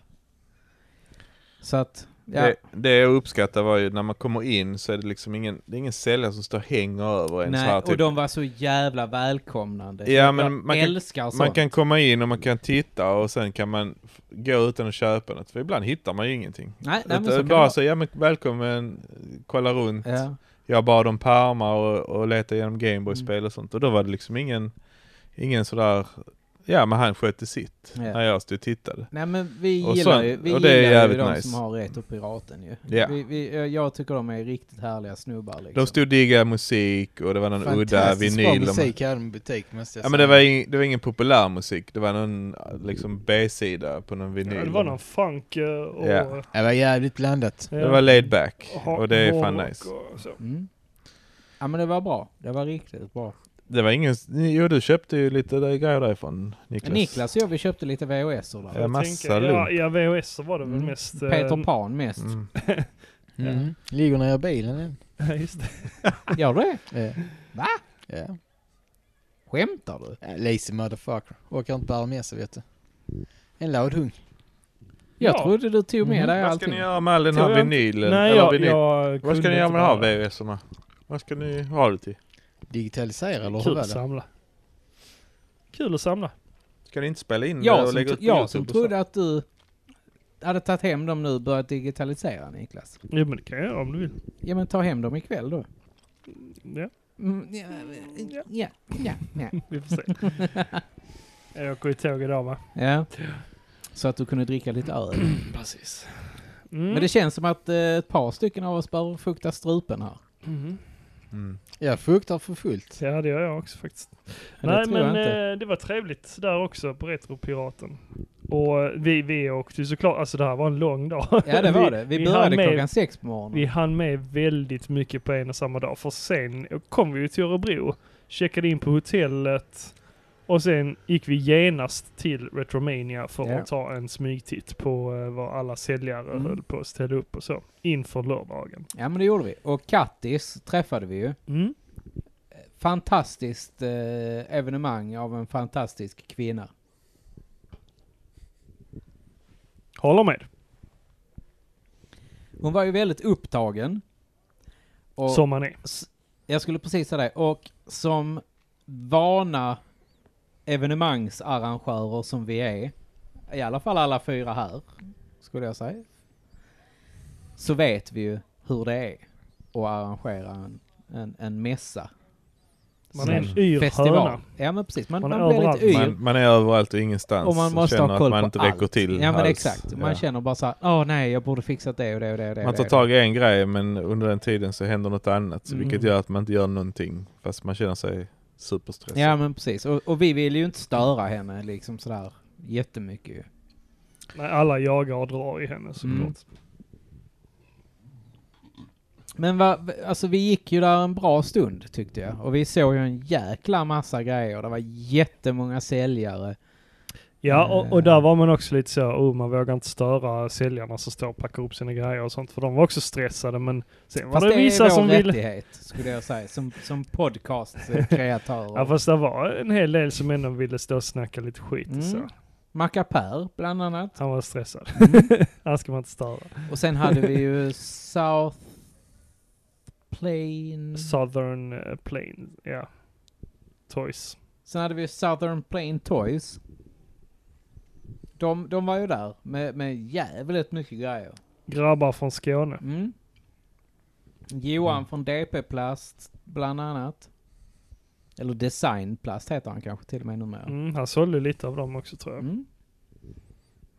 Speaker 1: Så att, ja.
Speaker 6: Det, det jag uppskattar var ju när man kommer in så är det liksom ingen, det är ingen säljare som står och hänger över en så
Speaker 1: Nej,
Speaker 6: här typ-
Speaker 1: och de var så jävla välkomnande.
Speaker 6: Ja, men
Speaker 1: jag
Speaker 6: man kan-
Speaker 1: älskar sånt.
Speaker 6: Man kan komma in och man kan titta och sen kan man f- gå utan att köpa något för ibland hittar man ju ingenting.
Speaker 1: nej, nej, men
Speaker 6: Utan
Speaker 1: så kan det
Speaker 6: bara
Speaker 1: vara.
Speaker 6: så, ja men välkommen, kolla runt.
Speaker 1: Ja.
Speaker 6: Jag bad om pärmar och, och letade igenom Gameboy-spel
Speaker 1: Mm.
Speaker 6: och sånt och då var det liksom ingen, ingen sådär, ja men han skötte sitt
Speaker 1: Ja.
Speaker 6: när jag stod och tittade.
Speaker 1: Nej men vi
Speaker 6: Och
Speaker 1: gillar
Speaker 6: sån-
Speaker 1: ju, vi
Speaker 6: och det är
Speaker 1: gillar ju
Speaker 6: jävligt
Speaker 1: de
Speaker 6: nice.
Speaker 1: som har Retropiraten ju.
Speaker 6: Ja.
Speaker 1: Vi, vi, eh, jag tycker de är riktigt härliga snubbar liksom.
Speaker 6: De stod och diggade musik och det var någon udda
Speaker 4: Fantastiskt bra
Speaker 6: vinyl. De,
Speaker 4: musik hade de i butik måste jag
Speaker 6: ja men det var, ing, det var ingen populär musik, det var någon liksom B-sida på någon vinyl.
Speaker 5: Ja, det var någon funk eh, och...
Speaker 6: Ja.
Speaker 4: det var jävligt blandat.
Speaker 6: Det var laid back och det är fan
Speaker 5: hårdrock
Speaker 6: nice.
Speaker 5: och så.
Speaker 1: Mm. Ja men det var bra. Det var riktigt bra.
Speaker 6: Det var ingen, jo du köpte ju lite där grejer därifrån Niklas.
Speaker 1: Niklas och jag vi köpte lite VHS där.
Speaker 6: Ja,
Speaker 5: Jag
Speaker 6: massa
Speaker 5: tänker- ja,
Speaker 6: loot.
Speaker 5: ja, VHS så var det väl
Speaker 1: Mm.
Speaker 5: mest... eh,
Speaker 1: Peter Pan mest.
Speaker 6: Mm.
Speaker 4: Mm. Ligger nere i bilen än.
Speaker 5: Ja, just det.
Speaker 1: Gör det?
Speaker 4: Ja.
Speaker 1: Va?
Speaker 4: Ja.
Speaker 1: Skämtar du?
Speaker 4: Ja, Lazy motherfucker. Orkar inte bära med sig vet du. En laddhung.
Speaker 1: Jag
Speaker 5: Ja.
Speaker 1: trodde du tog med
Speaker 4: Mhm.
Speaker 1: dig
Speaker 6: Mm. Vad ska
Speaker 1: allting.
Speaker 6: ni göra med all den
Speaker 5: Tror
Speaker 6: här
Speaker 5: jag inte-
Speaker 6: vinylen?
Speaker 5: Nej,
Speaker 6: Eller
Speaker 5: jag,
Speaker 6: vinyl?
Speaker 5: jag
Speaker 6: Vad ska
Speaker 5: kunde
Speaker 6: ni göra
Speaker 5: inte
Speaker 6: med den här
Speaker 5: bara-
Speaker 6: VVSarna? Vad ska ni ha det till?
Speaker 4: Digitalisera eller hur
Speaker 5: Kul
Speaker 4: var
Speaker 5: att
Speaker 4: det?
Speaker 5: samla. Kul att samla.
Speaker 6: Ska ni inte spela in det
Speaker 1: Jag
Speaker 6: och
Speaker 1: som,
Speaker 6: lägga upp
Speaker 1: tro-
Speaker 6: på
Speaker 1: jag som
Speaker 6: Youtube och
Speaker 1: trodde att du hade tagit hem dem nu och börjat digitalisera Niklas.
Speaker 5: Jo men det kan jag göra om du vill.
Speaker 1: Ja men ta hem dem ikväll då.
Speaker 5: Ja,
Speaker 1: Mm, ja, ja, ja, ja, ja.
Speaker 5: vi får se. jag åker ju tåg idag va?
Speaker 1: Ja. Så att du kunde dricka lite öl.
Speaker 5: Precis. Mm.
Speaker 1: Men det känns som att eh, ett par stycken av oss behöver fukta strupen här.
Speaker 5: Mhm.
Speaker 6: Mm.
Speaker 4: Jag fuktar för fullt.
Speaker 5: Ja det gör jag också faktiskt.
Speaker 1: Men
Speaker 5: Nej
Speaker 1: det tror jag
Speaker 5: men
Speaker 1: inte.
Speaker 5: eh, det var trevligt där också på Retropiraten. Och eh, vi, vi åkte ju såklart, alltså det här var en lång dag.
Speaker 1: Ja det var det. Vi, började
Speaker 5: hann med,
Speaker 1: klockan sex på morgonen.
Speaker 5: Vi hann med väldigt mycket på en och samma dag. För sen kom vi ju till Örebro, checkade in på hotellet Och sen gick vi genast till Retromania för
Speaker 1: Ja.
Speaker 5: att ta en smygtitt på eh, vad alla säljare
Speaker 1: Mm.
Speaker 5: höll på att ställa upp och så. Inför lördagen.
Speaker 1: Ja men det gjorde vi. Och Kattis träffade vi ju.
Speaker 5: Mm.
Speaker 1: Fantastiskt eh, evenemang av en fantastisk kvinna.
Speaker 5: Håller med.
Speaker 1: Hon var ju väldigt upptagen. Och
Speaker 5: Som man är.
Speaker 1: s- jag skulle precis säga det. Och som vana evenemangsarrangörer som vi är, i alla fall alla fyra här, skulle jag säga, så vet vi ju hur det är att arrangera en, en, en mässa.
Speaker 5: Man är en yr höna.
Speaker 1: Ja men precis, man,
Speaker 5: Man
Speaker 1: man,
Speaker 5: är
Speaker 1: blir
Speaker 5: överallt.
Speaker 1: lite yr.
Speaker 6: Man, man är överallt och ingenstans.
Speaker 1: Och man måste
Speaker 6: känner
Speaker 1: ha koll
Speaker 6: att man
Speaker 1: på
Speaker 6: inte
Speaker 1: allt.
Speaker 6: räcker till.
Speaker 1: ja men
Speaker 6: alls.
Speaker 1: exakt, man
Speaker 6: Ja.
Speaker 1: känner bara så här, åh nej jag borde fixat det och det och det och det. och
Speaker 6: Man tar
Speaker 1: det."
Speaker 6: tag i en grej men under den tiden så händer något annat. så Vilket
Speaker 5: Mm.
Speaker 6: gör att man inte gör någonting. Fast man känner sig superstressad.
Speaker 1: Ja men precis, och, och vi vill ju inte störa henne liksom sådär jättemycket ju.
Speaker 5: Nej, alla jagar och drar i henne såklart.
Speaker 1: Mm. Men va, alltså vi gick ju där en bra stund tyckte jag. Och vi såg ju en jäkla massa grejer. Det var jättemånga säljare.
Speaker 5: Ja, och, och
Speaker 1: Eh.
Speaker 5: där var man också lite så, oh, man vågar inte störa säljarna som står och packar upp sina grejer och sånt, för de var också stressade, men sen var
Speaker 1: Fast
Speaker 5: det, vissa som ville...
Speaker 1: rättighet skulle jag säga. Som, som podcastkreatörer.
Speaker 5: Ja, fast det var en hel del som ändå ville stå och snacka lite skit
Speaker 1: Mm.
Speaker 5: så.
Speaker 1: Macapär bland annat.
Speaker 5: Han var stressad.
Speaker 1: Mm.
Speaker 5: Han ska man inte störa.
Speaker 1: Och sen hade vi ju South Plain...
Speaker 5: Southern eh, Plain, ja. Toys.
Speaker 1: Sen hade vi Southern Plain Toys. De, de var ju där med, med jävligt mycket grejer.
Speaker 5: Grabbar från Skåne.
Speaker 1: Mm. Johan från DP Plast bland annat. Eller Design Plast heter han kanske till och med numera.
Speaker 5: Mm, han sålde lite av dem också tror jag.
Speaker 1: Mm.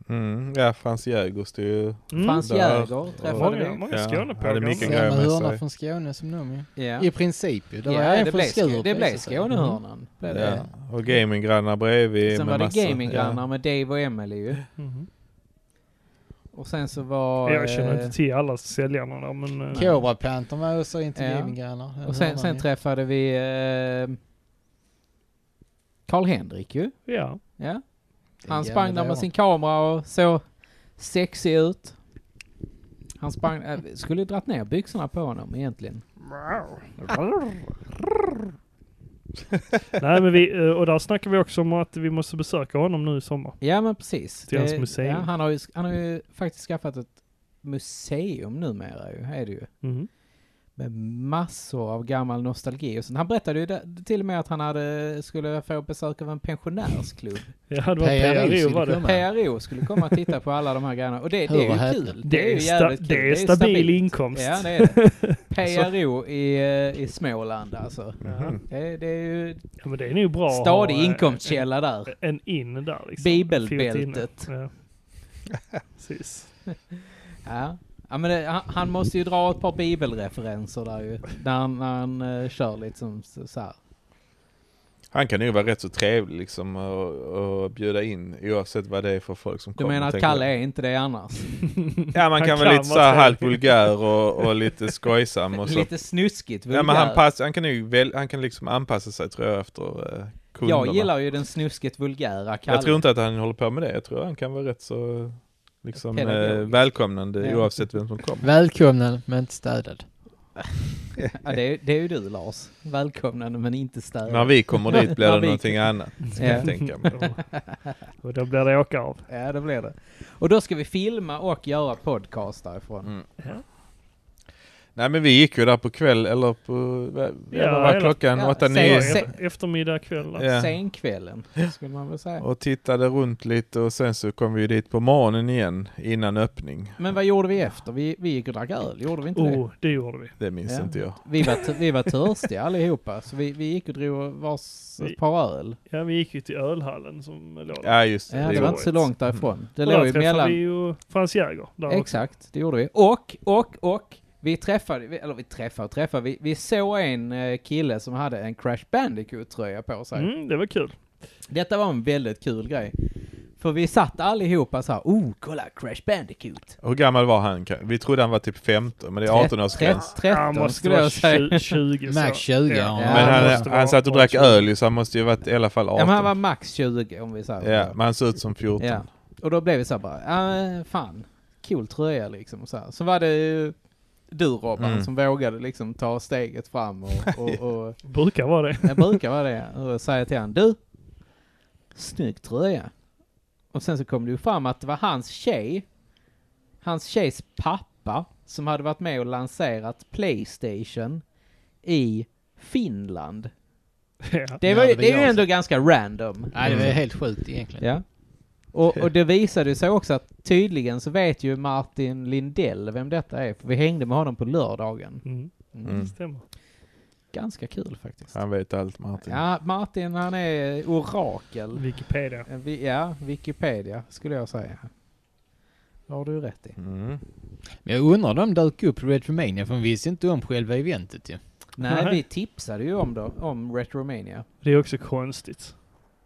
Speaker 6: Mm, ja, Frans Jägers det är ju...
Speaker 5: Mm.
Speaker 1: Frans
Speaker 6: Där.
Speaker 1: Jäger träffade
Speaker 5: Många,
Speaker 1: vi.
Speaker 5: många
Speaker 6: Ja,
Speaker 5: Skånepågar.
Speaker 6: hade mycket
Speaker 5: Ja.
Speaker 6: grejer.
Speaker 4: Samma
Speaker 6: med
Speaker 4: hörna
Speaker 6: sig.
Speaker 4: från Skåne som de ju.
Speaker 1: Ja.
Speaker 4: I princip ju. Det var
Speaker 1: Ja,
Speaker 4: en
Speaker 1: det
Speaker 4: från
Speaker 1: blev, Sk-
Speaker 4: Skurup.
Speaker 1: det blev
Speaker 4: så-
Speaker 1: Skånehörnan. Blev det.
Speaker 6: Ja. Och gaminggrannar bredvid.
Speaker 1: Sen
Speaker 6: med
Speaker 1: var det
Speaker 6: massa-
Speaker 1: gaminggrannar med Dave och Emily ju.
Speaker 5: Mhm.
Speaker 1: Och sen så var...
Speaker 5: Jag känner
Speaker 1: eh,
Speaker 5: inte till alla säljarna där, men... eh,
Speaker 4: Cobra Panther Mm. var också inte
Speaker 1: Ja.
Speaker 4: gaminggrannar. Den
Speaker 1: Och
Speaker 4: hörnan
Speaker 1: sen, sen
Speaker 4: ju.
Speaker 1: träffade vi eh, Karl-Henrik ju.
Speaker 5: Ja.
Speaker 1: Ja.
Speaker 4: Det är
Speaker 1: Han
Speaker 4: jävla
Speaker 1: sprang där med
Speaker 4: bra.
Speaker 1: sin kamera och såg sexig ut. Han sprang, eh, skulle dratt ner byxorna på honom egentligen.
Speaker 5: Nej men vi, eh, och där snackar vi också om att vi måste besöka honom nu i sommar.
Speaker 1: Ja men precis. Eh,
Speaker 5: Till hans museum.
Speaker 1: Ja, han, har ju, han har ju faktiskt skaffat ett museum numera ju, är det ju.
Speaker 5: Mhm.
Speaker 1: Med massor av gammal nostalgi och sånt. Han berättade ju där, till och med att han hade, skulle få besök av en pensionärsklubb.
Speaker 5: Ja det var
Speaker 4: PRO
Speaker 5: PRO
Speaker 4: skulle
Speaker 5: var det.
Speaker 4: komma.
Speaker 1: PRO skulle komma och titta på alla de här grejerna. Och det, det är
Speaker 4: Hur hette
Speaker 1: ju
Speaker 4: det?
Speaker 1: kul.
Speaker 5: Det är, sta-
Speaker 1: jävligt kul.
Speaker 5: det är
Speaker 1: ju
Speaker 5: stabil inkomst. Alltså-
Speaker 1: Ja, det är det. PRO i, eh, i Småland alltså.
Speaker 6: Mhm.
Speaker 1: Det,
Speaker 5: Ja.
Speaker 1: är- det är ju
Speaker 5: Ja, men det är nog bra att
Speaker 1: stadig
Speaker 5: ha, eh,
Speaker 1: inkomstkälla där.
Speaker 5: En, en in där liksom.
Speaker 1: Bibelbältet.
Speaker 5: En fot inne. Ja. Precis.
Speaker 1: Ja. Ja, men det, han, han måste ju dra ett par bibelreferenser där ju. När han, när han eh, kör liksom så, så här.
Speaker 6: Han kan ju vara rätt så trevlig liksom och, och bjuda in oavsett vad det är för folk som
Speaker 1: Du
Speaker 6: kommer.
Speaker 1: menar att
Speaker 6: tänker jag.
Speaker 1: Kalle är inte det annars?
Speaker 6: Ja man
Speaker 5: Han
Speaker 6: kan
Speaker 5: kan
Speaker 6: vara
Speaker 5: vara
Speaker 6: lite så här
Speaker 5: trevlig.
Speaker 6: halvt vulgär och, och lite skojsam och så.
Speaker 1: Lite snuskigt
Speaker 6: Ja men han,
Speaker 1: vulgär.
Speaker 6: pass, han kan ju väl, han kan liksom anpassa sig tror jag efter eh, kunderna.
Speaker 1: Jag gillar ju den snuskigt vulgära Kalle.
Speaker 6: jag tror inte att han håller på med det. Jag tror han kan vara rätt så eh, liksom eh,
Speaker 1: Pedagogisk.
Speaker 6: välkomnande
Speaker 1: Ja.
Speaker 6: oavsett vem som kommer.
Speaker 4: Välkomnad men inte stödad.
Speaker 1: ja, det, är, det är ju du Lars. Välkomnande men inte större.
Speaker 6: När vi kommer dit blir
Speaker 1: När
Speaker 6: det
Speaker 1: vi-
Speaker 6: någonting annat. Ska
Speaker 1: Ja.
Speaker 6: jag tänka mig.
Speaker 5: och då blir det åka av.
Speaker 1: Ja, det blir det. Och då ska vi filma och göra podcast därifrån.
Speaker 6: Mm.
Speaker 5: Ja.
Speaker 6: Nej men vi gick ju där på kväll eller på, vad
Speaker 5: Ja,
Speaker 6: vad var
Speaker 5: eller-
Speaker 6: klockan?
Speaker 1: ja,
Speaker 6: Åtta,
Speaker 1: säg-
Speaker 6: nio?
Speaker 5: Ja,
Speaker 1: se-
Speaker 5: e- eftermiddag, kväll. där.
Speaker 6: Ja.
Speaker 1: Senkvällen, skulle man väl säga.
Speaker 6: Och tittade runt lite och sen så kom vi ju dit på morgonen igen innan öppning.
Speaker 1: Men vad gjorde vi efter? Vi, vi gick och drack öl, gjorde vi inte det?
Speaker 5: Oh, det gjorde vi.
Speaker 6: Det minns
Speaker 1: Ja.
Speaker 6: inte jag.
Speaker 1: Vi var, t- vi var törstiga allihopa, så vi, vi gick och drog vars
Speaker 5: Vi-
Speaker 1: ett par öl.
Speaker 5: Ja, vi gick ju till ölhallen som låg där.
Speaker 6: Ja just det.
Speaker 1: Ja,
Speaker 6: det
Speaker 1: det
Speaker 6: gjorde Mm.
Speaker 1: var inte så
Speaker 5: roligt.
Speaker 1: långt därifrån. Det
Speaker 5: Och
Speaker 1: låg
Speaker 5: där
Speaker 1: ju
Speaker 5: träffade
Speaker 1: mellan...
Speaker 5: vi ju Frans Jäger. Där också.
Speaker 1: Exakt, det gjorde vi. Och, och, och, vi träffade, vi- eller vi träffade och träffade, vi, vi såg en eh, kille som hade
Speaker 6: Mm.
Speaker 1: en Crash Bandicoot-tröja på sig.
Speaker 5: Mm, det var kul.
Speaker 1: Detta var en väldigt kul grej. För vi satt allihopa så här, oh, kolla Crash Bandicoot.
Speaker 6: Hur gammal var han? Vi trodde han var typ 15, men det är 18-årsgräns.
Speaker 1: 13 skulle jag säga.
Speaker 5: 20
Speaker 4: Max 20, ja.
Speaker 1: Ja.
Speaker 6: Men
Speaker 1: han
Speaker 6: han, han satt och drack öl ju, så han måste ju varit i alla fall
Speaker 1: Ja, men han var
Speaker 6: 18.
Speaker 1: max 20 om vi säger
Speaker 6: Ja, men han såg ut som 14.
Speaker 1: Ja. Och då blev vi så här bara, ja ah, fan, cool tröja liksom. Och så, här. så var det ju du Robban
Speaker 6: Mm.
Speaker 1: som vågade liksom ta steget fram och, och, och
Speaker 5: Brukar vara det.
Speaker 1: jag brukar vara det, och säga till han, du, snygg tröja. Och sen så kom det ju fram att det var hans tjej, hans tjejs pappa, som hade varit med och lanserat Playstation i Finland.
Speaker 5: Ja.
Speaker 1: Det,
Speaker 4: Ja,
Speaker 1: var,
Speaker 4: det
Speaker 1: ju-
Speaker 4: var
Speaker 1: det är ju
Speaker 4: jag.
Speaker 1: ändå ganska random.
Speaker 4: Nej, det var helt sjukt egentligen.
Speaker 1: Ja. Och, och det visade sig också att tydligen så vet ju Martin Lindell vem detta är, för vi hängde med honom på lördagen.
Speaker 5: Mm.
Speaker 6: Mm.
Speaker 5: Det stämmer.
Speaker 1: Ganska kul faktiskt.
Speaker 6: Han vet allt Martin.
Speaker 1: Ja, Martin han är orakel.
Speaker 5: Wikipedia.
Speaker 1: Eh, Vi, ja, Wikipedia skulle jag säga. Det har du ju rätt i.
Speaker 6: Mm.
Speaker 4: Men jag undrar om de dök upp i Retromania, för de visste inte om själva eventet ju.
Speaker 1: Nej,
Speaker 5: Nej.
Speaker 1: vi tipsade ju om, då, om Retromania.
Speaker 5: Det är också konstigt.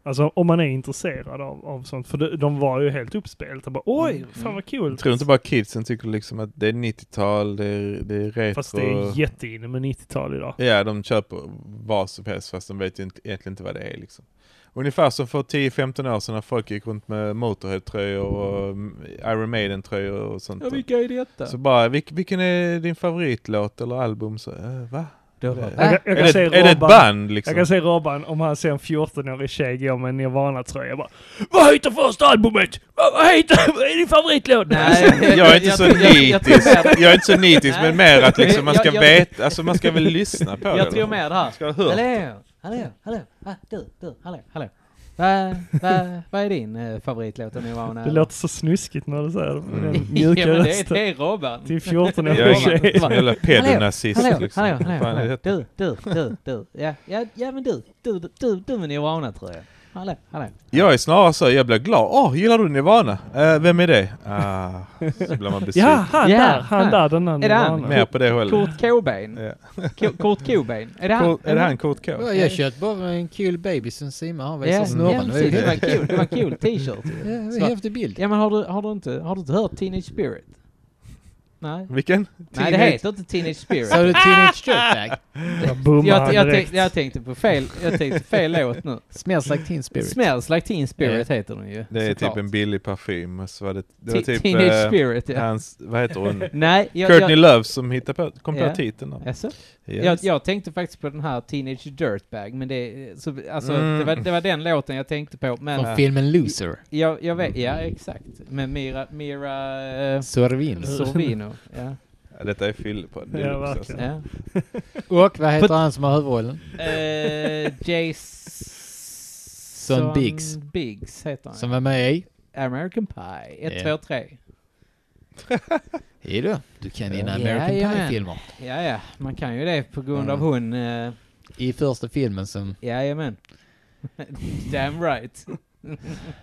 Speaker 5: Alltså om man är intresserad av, av sånt. För de, de var ju helt uppspelta. Bara, Oj,
Speaker 1: Mm,
Speaker 5: fan
Speaker 1: mm.
Speaker 5: vad kul.
Speaker 6: Jag tror inte bara kidsen tycker liksom att det är 90-tal, det är, det är retro.
Speaker 5: Fast det är jätteinne med 90-tal idag.
Speaker 6: Ja, de köper vad som helst fast de vet ju inte, egentligen inte vad det är liksom. Ungefär som för 10-15 år sedan när folk gick runt med Motorhead-tröjor och mm, Iron Maiden-tröjor och sånt.
Speaker 1: Ja, vilka är detta?
Speaker 6: Så bara, vilk, vilken är din favoritlåt eller album? Så, äh, va?
Speaker 1: Det var-
Speaker 6: Är
Speaker 1: Äh,
Speaker 5: Jag, kan- jag
Speaker 6: är,
Speaker 5: kan
Speaker 6: det,
Speaker 5: se
Speaker 6: är det ett
Speaker 5: Robban-
Speaker 6: band liksom?
Speaker 5: Jag kan se Robban, om han ser en 14-årig tjej gå med en Nirvana-tröja jag bara Vad heter första albumet? Vad vad heter, vad är din favoritlåt? Alltså,
Speaker 6: Jag är inte så
Speaker 1: tror- jag- jag tror
Speaker 6: nitisk,
Speaker 1: mer-
Speaker 6: jag är inte så nitisk men mer att liksom man ska
Speaker 1: Jag- jag-
Speaker 6: veta, alltså man ska väl lyssna på det. liksom.
Speaker 1: Jag tror mer det här.
Speaker 6: Ska ha hört.
Speaker 1: Hallå, hallå, hallå, ah, du, du, hallå, hallå. Vad va, vad är din eh, favoritlåt om Nirvana?
Speaker 5: Det låter så snuskigt när du säger det med den
Speaker 1: mjuka Mm. ja,
Speaker 5: mjuka
Speaker 1: men det,
Speaker 5: rösten.
Speaker 1: det är Robban.
Speaker 5: Till
Speaker 6: Jag
Speaker 5: 14-årig
Speaker 6: är ingen
Speaker 5: tjej.
Speaker 6: sån jävla pedonazist
Speaker 1: Hallå,
Speaker 6: liksom.
Speaker 1: hallå,
Speaker 6: Vad fan är
Speaker 1: hallå,
Speaker 6: detta?
Speaker 1: du, du, du, du, ja, ja, ja men du, du, du, du, du med Nirvana tror jag. Hallå, hallå.
Speaker 6: Jag är snarare så, jag blir glad. Åh, gillar du Nirvana? Eh, vem är det? Ah, så blir man besviken.
Speaker 5: Ja, han
Speaker 1: Ja,
Speaker 5: där, han
Speaker 1: han.
Speaker 5: där, den där
Speaker 1: Är det han?
Speaker 5: Nirvana.
Speaker 6: Mer på det hållet.
Speaker 1: Kurt Cobain.
Speaker 6: Ja.
Speaker 1: Ko- Kurt Cobain. Är det han?
Speaker 6: Kurt, är det han Kurt K?
Speaker 4: Ja, jag köpte bara en kul baby som simmar
Speaker 1: Ja,
Speaker 4: och visar
Speaker 1: ja,
Speaker 4: snorren.
Speaker 1: precis. det
Speaker 4: det
Speaker 1: var
Speaker 4: var ju
Speaker 1: en kul, det var en kul t-shirt.
Speaker 4: Ja, det var en häftig bild.
Speaker 1: Ja men har du, har du inte, har du inte hört Teenage Spirit? Nej.
Speaker 6: Vilken?
Speaker 1: Nej det heter inte Teenage Spirit.
Speaker 4: Sa du Teenage Dirtbag?
Speaker 5: Boomar
Speaker 1: jag,
Speaker 5: han
Speaker 1: jag,
Speaker 5: direkt.
Speaker 1: tänkte, jag tänkte på fel, jag tänkte fel låt nu.
Speaker 4: Smells like Teen Spirit.
Speaker 1: Smells like Teen Spirit heter den ju.
Speaker 6: Det är
Speaker 1: såklart.
Speaker 6: typ en billig parfym. och Så var det, det var
Speaker 1: Te-
Speaker 6: typ
Speaker 1: Teenage
Speaker 6: eh,
Speaker 1: Spirit ja.
Speaker 6: hans, vad heter hon?
Speaker 1: Nej, jag,
Speaker 6: Courtney
Speaker 1: jag,
Speaker 6: Love som hittade på, kom
Speaker 1: Ja.
Speaker 6: på titeln. då.
Speaker 1: Jaså?
Speaker 6: Yes.
Speaker 1: jag, jag tänkte faktiskt på den här Teenage Dirtbag, men det, så, alltså,
Speaker 6: Mm.
Speaker 1: det, var, det var den låten jag tänkte på. Men eh,
Speaker 4: Från filmen Loser.
Speaker 1: jag, jag vet, ja exakt. Med Mira, Mira eh,
Speaker 4: Sorvin.
Speaker 1: Sorvino. Ja.
Speaker 6: Ja, Detta är fyll på. alltså. Det är
Speaker 5: Ja,
Speaker 6: också,
Speaker 5: verkligen.
Speaker 1: Ja.
Speaker 4: Och vad heter han som har huvudrollen?
Speaker 1: Eh, Jason
Speaker 4: Biggs.
Speaker 1: Biggs heter han.
Speaker 4: Som var med i?
Speaker 1: American Pie 1,
Speaker 4: Ja.
Speaker 1: 2, 3.
Speaker 4: Hej då. Du kan dina
Speaker 1: Ja,
Speaker 4: American
Speaker 1: jajamän.
Speaker 4: Pie-filmer.
Speaker 1: Ja, ja, man kan ju det på grund av
Speaker 6: Mm.
Speaker 1: hon. Uh,
Speaker 4: I första filmen som,
Speaker 1: jajamän. Damn right.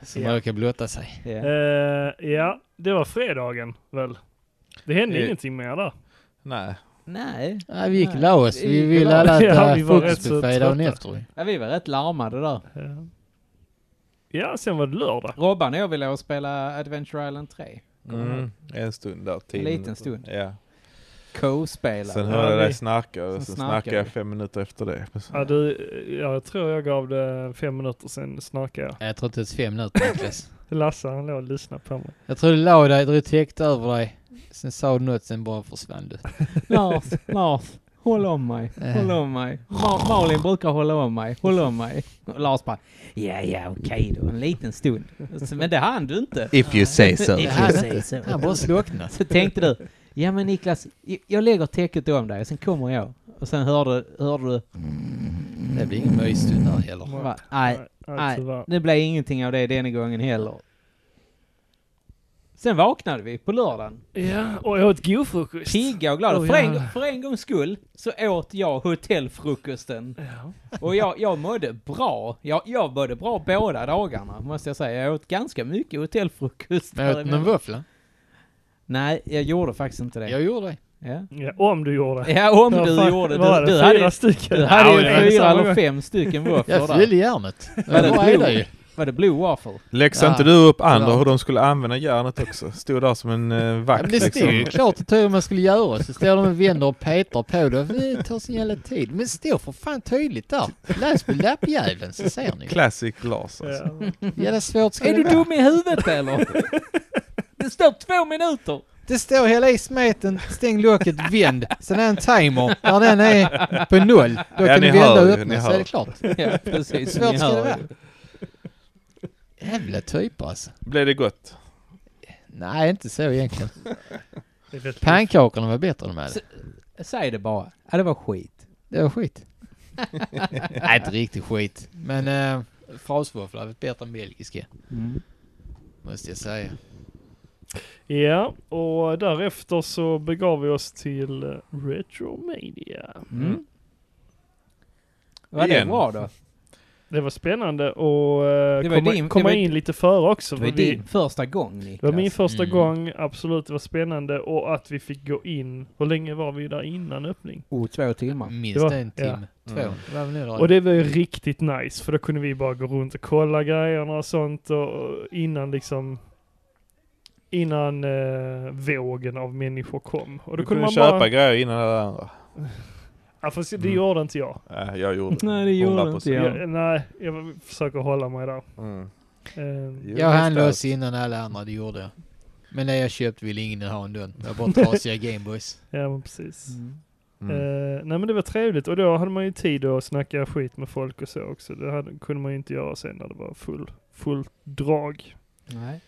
Speaker 4: som
Speaker 5: Ja.
Speaker 4: brukar blotta sig.
Speaker 1: Ja.
Speaker 5: Eh, ja, det var fredagen väl? Det hände
Speaker 6: Eh,
Speaker 5: ingenting mer där.
Speaker 6: Nej.
Speaker 1: Nej,
Speaker 4: Ja, vi gick
Speaker 1: Nej.
Speaker 4: och la oss.
Speaker 1: Vi
Speaker 4: Vi
Speaker 1: gick och
Speaker 4: ville
Speaker 1: la
Speaker 4: alla
Speaker 5: oss. Ja,
Speaker 4: äta
Speaker 5: vi var rätt så
Speaker 4: frukostbuffé dagen
Speaker 5: trötta.
Speaker 4: efter.
Speaker 1: ja, vi var rätt larmade där.
Speaker 5: Eh, ja, sen var det lördag.
Speaker 1: Robban och jag ville spela Adventure Island 3.
Speaker 6: Mm. En stund där. tio
Speaker 1: En liten
Speaker 6: minuter.
Speaker 1: stund.
Speaker 6: Ja.
Speaker 1: Co-spela.
Speaker 6: Sen
Speaker 5: Ja,
Speaker 6: hörde jag
Speaker 5: vi-
Speaker 6: dig snarka och
Speaker 1: Sen
Speaker 6: sen
Speaker 1: snarkade
Speaker 6: snackade jag
Speaker 1: vi.
Speaker 6: fem minuter efter det.
Speaker 5: Ja, du, eh, jag tror jag gav det fem minuter sen snarkade jag.
Speaker 4: Jag tror inte ens fem minuter Niklas.
Speaker 5: Lasse han låg och lyssnade på mig.
Speaker 4: Jag tror du la dig, drog täckt över dig. Sen sa du något, sen bara försvann du.
Speaker 1: Lars, Lars, håll om mig. Håll om mig. Ma- Malin brukar hålla om mig. Håll om mig. Och Lars bara, ja, ja, okej då. En liten stund. Så, Men det hann du inte.
Speaker 6: If you say so.
Speaker 1: If you say so.
Speaker 4: Han bara slocknade.
Speaker 1: Så tänkte du, ja men Niklas, j- jag lägger täcket om dig, sen kommer jag. Och sen hörde, hörde du,
Speaker 4: Det blir ingen mysstund där heller.
Speaker 1: bara, nej, nej.
Speaker 5: tyvärr.
Speaker 1: det blev ingenting av det denna gången heller. Sen vaknade vi på lördagen,
Speaker 5: Ja, och jag åt god frukost.
Speaker 1: pigga och glada.
Speaker 5: Oh,
Speaker 1: för, en,
Speaker 5: jävlar.
Speaker 1: för en gångs skull så åt jag hotellfrukosten.
Speaker 5: Ja.
Speaker 1: Och jag, jag mådde bra. Jag, jag mådde bra båda dagarna, måste jag säga. Jag åt ganska mycket hotellfrukost.
Speaker 4: Men jag åt någon
Speaker 1: däremellan.
Speaker 4: våffla.
Speaker 1: Nej, jag gjorde faktiskt inte det.
Speaker 4: Jag gjorde det.
Speaker 1: Ja.
Speaker 5: Ja, om du gjorde.
Speaker 1: Ja, om
Speaker 5: Ja,
Speaker 1: du
Speaker 5: fan,
Speaker 1: gjorde
Speaker 5: var
Speaker 1: det.
Speaker 5: det.
Speaker 1: Du
Speaker 5: fyra
Speaker 1: hade
Speaker 5: stycken.
Speaker 1: Du hade
Speaker 5: Ja, det
Speaker 1: ju
Speaker 5: är
Speaker 1: fyra
Speaker 5: samma
Speaker 1: eller
Speaker 5: gång.
Speaker 1: fem stycken våfflor
Speaker 4: Jag
Speaker 1: där.
Speaker 4: fyllde järnet.
Speaker 1: Var det
Speaker 4: Jag
Speaker 1: blod?
Speaker 4: var hela ju.
Speaker 1: Var det Blue Waffle?
Speaker 6: Läxade
Speaker 4: Ja.
Speaker 6: inte du upp andra
Speaker 4: Ja.
Speaker 6: hur de skulle använda järnet också? Stod där som en eh,
Speaker 4: Ja,
Speaker 6: vakt
Speaker 4: men det stod ju
Speaker 6: liksom.
Speaker 4: klart och tydligt vad man skulle göra. Så står de och vänder och petar på det. Det tar sin jävla tid. Men det står för fan tydligt där. Läs på lappjäveln så ser ni.
Speaker 6: Classic Lars alltså.
Speaker 4: Jävla svårt ska
Speaker 1: Är
Speaker 4: det
Speaker 1: du
Speaker 4: vara.
Speaker 1: dum i huvudet eller? Det står två minuter!
Speaker 4: Det står hela i smeten, stäng locket, vänd. Sen är en timer. När den är på noll, då
Speaker 6: Ja,
Speaker 4: kan
Speaker 6: ni
Speaker 4: du vända
Speaker 6: hör
Speaker 4: och
Speaker 6: ju,
Speaker 4: öppna
Speaker 6: ni
Speaker 4: så
Speaker 6: hör.
Speaker 4: är det klart.
Speaker 1: Ja, precis.
Speaker 4: Svårt
Speaker 1: Ni
Speaker 4: ska det
Speaker 1: hör
Speaker 4: vara.
Speaker 1: ju.
Speaker 4: Jävla typer alltså.
Speaker 6: Blev det gott?
Speaker 4: Nej, inte så egentligen.
Speaker 5: Det är rätt
Speaker 4: Pannkakorna var bättre de hade.
Speaker 1: Så- Säg det bara. Ja, det var skit.
Speaker 4: Det var skit. Nej, inte riktigt skit. Men äh, frasvåfflor var bättre än belgiska, måste jag säga.
Speaker 5: Ja, och därefter så begav vi oss till eh, Retromania.
Speaker 1: Mm. Var det
Speaker 6: Igen.
Speaker 1: bra då?
Speaker 5: Det var spännande och eh,
Speaker 1: Det var
Speaker 5: komma,
Speaker 1: din- det
Speaker 5: komma
Speaker 1: var-
Speaker 5: in lite före också.
Speaker 1: Det
Speaker 5: för
Speaker 1: var ju
Speaker 5: vi-
Speaker 1: din första gång Niklas.
Speaker 5: det var min första
Speaker 4: Mm.
Speaker 5: gång, absolut det var spännande och att vi fick gå in. Hur länge var vi där innan öppning?
Speaker 1: Oh, två timmar.
Speaker 4: Minst
Speaker 5: Det var-
Speaker 4: en timme. Två.
Speaker 6: Mm.
Speaker 4: Det var väl nu då?
Speaker 5: Och det var ju riktigt nice för då kunde vi bara gå runt och kolla grejerna och sånt och och innan liksom innan eh, vågen av människor kom. Och då
Speaker 6: Du
Speaker 5: kunde,
Speaker 6: kunde
Speaker 5: man
Speaker 6: köpa
Speaker 5: bara...
Speaker 6: grejer innan alla andra.
Speaker 5: Ja, fast det
Speaker 6: Mm.
Speaker 5: gjorde inte jag.
Speaker 6: Nej, jag gjorde det.
Speaker 1: Nej, det gjorde
Speaker 6: 100%.
Speaker 1: inte Ja.
Speaker 5: Jag, nej, jag försöker hålla mig där.
Speaker 6: Mm.
Speaker 5: Eh,
Speaker 6: Jo,
Speaker 4: Jag hann
Speaker 6: nästan.
Speaker 4: loss innan alla andra, det gjorde jag. Men det jag köpt ville ingen ha ändå. Det var bara trasiga Gameboys.
Speaker 5: ja, men precis.
Speaker 6: Mm.
Speaker 5: Eh, nej men det var trevligt och då hade man ju tid att snacka skit med folk och så också. Det hade, kunde man ju inte göra sen när det var full, fullt drag.
Speaker 1: Nej.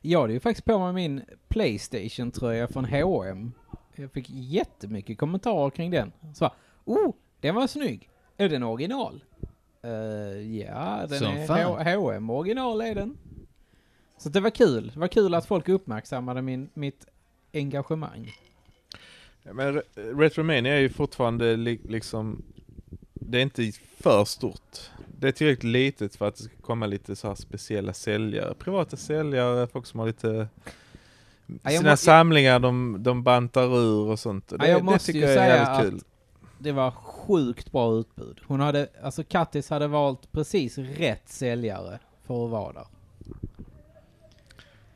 Speaker 1: Jag hade ju faktiskt på mig min Playstation-tröja från H&M. Jag fick jättemycket kommentarer kring den. Så bara, oh, den var snygg. Är den original? Eh, ja, den
Speaker 4: Som
Speaker 1: är
Speaker 4: fan.
Speaker 1: H- H&M original är den. Så det var kul. Det var kul att folk uppmärksammade min, mitt engagemang.
Speaker 6: Men Re- Retromania är ju fortfarande li liksom, det är inte för stort. Det är tillräckligt litet för att det ska komma lite så här speciella säljare, privata säljare, folk som har lite
Speaker 1: jag
Speaker 6: sina
Speaker 1: må-
Speaker 6: samlingar de, de bantar ur och sånt. Det,
Speaker 1: Ja, jag
Speaker 6: det
Speaker 1: måste
Speaker 6: tycker
Speaker 1: ju
Speaker 6: jag är
Speaker 1: säga
Speaker 6: jävligt kul.
Speaker 1: Det var sjukt bra utbud. Hon hade, alltså Kattis hade valt precis rätt säljare för att vara där.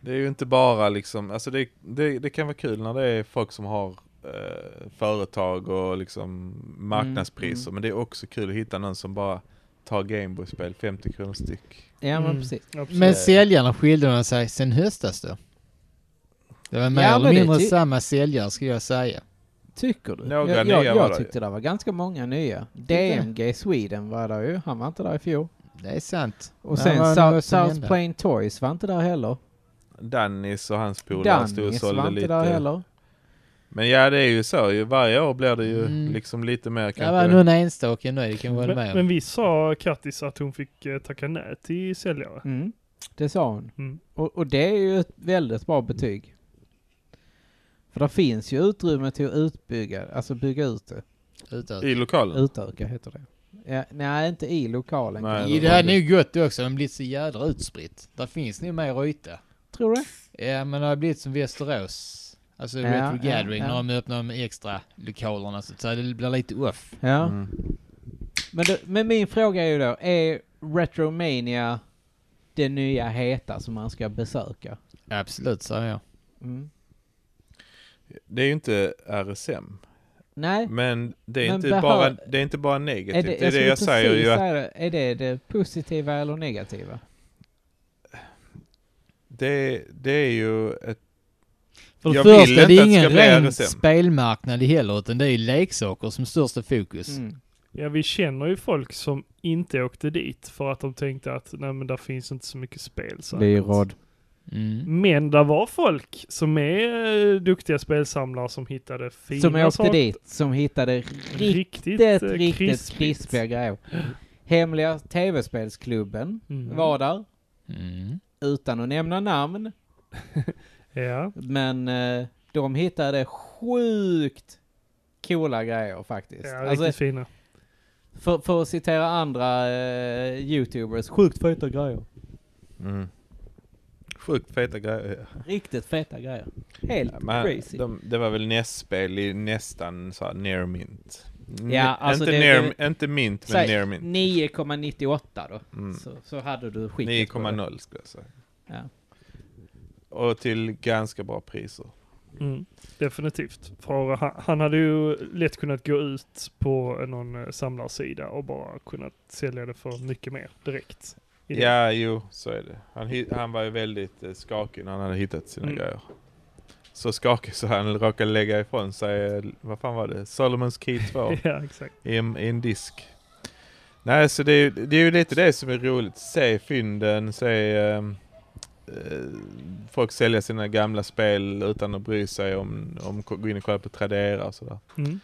Speaker 6: Det är ju inte bara liksom, alltså det, det, det kan vara kul när det är folk som har eh, företag och liksom marknadspriser,
Speaker 1: Mm,
Speaker 6: men det är också kul att hitta någon som bara tar Gameboy-spel 50 kronor styck.
Speaker 1: Ja, men
Speaker 5: Mm,
Speaker 1: precis.
Speaker 5: absolut.
Speaker 4: Men säljarna skilde de sig sen höstas då? Det var mer
Speaker 1: Ja,
Speaker 4: eller
Speaker 1: men det
Speaker 4: mindre
Speaker 1: ty-
Speaker 4: samma säljare skulle jag säga.
Speaker 1: Tycker du?
Speaker 6: Några
Speaker 1: jag,
Speaker 6: nya
Speaker 1: jag,
Speaker 6: var det
Speaker 1: jag tyckte det var ganska många nya.
Speaker 4: Tyckte du?
Speaker 1: DMG Sweden var där ju. Han var inte där i fjol.
Speaker 4: Det är sant.
Speaker 1: Och
Speaker 4: Men
Speaker 1: sen
Speaker 4: vad-
Speaker 1: South,
Speaker 4: vad som
Speaker 1: South
Speaker 4: hände?
Speaker 1: Plain Toys var inte där heller.
Speaker 6: Dannis och hans polare stod och
Speaker 1: Dannis var
Speaker 6: sålde
Speaker 1: inte där
Speaker 6: lite.
Speaker 1: heller.
Speaker 6: Men ja, det är ju så. ju. Varje år blir det ju
Speaker 4: Mm.
Speaker 6: liksom lite mer
Speaker 4: Det
Speaker 6: kanske.
Speaker 4: var någon enstaka nu, det kan jag hålla
Speaker 5: men,
Speaker 4: med
Speaker 5: men
Speaker 4: om.
Speaker 5: vi sa Kattis att hon fick eh, tacka nej till säljare.
Speaker 1: Mm, det sa hon.
Speaker 5: Mm.
Speaker 1: Och, och det är ju ett väldigt bra betyg. För det finns ju utrymme till att utbygga, alltså bygga ut det.
Speaker 4: Utan-
Speaker 6: I lokalen.
Speaker 1: Utöka heter det. Ja, nej, inte i lokalen.
Speaker 6: Nej,
Speaker 1: kanske.
Speaker 4: I Det hade nog gått också, de blivit så jädra utspritt. Där finns nog mer yta.
Speaker 1: Tror du?
Speaker 4: Ja, men det har blivit som Västerås. Alltså
Speaker 1: Ja,
Speaker 4: Retro
Speaker 1: ja,
Speaker 4: Gathering,
Speaker 1: ja.
Speaker 4: när de öppnar de extra lokalerna så så det blir lite off.
Speaker 1: Ja.
Speaker 6: Mm.
Speaker 1: Men, då, men min fråga är ju då, är Retromania det nya heta som man ska besöka?
Speaker 4: Absolut, säger jag.
Speaker 1: Mm.
Speaker 6: Det är ju inte RSM.
Speaker 1: Nej,
Speaker 6: Men det är,
Speaker 1: Men
Speaker 6: inte,
Speaker 1: behör-
Speaker 6: bara, det är inte bara negativt. Det, är det
Speaker 1: skulle
Speaker 6: jag säger
Speaker 1: precis
Speaker 6: ju att
Speaker 1: säga det. Är det det positiva eller negativa?
Speaker 6: det, det är ju ett...
Speaker 4: För det
Speaker 6: Jag vill
Speaker 4: första,
Speaker 6: inte
Speaker 4: det är
Speaker 6: att det ska
Speaker 4: ingen
Speaker 6: bli
Speaker 4: ren
Speaker 6: RSM.
Speaker 4: spelmarknad heller, utan det är leksaker som största fokus.
Speaker 1: Mm.
Speaker 5: Ja, vi känner ju folk som inte åkte dit för att de tänkte att nej men där finns inte så mycket spel. säkert.
Speaker 4: Mm.
Speaker 5: Men där var folk som är eh, duktiga spelsamlare som hittade fina
Speaker 1: Som åkte
Speaker 5: saker.
Speaker 1: dit, som hittade riktigt,
Speaker 5: eh,
Speaker 1: riktigt
Speaker 5: krispigt.
Speaker 1: krispiga grejer. Hemliga TV-spelsklubben
Speaker 5: Mm.
Speaker 1: var där,
Speaker 4: Mm.
Speaker 1: utan att nämna namn,
Speaker 5: Ja.
Speaker 1: men eh, de hittade sjukt coola grejer faktiskt.
Speaker 5: Ja,
Speaker 1: Alltså,
Speaker 5: riktigt fina.
Speaker 1: För, för att citera andra eh, youtubers, sjukt feta grejer.
Speaker 6: Mm. Sjukt feta grejer.
Speaker 1: Riktigt feta grejer. Helt
Speaker 6: Men
Speaker 1: crazy.
Speaker 6: de, det var väl nästspel i nästan så här near mint.
Speaker 1: Ja, alltså
Speaker 6: inte,
Speaker 1: det-
Speaker 6: near,
Speaker 1: det-
Speaker 6: inte mint, men
Speaker 1: Säg
Speaker 6: near mint.
Speaker 1: 9,98 då.
Speaker 6: Mm.
Speaker 1: Så, så hade du skickat på det.
Speaker 6: 9,0 skulle jag säga.
Speaker 1: Ja.
Speaker 6: Och till ganska bra priser.
Speaker 5: Mm, definitivt. För han, han hade ju lätt kunnat gå ut på någon eh, samlarsida och bara kunnat sälja det för mycket mer direkt. I det.
Speaker 6: Ja, jo, så är det. Han, hi- han var ju väldigt eh, skakig när han hade hittat sina
Speaker 5: Mm.
Speaker 6: grejer. Så skakig så han råkade lägga ifrån sig, eh, vad fan var det, Solomons Key 2
Speaker 5: ja, exakt.
Speaker 6: i, en, i en disk. Nej, så det är, ju- det är ju lite det som är roligt. Se fynden, se ehm, eh, folk sälja sina gamla spel utan att bry sig om, om gå in och kolla på Tradera och sådär.
Speaker 5: Mm.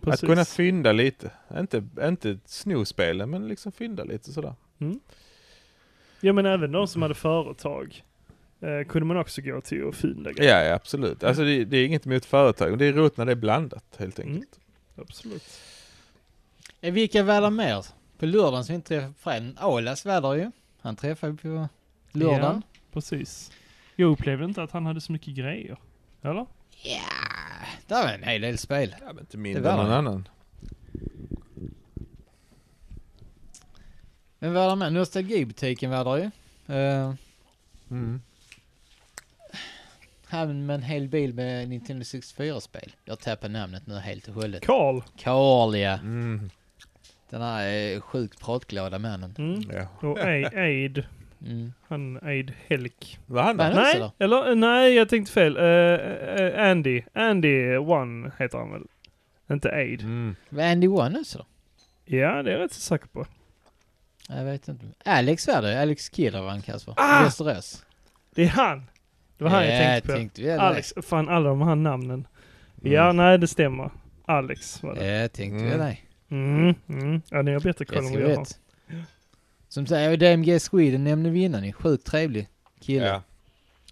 Speaker 6: Att kunna fynda lite. Inte, inte sno spelen, men liksom fynda lite sådär.
Speaker 5: Ja men även de som hade företag eh, kunde man också gå till och fynda grejer.
Speaker 6: Ja, ja absolut. Alltså det, det är inget emot företag. Det är roligt när det är blandat helt
Speaker 5: Mm.
Speaker 6: enkelt.
Speaker 5: Absolut.
Speaker 4: Eh, Vilka värdar mer? På lördagen som vi inte träffade Fred. Alas värdar ju. Han träffade vi på lördagen.
Speaker 5: Ja, precis. Jag upplevde inte att han hade så mycket grejer. Eller?
Speaker 4: Där var en hel del spel.
Speaker 6: Ja, men inte
Speaker 4: Det
Speaker 6: mindre
Speaker 4: är
Speaker 6: än någon
Speaker 4: väl-
Speaker 6: annan.
Speaker 4: Men värdar mer? Nostalgibutiken värdar ju. Eh,
Speaker 6: Mm.
Speaker 4: han med en hel bil med Nintendo 64-spel. Jag tappar namnet nu helt och hållet.
Speaker 5: Karl!
Speaker 4: Carl ja.
Speaker 6: Mm.
Speaker 4: Den här eh, sjukt pratglada mannen.
Speaker 5: Mm.
Speaker 6: Ja.
Speaker 5: Och A- Aid.
Speaker 4: Mm.
Speaker 5: Han Aid Helk.
Speaker 6: Vad han
Speaker 4: Vad
Speaker 6: då?
Speaker 4: är det också
Speaker 5: Nej,
Speaker 4: då?
Speaker 5: eller eh, nej jag tänkte fel. Eh, eh, Andy. Andy One heter han väl? Inte Aid.
Speaker 6: Mm.
Speaker 4: Vad är Andy One också då?
Speaker 5: Ja, det är jag rätt så säker på.
Speaker 4: Jag vet inte. Alex värdar ju. Alex Kidder var han kallas för.
Speaker 5: Ah!
Speaker 4: Västerås.
Speaker 5: Det är han! Det var han jag tänkte på.
Speaker 4: tänkte vi.
Speaker 5: Alex, fan alla de här namnen.
Speaker 6: Mm.
Speaker 5: Ja, nej det stämmer. Alex var det.
Speaker 4: Jag tänkte vi
Speaker 6: Mm.
Speaker 4: dig.
Speaker 5: Mm, mm. Ja, ni har bättre koll
Speaker 4: Jag
Speaker 5: än
Speaker 4: ska
Speaker 5: vad jag har.
Speaker 4: rätt. Som säger, DMG Sweden nämnde vi innan. ju. Sjukt trevlig kille.
Speaker 6: Ja.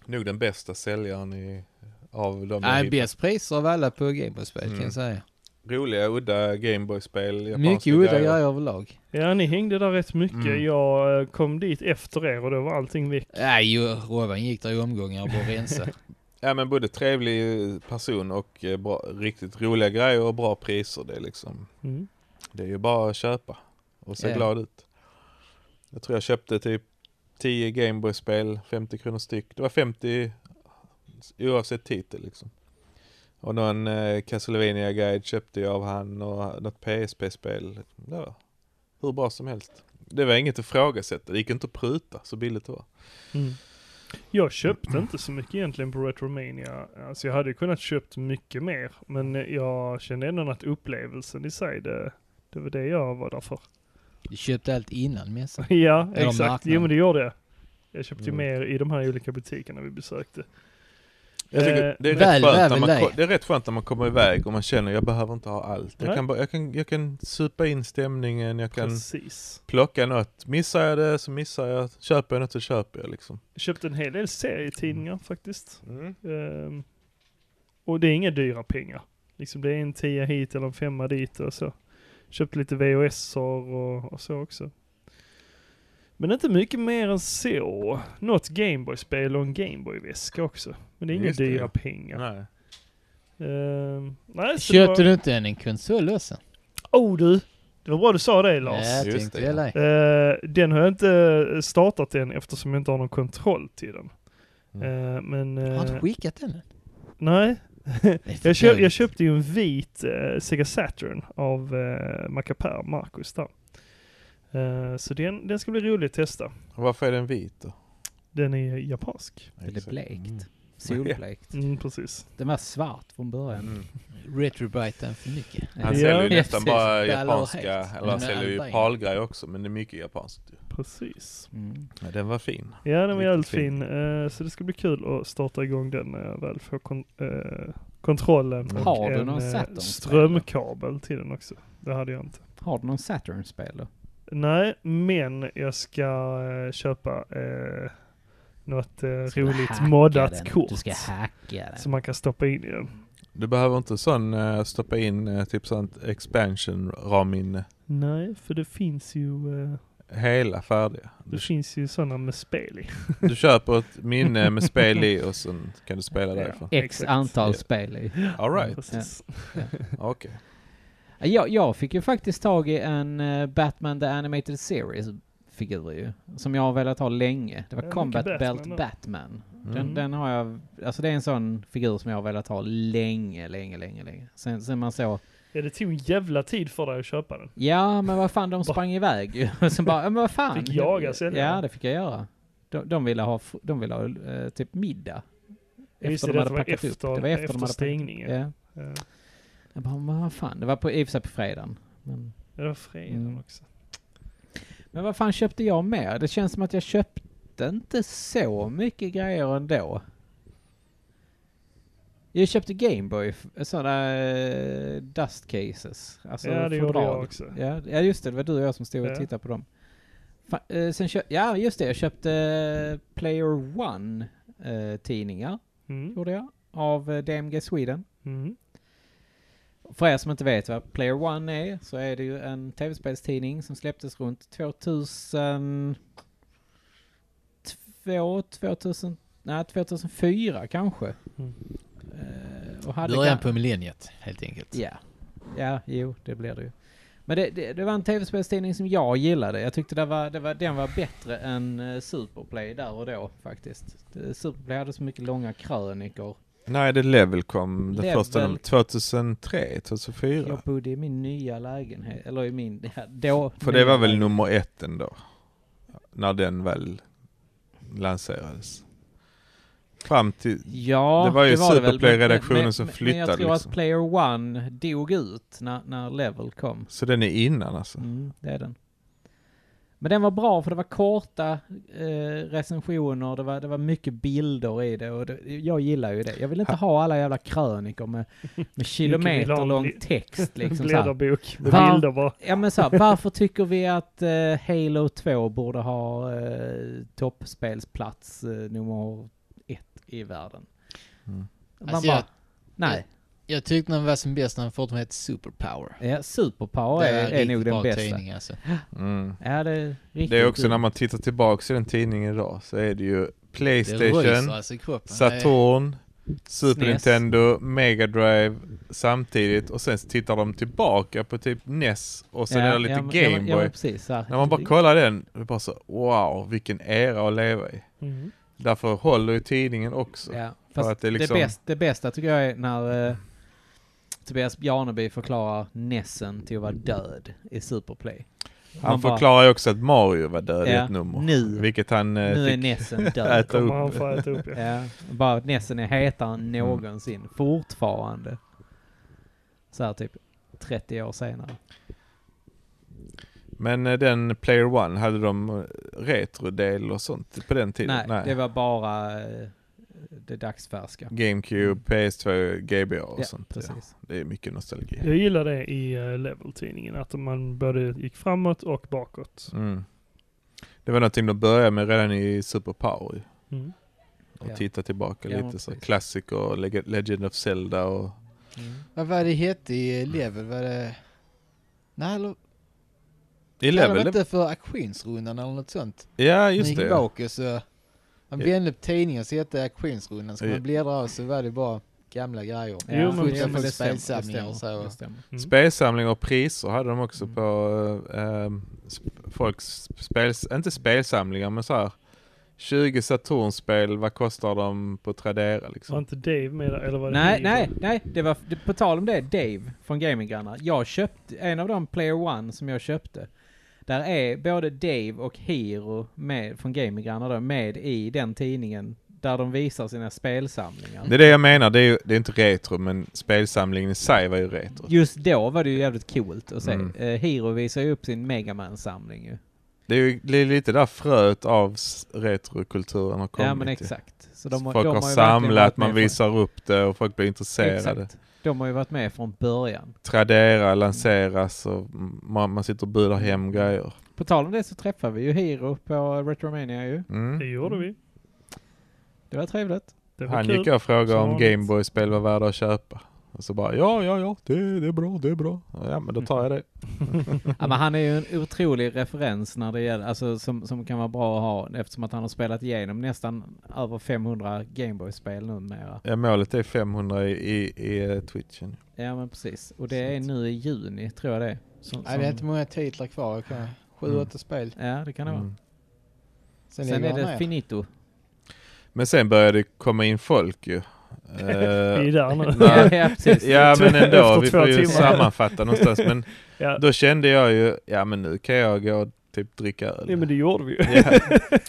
Speaker 6: Nog den bästa säljaren i, av de
Speaker 4: Nej,
Speaker 6: jag
Speaker 4: bäst priser av alla på Gameboy-spel kan
Speaker 6: Mm.
Speaker 4: jag säga.
Speaker 6: hittat. roliga, udda Gameboy-spel. japanska
Speaker 4: Mycket udda grejer överlag.
Speaker 5: Ja, ni hängde där rätt mycket.
Speaker 6: Mm.
Speaker 5: Jag eh, kom dit efter er och då var allting väck.
Speaker 4: Nej, ju, Robin gick där i omgångar och bara rensa.
Speaker 6: Ja men både trevlig person och eh, bra, riktigt roliga grejer och bra priser. Det är, liksom,
Speaker 5: Mm.
Speaker 6: det är ju bara att köpa och se
Speaker 4: Ja.
Speaker 6: glad ut. Jag tror jag köpte typ 10 Gameboy-spel, 50 kronor styck. Det var 50 oavsett titel liksom. Och någon eh, castlevania guide köpte jag av han och något PSP-spel. Det var hur bra som helst. Det var inget att ifrågasätta, det gick inte att pruta så billigt det var.
Speaker 5: Mm. Jag köpte inte så mycket egentligen på Retromania. Alltså jag hade ju kunnat köpt mycket mer. Men eh, jag kände ändå att upplevelsen i sig, det, det var det jag var där för.
Speaker 4: Du köpte allt innan mässan.
Speaker 5: Ja,
Speaker 4: Eller
Speaker 5: exakt.
Speaker 4: marknaden.
Speaker 5: Jo men det gjorde jag. Jag köpte ju
Speaker 6: Mm.
Speaker 5: mer i de här olika butikerna vi besökte.
Speaker 6: Jag
Speaker 5: Eh,
Speaker 6: tycker det, är
Speaker 4: väl-
Speaker 6: rätt skönt när
Speaker 4: väl
Speaker 6: man,
Speaker 4: dig.
Speaker 6: ko- det är rätt skönt när man kommer iväg och man känner jag behöver inte ha allt. Jag
Speaker 5: Nej.
Speaker 6: kan, bara, jag, kan, jag kan supa in stämningen, jag kan
Speaker 5: Precis.
Speaker 6: plocka något. Missar jag det så missar jag, köper jag något så köper jag liksom.
Speaker 5: Jag köpte en hel del serietidningar faktiskt.
Speaker 6: Mm.
Speaker 5: Ehm, och det är inga dyra pengar. Liksom det är en tia hit eller en femma dit och så. Köpte lite VHS och, och så också. Men inte mycket mer än så. Något Gameboy-spel och en Gameboy-väska också. Men det är inga
Speaker 6: Just det,
Speaker 5: dyra
Speaker 6: ja.
Speaker 5: pengar.
Speaker 6: Nej.
Speaker 5: Ehm, nej, så det
Speaker 4: Köpte
Speaker 5: var...
Speaker 4: du inte en konsol också?
Speaker 5: Oh du! Det var bra du sa det Lars.
Speaker 4: Ja, jag
Speaker 6: Just
Speaker 4: tänkte
Speaker 6: det,
Speaker 4: väl
Speaker 6: ja.
Speaker 4: dig.
Speaker 5: Eh, den har jag inte eh, startat än eftersom jag inte har någon kontroll till den. Eh, men... eh,
Speaker 4: Mm. Har du skickat den?
Speaker 5: nej.
Speaker 4: Det är för
Speaker 5: Jag, köp, jag
Speaker 4: dåligt.
Speaker 5: köpte ju en vit eh, Sega Saturn av eh, Macapär, Marcus där. Eh, så den, den ska bli rolig att testa.
Speaker 6: Och Varför är den vit då?
Speaker 5: Den är japansk.
Speaker 1: Det är blekt.
Speaker 6: Mm.
Speaker 1: Solblekt.
Speaker 5: Mm, precis.
Speaker 1: Den var svart från början.
Speaker 6: Mm.
Speaker 4: Retrobite den för mycket.
Speaker 6: Han
Speaker 5: Ja.
Speaker 6: säljer ju
Speaker 1: Ja,
Speaker 6: nästan
Speaker 1: precis.
Speaker 6: bara
Speaker 4: Ballar
Speaker 6: japanska,
Speaker 4: helt.
Speaker 6: eller han
Speaker 4: Men
Speaker 6: säljer
Speaker 4: alla är-
Speaker 6: ju palgrejer också men det är mycket japanskt. ju.
Speaker 5: Precis.
Speaker 1: Mm.
Speaker 6: Ja, den var fin.
Speaker 5: Ja, den var
Speaker 6: Riktigt
Speaker 5: jävligt fin.
Speaker 6: fin.
Speaker 5: Eh, så det ska bli kul att starta igång den när jag väl får kon- eh, kontrollen.
Speaker 6: Mm.
Speaker 5: Och
Speaker 1: Har du
Speaker 5: en
Speaker 1: någon
Speaker 5: eh,
Speaker 1: Saturn-spelare?
Speaker 5: strömkabel till den också. Det hade jag inte.
Speaker 1: Har du någon Saturn-spel då?
Speaker 5: Nej, men jag ska eh, köpa eh, något eh,
Speaker 1: Ska du
Speaker 5: roligt
Speaker 1: hacka
Speaker 5: moddat
Speaker 1: den?
Speaker 5: kort.
Speaker 1: Du ska hacka den.
Speaker 5: som man kan stoppa in i den.
Speaker 6: Du behöver inte sån, eh, stoppa in eh, typ sånt expansion ramminne
Speaker 5: Nej, för det finns ju, eh,
Speaker 6: hela färdiga.
Speaker 5: det
Speaker 6: Du,
Speaker 5: finns ju sådana med spel i.
Speaker 6: du köper ett minne med spel i och sen kan du spela
Speaker 5: Ja.
Speaker 6: därifrån.
Speaker 1: X
Speaker 5: Exakt.
Speaker 1: antal
Speaker 6: Ja.
Speaker 1: spel i.
Speaker 6: All right.
Speaker 5: Precis.
Speaker 6: Okej.
Speaker 1: Jag, jag fick ju faktiskt tag i en eh, Batman The Animated Series-figur ju. Som jag har velat ha länge. Det var
Speaker 5: Ja, mycket
Speaker 1: Combat
Speaker 5: Batman
Speaker 1: Belt
Speaker 5: då.
Speaker 1: Batman. Den,
Speaker 5: Mm.
Speaker 1: den har jag... Alltså det är en sån figur som jag har velat ha länge, länge, länge, länge. Sen, sen man såg...
Speaker 5: Ja, det tog en jävla tid för dig att köpa den.
Speaker 1: Ja, men vad fan, de sprang iväg ju. Och Sen bara, ja, men vad fan.
Speaker 5: Fick jaga säljaren.
Speaker 1: Ja, det fick jag göra. De, de ville ha, fr- de ville ha eh, typ middag.
Speaker 5: Ja, just
Speaker 1: Efter
Speaker 5: det,
Speaker 1: de
Speaker 5: det
Speaker 1: hade
Speaker 5: var
Speaker 1: packat upp. Det
Speaker 5: efter-
Speaker 1: var efter, de
Speaker 5: efter
Speaker 1: hade packat-
Speaker 5: stängningen.
Speaker 1: Ja.
Speaker 5: Eh,
Speaker 1: Jag bara, men vad fan. Det var på, i och för sig på fredagen. Men
Speaker 5: Det var fredagen
Speaker 1: Mm.
Speaker 5: också.
Speaker 1: Men vad fan köpte jag mer? Det känns som att jag köpte inte så mycket grejer ändå. Jag köpte Gameboy, sådana uh, dust cases. Alltså
Speaker 5: ja, det gjorde
Speaker 1: fodral.
Speaker 5: jag också.
Speaker 1: Ja, ja, just det. Det var du och jag som stod
Speaker 5: Ja.
Speaker 1: och tittade på dem. Fa- eh, sen köp- ja, just det. Jag köpte eh, Player One eh, tidningar,
Speaker 5: Mm.
Speaker 1: gjorde jag. Av eh, DMG Sweden.
Speaker 5: Mm.
Speaker 1: För er som inte vet vad Player One är så är det ju en tv-spelstidning som släpptes runt 2002, 2000, nej, 2004 kanske.
Speaker 5: Mm.
Speaker 1: Eh, och hade
Speaker 4: Början
Speaker 1: ka-
Speaker 4: på millenniet, helt enkelt.
Speaker 1: Ja. ja, jo det blir det ju. Men det, det, det var en tv-spelstidning som jag gillade. Jag tyckte det var, det var, den var bättre än eh, Superplay där och då faktiskt. Eh, Superplay hade så mycket långa krönikor.
Speaker 6: Nej, det är Level kom den
Speaker 1: Level.
Speaker 6: första 2003, 2004.
Speaker 1: Jag bodde i min nya lägenhet, eller i min, ja, då.
Speaker 6: För det var väl
Speaker 1: nya-
Speaker 6: nummer ett ändå. När den väl lanserades. Fram till...
Speaker 1: Ja,
Speaker 6: Det var ju
Speaker 1: väl,
Speaker 6: Superplay-redaktionen
Speaker 1: men- men-
Speaker 6: som
Speaker 1: Men jag
Speaker 6: flyttade
Speaker 1: tror
Speaker 6: liksom.
Speaker 1: att Player One dog ut när, när Level kom.
Speaker 6: Så den är innan alltså.
Speaker 1: Mm, det är den. Men den var bra för det var korta eh, recensioner, det var, det var mycket bilder i det och det, jag gillar ju det. Jag vill inte ha alla jävla krönikor med, med kilometerlång
Speaker 5: bli-
Speaker 1: text liksom så här.
Speaker 5: Blädderbok med
Speaker 1: Va?
Speaker 5: bilder bara.
Speaker 1: Ja men så här, varför tycker vi att eh, Halo 2 borde ha eh, toppspelsplats eh, nummer ett i världen?
Speaker 6: Mm.
Speaker 1: Man
Speaker 4: Alltså,
Speaker 1: bara,
Speaker 4: jag-
Speaker 1: nej.
Speaker 4: Jag tyckte den var som bäst när den fortfarande hette Superpower.
Speaker 1: Ja, Superpower
Speaker 4: Det
Speaker 1: är, är
Speaker 4: riktigt
Speaker 1: nog
Speaker 4: bra
Speaker 1: den bästa.
Speaker 4: Tidning, alltså.
Speaker 6: Mm.
Speaker 1: Ja, det är riktigt
Speaker 6: Det är också
Speaker 1: kul.
Speaker 6: när man tittar tillbaks i den tidningen idag så är det ju
Speaker 4: Det ryser
Speaker 6: Playstation,
Speaker 4: alltså i kroppen.
Speaker 6: Saturn, Super
Speaker 1: SNES.
Speaker 6: Nintendo, Mega Drive samtidigt och sen tittar de tillbaka på typ NES och sen är det lite
Speaker 1: men- Ja, men- ja,
Speaker 6: Gameboy.
Speaker 1: men precis. Så här.
Speaker 6: När man bara kollar den, det är bara så wow, vilken era att leva i.
Speaker 5: Mm.
Speaker 6: Därför håller ju tidningen också.
Speaker 1: Ja,
Speaker 6: För
Speaker 1: fast
Speaker 6: att det är liksom...
Speaker 1: det, bästa, det bästa tycker jag är när eh, Tobias Bjarneby förklarar Nessen till att vara död i Superplay.
Speaker 6: Han
Speaker 1: Man bara,
Speaker 6: förklarar ju också att Mario var död i
Speaker 1: Ja,
Speaker 6: ett nummer.
Speaker 1: nu.
Speaker 6: Vilket han eh,
Speaker 1: Nu är
Speaker 6: fick
Speaker 1: Nessen död.
Speaker 6: äta
Speaker 5: Kommer han
Speaker 6: upp. Mm.
Speaker 5: få äta upp ja.
Speaker 1: ja, bara att Nessen är hetare än någonsin. Fortfarande. Så här typ 30 år senare.
Speaker 6: Men eh, den Player One, hade de eh, retrodel och sånt på den tiden?
Speaker 1: Nej, det var bara eh, det dagsfärska.
Speaker 6: GameCube, PS2, GBA och
Speaker 1: Ja,
Speaker 6: sånt. Ja.
Speaker 1: precis.
Speaker 6: Det är mycket nostalgi.
Speaker 5: Jag gillar det i eh, Level-tidningen, att man både gick framåt och bakåt.
Speaker 6: Mm. Det var någonting de började med redan i Super Power ju.
Speaker 5: Mm.
Speaker 6: och
Speaker 1: Ja.
Speaker 6: titta tillbaka
Speaker 1: Ja,
Speaker 6: lite
Speaker 1: men
Speaker 6: så.
Speaker 1: precis.
Speaker 6: Klassiker, Leg- Legend of Zelda och...
Speaker 1: Mm.
Speaker 4: Vad var det hette i Level? Var det... Nej, eller...
Speaker 6: I
Speaker 4: Level?
Speaker 6: level,
Speaker 4: Var det inte för auktionsrundan eller något sånt?
Speaker 6: Ja,
Speaker 4: Man
Speaker 6: just
Speaker 4: gick
Speaker 6: det. ja.
Speaker 4: bak och så... Man
Speaker 6: Ja.
Speaker 4: vände upp tidningen så hette det auktionsrundan. Så
Speaker 6: Ja.
Speaker 4: man bläddrade av så var det bara gamla grejer.
Speaker 5: Jo, men
Speaker 4: Skjuta
Speaker 5: jo, men
Speaker 4: på
Speaker 5: det
Speaker 4: spelsamlingar och så.
Speaker 1: Det stämmer.
Speaker 5: Mm.
Speaker 6: Spelsamling och priser hade de också
Speaker 1: Mm.
Speaker 6: på eh, ehm, sp- folks spels, inte spelsamlingar men så här 20 Saturnspel, vad kostar de på Tradera
Speaker 5: Var
Speaker 6: liksom?
Speaker 5: inte Dave med där? Eller var det
Speaker 1: Nej,
Speaker 5: Dave?
Speaker 1: nej, nej. Det var, det, på tal om det, Dave från Gaminggrannar. Jag köpte, en av de Player One som jag köpte, där är både Dave och Hiro med, från Gaminggrannar då, med i den tidningen där de visar sina spelsamlingar.
Speaker 6: Det är det jag menar, det är ju det är inte retro men spelsamlingen i sig var ju retro.
Speaker 1: Just då var det ju jävligt coolt att se.
Speaker 6: Mm.
Speaker 1: Eh, Hiro visar ju upp sin Megaman-samling ju.
Speaker 6: Det är ju det är lite där fröet av s- retrokulturen har kommit.
Speaker 1: Ja men
Speaker 6: ju.
Speaker 1: exakt. Så
Speaker 6: Så
Speaker 1: de,
Speaker 6: folk
Speaker 1: de
Speaker 6: har
Speaker 1: ju verkligen
Speaker 6: samlat,
Speaker 1: varit
Speaker 6: man
Speaker 1: med från-
Speaker 6: visar upp det och folk blir intresserade.
Speaker 1: Exakt. De har ju varit med från början.
Speaker 6: Tradera lanseras och man, man sitter och budar hem
Speaker 1: Mm.
Speaker 6: grejer.
Speaker 1: På tal om det så träffade vi ju Hiro på Retromania ju.
Speaker 5: Det
Speaker 6: Mm.
Speaker 5: gjorde vi.
Speaker 1: Det var trevligt.
Speaker 5: Det var
Speaker 6: Han
Speaker 5: kul.
Speaker 6: gick och frågade
Speaker 5: Som
Speaker 6: om
Speaker 5: vanligt.
Speaker 6: Gameboy-spel var värda att köpa. Och så bara ja, ja, ja, det, det är bra, det är bra. Ja, men då tar jag det.
Speaker 1: Ja, men han är ju en otrolig referens när det gäller, alltså som, som kan vara bra att ha eftersom att han har spelat igenom nästan över 500 Gameboy-spel numera.
Speaker 6: Ja, målet är 500 i, i, i eh, Twitchen.
Speaker 1: Ja men precis. Och det är nu i juni tror jag det är. Som,
Speaker 4: Nej, det är inte många titlar kvar. Okay. Sju,
Speaker 6: Mm.
Speaker 4: åtta spel.
Speaker 1: Ja det kan det vara.
Speaker 6: Mm.
Speaker 4: Sen,
Speaker 1: Sen
Speaker 4: ligger
Speaker 1: är
Speaker 4: han
Speaker 1: det
Speaker 4: ner.
Speaker 1: finito.
Speaker 6: Men sen börjar det komma in folk ju. Eh,
Speaker 5: Vi är där nu.
Speaker 6: nej.
Speaker 1: ja precis.
Speaker 6: Ja men ändå,
Speaker 5: Efter
Speaker 6: vi
Speaker 5: två
Speaker 6: får ju
Speaker 5: timmar.
Speaker 6: sammanfatta någonstans. Men
Speaker 5: Ja.
Speaker 6: då kände jag ju, ja men nu kan jag gå och typ dricka öl.
Speaker 5: ja, men det gjorde vi ju.
Speaker 6: Ja.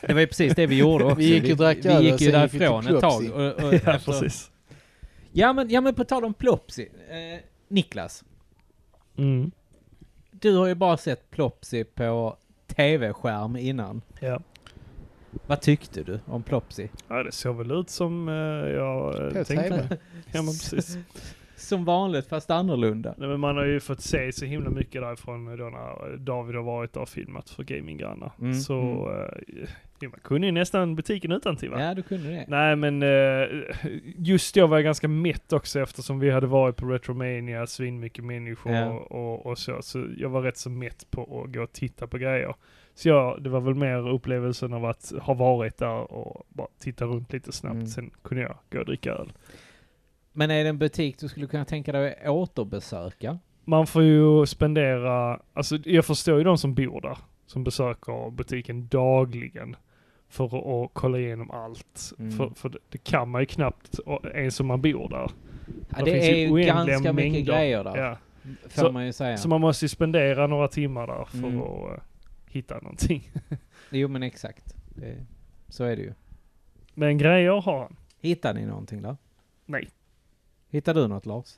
Speaker 1: Det var ju precis det vi gjorde också.
Speaker 4: Vi gick och drack
Speaker 1: Vi
Speaker 4: öl
Speaker 1: gick
Speaker 4: och
Speaker 1: ju
Speaker 4: sen gick vi till
Speaker 1: därifrån ett tag.
Speaker 4: Plopsi.
Speaker 1: Och, och
Speaker 5: Ja,
Speaker 1: efter-
Speaker 5: precis.
Speaker 1: ja, men, ja men på tal om Plopsi. Eh, Niklas,
Speaker 5: Mm.
Speaker 1: du har ju bara sett Plopsi på tv-skärm innan.
Speaker 5: Ja.
Speaker 1: Vad tyckte du om Plopsi?
Speaker 5: ja, det såg väl ut som eh, jag eh,
Speaker 4: På
Speaker 5: tänkte.
Speaker 4: TV.
Speaker 5: Ja, men precis.
Speaker 1: Som vanligt fast annorlunda.
Speaker 5: Nej, men man har ju fått se så himla mycket därifrån då när David har varit där och filmat för Gaminggrannar.
Speaker 1: Mm,
Speaker 5: Så eh, ja, man kunde ju nästan butiken utan till va?
Speaker 1: Ja, du kunde det.
Speaker 5: Nej men eh, just då var jag ganska mätt också eftersom vi hade varit på Retromania, svinmycket människor
Speaker 1: Ja.
Speaker 5: och, och, och så. Så jag var rätt så mätt på att gå och titta på grejer. Så jag, det var väl mer upplevelsen av att ha varit där och bara titta runt lite snabbt.
Speaker 1: Mm.
Speaker 5: Sen kunde jag gå och dricka öl.
Speaker 1: Men är det en butik du skulle kunna tänka dig att återbesöka?
Speaker 5: Man får ju spendera, alltså jag förstår ju de som bor där, som besöker butiken dagligen för att, att kolla igenom allt.
Speaker 1: Mm.
Speaker 5: För, för det, det kan man ju knappt, och- ens om man bor där.
Speaker 1: Ja,
Speaker 5: Det
Speaker 1: det
Speaker 5: finns
Speaker 1: är
Speaker 5: ju
Speaker 1: ju
Speaker 5: oändliga
Speaker 1: ganska mycket
Speaker 5: mängder.
Speaker 1: grejer där,
Speaker 5: Ja.
Speaker 1: får
Speaker 5: Så-
Speaker 1: man ju säga.
Speaker 5: Så man måste ju spendera några timmar där för
Speaker 1: Mm.
Speaker 5: att eh, hitta någonting.
Speaker 1: Jo, men exakt. Det, så är det ju.
Speaker 5: Men grejer har han.
Speaker 1: Hittar ni någonting där?
Speaker 5: Nej.
Speaker 1: Hittar du något Lars?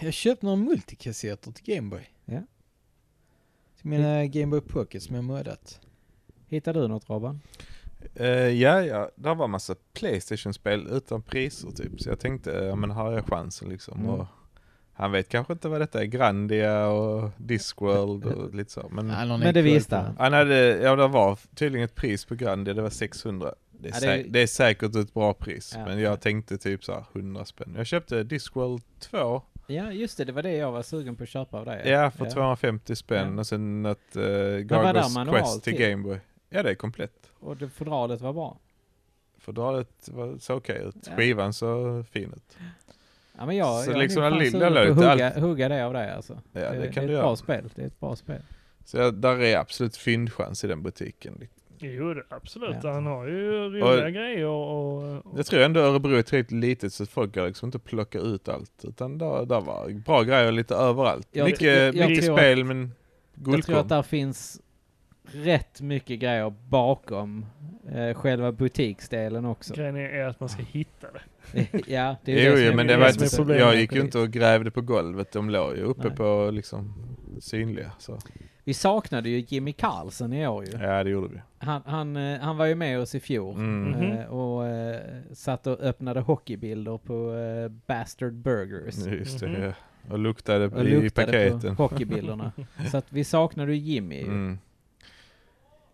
Speaker 4: Jag köpte några multikassetter till Gameboy.
Speaker 1: Ja.
Speaker 4: Till mina Gameboy Pocket som jag moddat.
Speaker 1: Hittar du något Robban?
Speaker 6: Eh, ja, ja, där var massa Playstation-spel utan priser typ. Så jag tänkte, ja men här har jag chansen liksom.
Speaker 1: Mm.
Speaker 6: Och han vet kanske inte vad detta är, Grandia och Discworld och lite så. Men
Speaker 4: Nej, någon
Speaker 1: Men
Speaker 4: är
Speaker 1: det
Speaker 4: cool
Speaker 1: visste
Speaker 4: på-
Speaker 1: han.
Speaker 6: han hade, ja det var tydligen ett pris på Grandia, det var 600. Det är,
Speaker 1: Ja, det är-
Speaker 6: säk- det är säkert ett bra pris,
Speaker 1: Ja.
Speaker 6: men jag tänkte typ så här 100 spänn. Jag köpte Discworld 2,
Speaker 1: Ja, just det. Det var det jag var sugen på att köpa av dig.
Speaker 6: ja för 250 spänn
Speaker 1: Ja.
Speaker 6: och sen ett uh,
Speaker 1: var det
Speaker 6: Gargos
Speaker 1: manual
Speaker 6: Quest till
Speaker 1: till?
Speaker 6: Gameboy. Ja det är komplett.
Speaker 1: Och det, fodralet var bra.
Speaker 6: Fodralet var- såg okej ut,
Speaker 1: Ja.
Speaker 6: skivan så fin ut.
Speaker 1: Ja, men jag,
Speaker 6: Så
Speaker 1: jag
Speaker 6: liksom
Speaker 1: är nog
Speaker 6: den
Speaker 1: fan
Speaker 6: lilla
Speaker 1: sugen på
Speaker 6: låter
Speaker 1: att hugga, hugga det av dig alltså.
Speaker 6: Ja, det kan
Speaker 1: är
Speaker 6: du
Speaker 1: ett
Speaker 6: göra.
Speaker 1: bra spel. Det är ett bra spel.
Speaker 6: Så jag, där är absolut fyndchans i den butiken.
Speaker 5: Jo, det- absolut.
Speaker 1: Ja.
Speaker 5: Han har ju roliga grejer och... och
Speaker 6: Jag tror ändå Örebro är tillräckligt litet så folk kan liksom inte plocka ut allt. Utan där, där var bra grejer lite överallt.
Speaker 1: Jag
Speaker 6: mycket
Speaker 1: tror- jag- jag
Speaker 6: mycket
Speaker 1: tror
Speaker 6: spel men
Speaker 1: Jag tror att
Speaker 6: guldkorn.
Speaker 1: där finns rätt mycket grejer bakom eh, själva butiksdelen också.
Speaker 5: grejen är, är att man ska hitta det.
Speaker 1: ja, det är
Speaker 6: Jo,
Speaker 1: som
Speaker 6: jo
Speaker 1: är-
Speaker 6: men
Speaker 5: det
Speaker 6: det
Speaker 5: är
Speaker 6: var
Speaker 5: det som
Speaker 6: inte
Speaker 5: är
Speaker 6: så,
Speaker 5: problemet.
Speaker 6: jag gick ju inte och grävde på golvet. De låg ju uppe
Speaker 1: Nej.
Speaker 6: på liksom synliga. Så.
Speaker 1: Vi saknade ju Jimmy Carlsen i år ju.
Speaker 6: Ja det gjorde vi.
Speaker 1: Han, han, eh, han var ju med oss i fjol.
Speaker 6: Mm.
Speaker 5: Mhm.
Speaker 1: eh, Och eh, satt och öppnade hockeybilder på eh, Bastard Burgers.
Speaker 6: Just det.
Speaker 5: Mhm.
Speaker 6: ja. Och luktade,
Speaker 1: Mm-hmm. Och
Speaker 6: Mm. i
Speaker 1: luktade
Speaker 6: paketen.
Speaker 1: på hockeybilderna. Så att vi saknade ju Jimmy ju.
Speaker 6: Mm.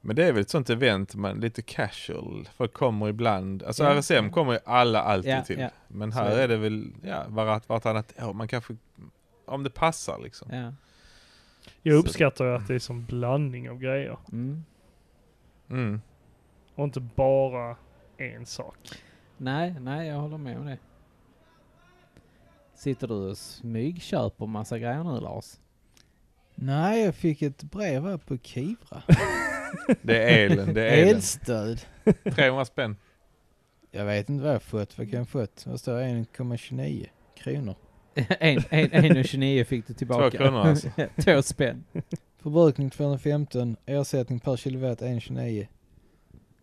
Speaker 6: Men det är väl ett sånt event, man, lite casual. Folk kommer ibland. Alltså
Speaker 1: Ja.
Speaker 6: RSM kommer ju alla alltid
Speaker 1: Ja,
Speaker 6: till.
Speaker 1: ja.
Speaker 6: Men
Speaker 1: Så är
Speaker 6: här är,
Speaker 1: det.
Speaker 6: det väl ja, vart, vartannat år. Man kanske, om det passar liksom.
Speaker 1: Ja.
Speaker 5: Jag
Speaker 6: Så-
Speaker 5: uppskattar ju att det är som blandning av grejer.
Speaker 1: Mm.
Speaker 6: Mm.
Speaker 5: Och inte bara en sak.
Speaker 1: Nej, nej, jag håller med om det. Sitter du och smygköper massa grejer nu Lars?
Speaker 4: Nej, jag fick ett brev här på Kivra.
Speaker 6: Det är elen, det är elen.
Speaker 4: Elstöd.
Speaker 6: 300 spänn.
Speaker 4: Jag vet inte vad jag fått. Vad kan jag fått? Vad står det? 1,29 kronor.
Speaker 1: en, en, en och 29 fick du tillbaka.
Speaker 6: Två kronor alltså.
Speaker 1: Två spänn.
Speaker 4: Förbrukning 215. Ersättning per kilowatt 1,29.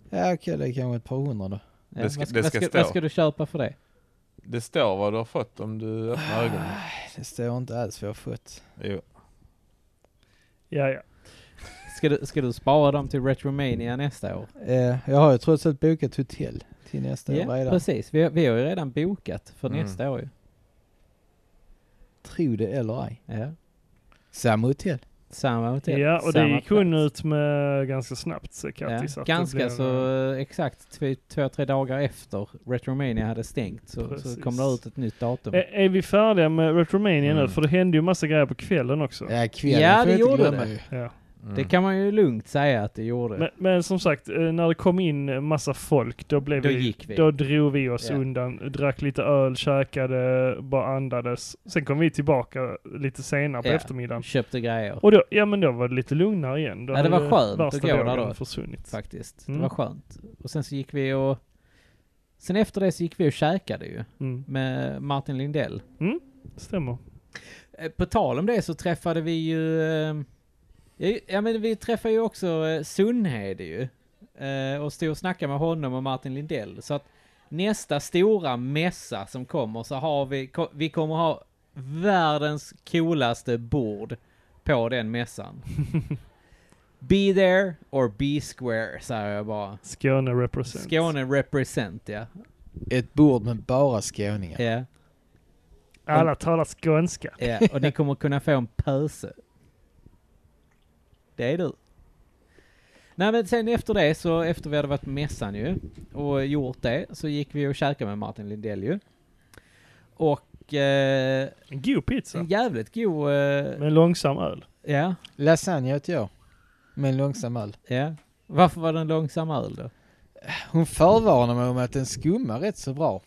Speaker 4: Ja okej, det är kanske ett par hundra då.
Speaker 1: Ja,
Speaker 6: Det ska-
Speaker 1: vad,
Speaker 6: det
Speaker 1: vad,
Speaker 6: ska
Speaker 1: ska,
Speaker 6: stå.
Speaker 1: vad ska du köpa för det?
Speaker 6: Det står vad du har fått om du öppnar ögonen.
Speaker 4: Ah, Det står inte alls vad jag har fått.
Speaker 6: Jo.
Speaker 5: Ja, ja.
Speaker 1: Ska du, ska du spara dem till Retromania nästa år?
Speaker 4: Eh, jag har ju trots allt bokat hotell till nästa år
Speaker 1: Ja,
Speaker 4: redan.
Speaker 1: precis. Vi har, vi har ju redan bokat för
Speaker 6: Mm.
Speaker 1: nästa år ju.
Speaker 4: Tro det eller ej.
Speaker 1: Ja.
Speaker 4: Samma hotell.
Speaker 1: Samma hotell.
Speaker 5: Ja, och det
Speaker 1: samma
Speaker 5: gick hon ut med ganska snabbt, så Kattis.
Speaker 1: Ja,
Speaker 5: att det
Speaker 1: ganska
Speaker 5: blev,
Speaker 1: så eh, exakt två, två, tre dagar efter Retromania hade stängt så, så
Speaker 5: Precis.
Speaker 1: kom det ut ett nytt datum.
Speaker 5: Är, är vi färdiga med Retromania nu?
Speaker 4: Mm.
Speaker 5: För det hände ju massa grejer på kvällen också.
Speaker 4: Ja, kvällen
Speaker 1: Ja,
Speaker 4: får
Speaker 1: det
Speaker 4: jag inte
Speaker 1: gjorde
Speaker 4: glömma
Speaker 1: det.
Speaker 4: ju.
Speaker 5: Ja.
Speaker 6: Mm.
Speaker 1: Det kan man ju lugnt säga att det gjorde.
Speaker 5: Men, men som sagt, eh, när det kom in eh, massa folk, då blev
Speaker 1: Då
Speaker 5: vi,
Speaker 1: gick vi.
Speaker 5: Då drog vi oss
Speaker 1: Ja.
Speaker 5: undan, drack lite öl, käkade, bara andades. Sen kom vi tillbaka lite senare på
Speaker 1: Ja.
Speaker 5: eftermiddagen.
Speaker 1: Köpte grejer
Speaker 5: Och då, ja men då var det lite lugnare igen. Då
Speaker 1: Ja, det var
Speaker 5: hade
Speaker 1: skönt att
Speaker 5: värsta
Speaker 1: gå där
Speaker 5: vågen
Speaker 1: då.
Speaker 5: försvunnit.
Speaker 1: faktiskt.
Speaker 5: Mm.
Speaker 1: Det var skönt. Och sen så gick vi och... Sen efter det så gick vi och käkade ju
Speaker 5: Mm,
Speaker 1: med Martin Lindell.
Speaker 5: stämmer.
Speaker 1: Eh, På tal om det så träffade vi ju... eh, ja, Ja men vi träffade ju också eh, Sundhed ju. Eh, Och stod och snackade med honom och Martin Lindell. Så att nästa stora mässa som kommer så har vi... ko- Vi kommer ha världens coolaste bord på den mässan. be there or be square säger jag bara.
Speaker 5: Skåne represent.
Speaker 1: Skåne represent ja.
Speaker 4: Ett bord med bara skåningar.
Speaker 1: ja.
Speaker 5: Alla talar skånska.
Speaker 1: ja. Och ni kommer kunna få en pöse. Det är du. Nej men sen efter det så, efter vi hade varit på mässan ju och gjort det, så gick vi och käkade med Martin Lindell ju. Och eh,
Speaker 5: En god pizza.
Speaker 1: en jävligt god... Eh,
Speaker 5: Med långsam öl.
Speaker 1: ja,
Speaker 4: Lasagne åt jag. Med en långsam öl.
Speaker 1: ja. Varför var den långsam öl då?
Speaker 4: Hon förvarnar mig om att den skummar rätt så bra.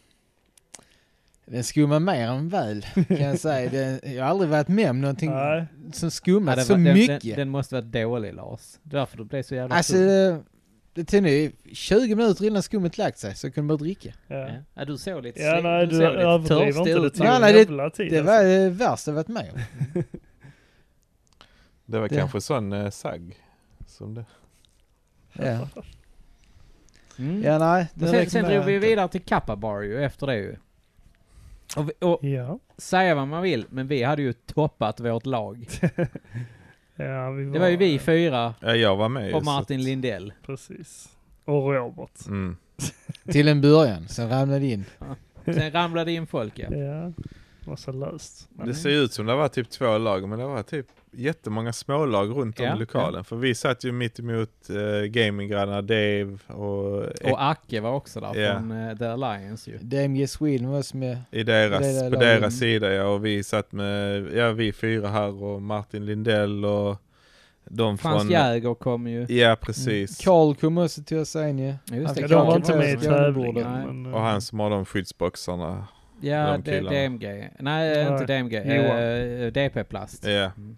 Speaker 4: Den skummar mer än väl, kan jag säga. Den, jag har aldrig varit med om någonting
Speaker 5: Nej.
Speaker 4: som
Speaker 1: Ja,
Speaker 4: skummat
Speaker 1: den,
Speaker 4: så
Speaker 1: var- den,
Speaker 4: mycket.
Speaker 1: Den, den måste varit dålig Lars. Därför du blev så jävla
Speaker 4: alltså,
Speaker 1: full.
Speaker 4: det tog nu 20 minuter innan skummet lagt sig så kunde man dricka.
Speaker 5: Ja.
Speaker 1: Ja. ja, du såg lite,
Speaker 5: Ja, nej,
Speaker 1: du
Speaker 5: du
Speaker 1: såg lite
Speaker 5: överdriver
Speaker 1: törstig
Speaker 5: inte. Det
Speaker 1: ut.
Speaker 5: tar
Speaker 4: Ja,
Speaker 5: en
Speaker 4: nej, det-
Speaker 5: jävla tid. alltså.
Speaker 4: Det var eh, det värsta jag varit med om.
Speaker 6: Det var
Speaker 4: Det-
Speaker 6: kanske sån eh, sagg. Som det.
Speaker 4: Ja,
Speaker 1: Mm.
Speaker 4: ja nej.
Speaker 1: Men
Speaker 4: det
Speaker 1: sen, sen
Speaker 4: rekommenderar
Speaker 1: drog
Speaker 4: jag
Speaker 1: vi
Speaker 4: inte.
Speaker 1: vidare till Kappa Bar ju efter det ju. Och, vi, och
Speaker 5: Ja.
Speaker 1: säga vad man vill, men vi hade ju toppat vårt lag.
Speaker 5: ja vi var,
Speaker 1: Det var ju vi fyra
Speaker 6: Ja, jag var med. ju,
Speaker 1: och
Speaker 6: så
Speaker 1: Martin
Speaker 6: att-
Speaker 1: Lindell.
Speaker 5: Precis. Och Robert.
Speaker 6: Mm.
Speaker 4: Till en början, sen ramlade det in.
Speaker 1: Sen ramlade in folk ja.
Speaker 5: Ja. Massa löst. Men-
Speaker 6: Det ser ju ut som det var typ två lag, men det var typ jättemånga smålag runt om
Speaker 1: Ja,
Speaker 6: i lokalen. För vi satt ju mitt emot eh, gaminggrannarna Dave och, Ek-
Speaker 1: Och Acke var också där
Speaker 6: Ja.
Speaker 1: från eh, The Alliance ju.
Speaker 4: DMG Sweden var som med...
Speaker 6: i deras,
Speaker 4: det där
Speaker 6: på
Speaker 4: lagen.
Speaker 6: deras sida ja, och vi satt med, ja vi fyra här och Martin Lindell och de
Speaker 1: Frans
Speaker 6: från...
Speaker 1: Jäger kom ju.
Speaker 6: Ja precis.
Speaker 4: Karl kom också till oss sen ju.
Speaker 1: Just det,
Speaker 5: Ja,
Speaker 4: fick
Speaker 5: de
Speaker 1: Karl
Speaker 5: var
Speaker 4: Karl
Speaker 5: inte
Speaker 4: på
Speaker 5: med i
Speaker 4: sig
Speaker 5: tävlingen.
Speaker 4: skåneboardet.
Speaker 5: men, eh,
Speaker 6: Och han som har de skyddsboxarna.
Speaker 1: Ja,
Speaker 6: de
Speaker 1: D-
Speaker 6: killarna.
Speaker 1: DMG. Nej,
Speaker 5: Nej.
Speaker 1: inte DMG.
Speaker 5: Johan.
Speaker 1: Eh, DP Plast.
Speaker 6: Ja.
Speaker 1: Mm.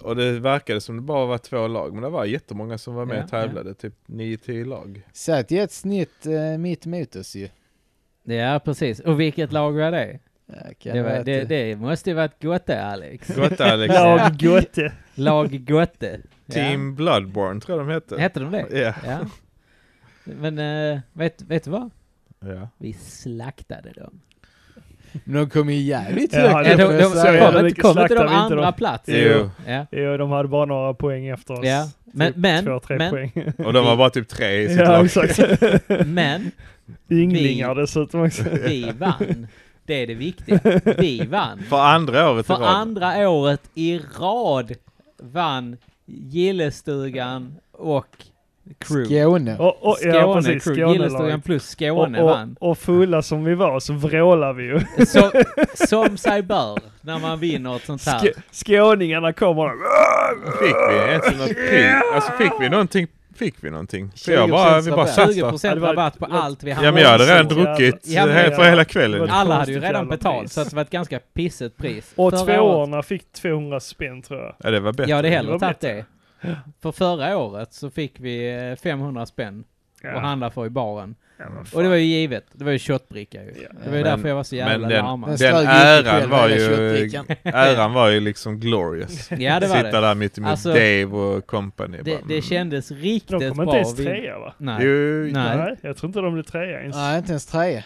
Speaker 6: Och det verkade som det bara var två lag, men det var jättemånga som var med
Speaker 1: Ja,
Speaker 6: och tävlade. Typ 9-10 lag.
Speaker 4: Satt i ett snitt eh, mitt emot oss ju.
Speaker 1: Ja, precis. Och vilket lag var det?
Speaker 4: Ja, kan
Speaker 1: Det,
Speaker 4: vara
Speaker 1: var,
Speaker 4: att
Speaker 1: det, det måste ju varit Gotte, Alex.
Speaker 6: Gott Alex.
Speaker 5: Lag Gotte.
Speaker 1: Lag Gotte.
Speaker 6: Team Bloodborne tror jag de
Speaker 1: Ja.
Speaker 6: hette.
Speaker 1: Hette de det?
Speaker 6: Ja.
Speaker 1: Ja. Men eh, vet, vet du vad?
Speaker 6: Ja.
Speaker 1: Vi slaktade dem.
Speaker 4: Men eh, de kom ju jävligt
Speaker 5: Ja,
Speaker 4: högt
Speaker 5: det-
Speaker 1: Ja,
Speaker 4: upp,
Speaker 1: de, de,
Speaker 4: får
Speaker 5: får jag
Speaker 4: jag säga.
Speaker 5: säga.
Speaker 1: kom inte,
Speaker 5: Mycket
Speaker 1: kom inte de
Speaker 5: slaktar vi inte
Speaker 1: andra
Speaker 5: dem.
Speaker 1: plats.
Speaker 6: Jo.
Speaker 1: Ja.
Speaker 5: Jo, de hade bara några poäng efter oss.
Speaker 1: Ja. Men,
Speaker 5: Typ
Speaker 1: men,
Speaker 5: två, tre
Speaker 1: men,
Speaker 5: poäng.
Speaker 6: Och de var bara typ tre i sitt
Speaker 5: ja,
Speaker 6: lag.
Speaker 5: exakt.
Speaker 1: men
Speaker 5: Ynglingar dessutom också.
Speaker 1: vi vann. Det är det viktiga. Vi vann.
Speaker 6: För andra året i
Speaker 1: För
Speaker 6: rad.
Speaker 1: andra året i rad vann Gillestugan och Crew.
Speaker 4: Skåne.
Speaker 5: Och, och, ja, precis.
Speaker 1: crew. Gillestugan
Speaker 5: Skånelaget.
Speaker 1: plus
Speaker 5: Och,
Speaker 1: Skåne
Speaker 5: och,
Speaker 1: vann.
Speaker 5: och fulla som vi var så vrålade vi ju.
Speaker 1: Så, som sig bör när man vinner ett sånt här.
Speaker 5: Sk- skåningarna kommer och,
Speaker 6: Fick vi ens något pris? Alltså fick vi någonting? Fick vi någonting? För jag bara, vi bara satt där.
Speaker 1: 20%
Speaker 5: det var-
Speaker 1: rabatt på allt vi hade.
Speaker 6: Ja men jag hade redan
Speaker 5: Ja,
Speaker 6: druckit
Speaker 1: ja, men-
Speaker 6: helt för hela kvällen.
Speaker 5: Ja.
Speaker 1: Alla hade ju
Speaker 5: Konstigt
Speaker 1: redan
Speaker 5: jävla
Speaker 1: betalt
Speaker 5: pris.
Speaker 1: så att det var ett ganska pissigt pris.
Speaker 5: och
Speaker 1: Förra året-
Speaker 5: tvåorna fick 200 spänn tror jag.
Speaker 6: Ja det var bättre.
Speaker 1: Jag hade
Speaker 5: Det
Speaker 1: hellre
Speaker 5: var
Speaker 1: tagit
Speaker 5: bättre.
Speaker 1: det. För förra året så fick vi eh, 500 spänn
Speaker 5: Ja.
Speaker 1: att handla för i baren.
Speaker 5: ja, men fan.
Speaker 1: Och det var ju givet. Det var ju shotbricka ju.
Speaker 5: Ja.
Speaker 1: Det var ju
Speaker 6: Men-
Speaker 1: därför jag var så jävla
Speaker 6: men den-
Speaker 1: larmad.
Speaker 4: Den
Speaker 6: Den
Speaker 4: slog ut i
Speaker 6: äran
Speaker 4: själva
Speaker 6: var
Speaker 4: hela
Speaker 6: ju-
Speaker 4: köttdrickan.
Speaker 6: Äran var ju liksom glorious.
Speaker 1: Ja det var
Speaker 6: Sitta
Speaker 1: det.
Speaker 6: där mitt emot
Speaker 1: Alltså,
Speaker 6: Dave och company.
Speaker 1: Det,
Speaker 6: bara, mm.
Speaker 1: det kändes riktigt
Speaker 5: De kom
Speaker 1: bra.
Speaker 5: inte ens
Speaker 1: Vi-
Speaker 5: trea va?
Speaker 1: Nej.
Speaker 6: Jo,
Speaker 1: Nej.
Speaker 5: Nej, jag tror inte de blev trea ens.
Speaker 4: Nej, inte ens trea.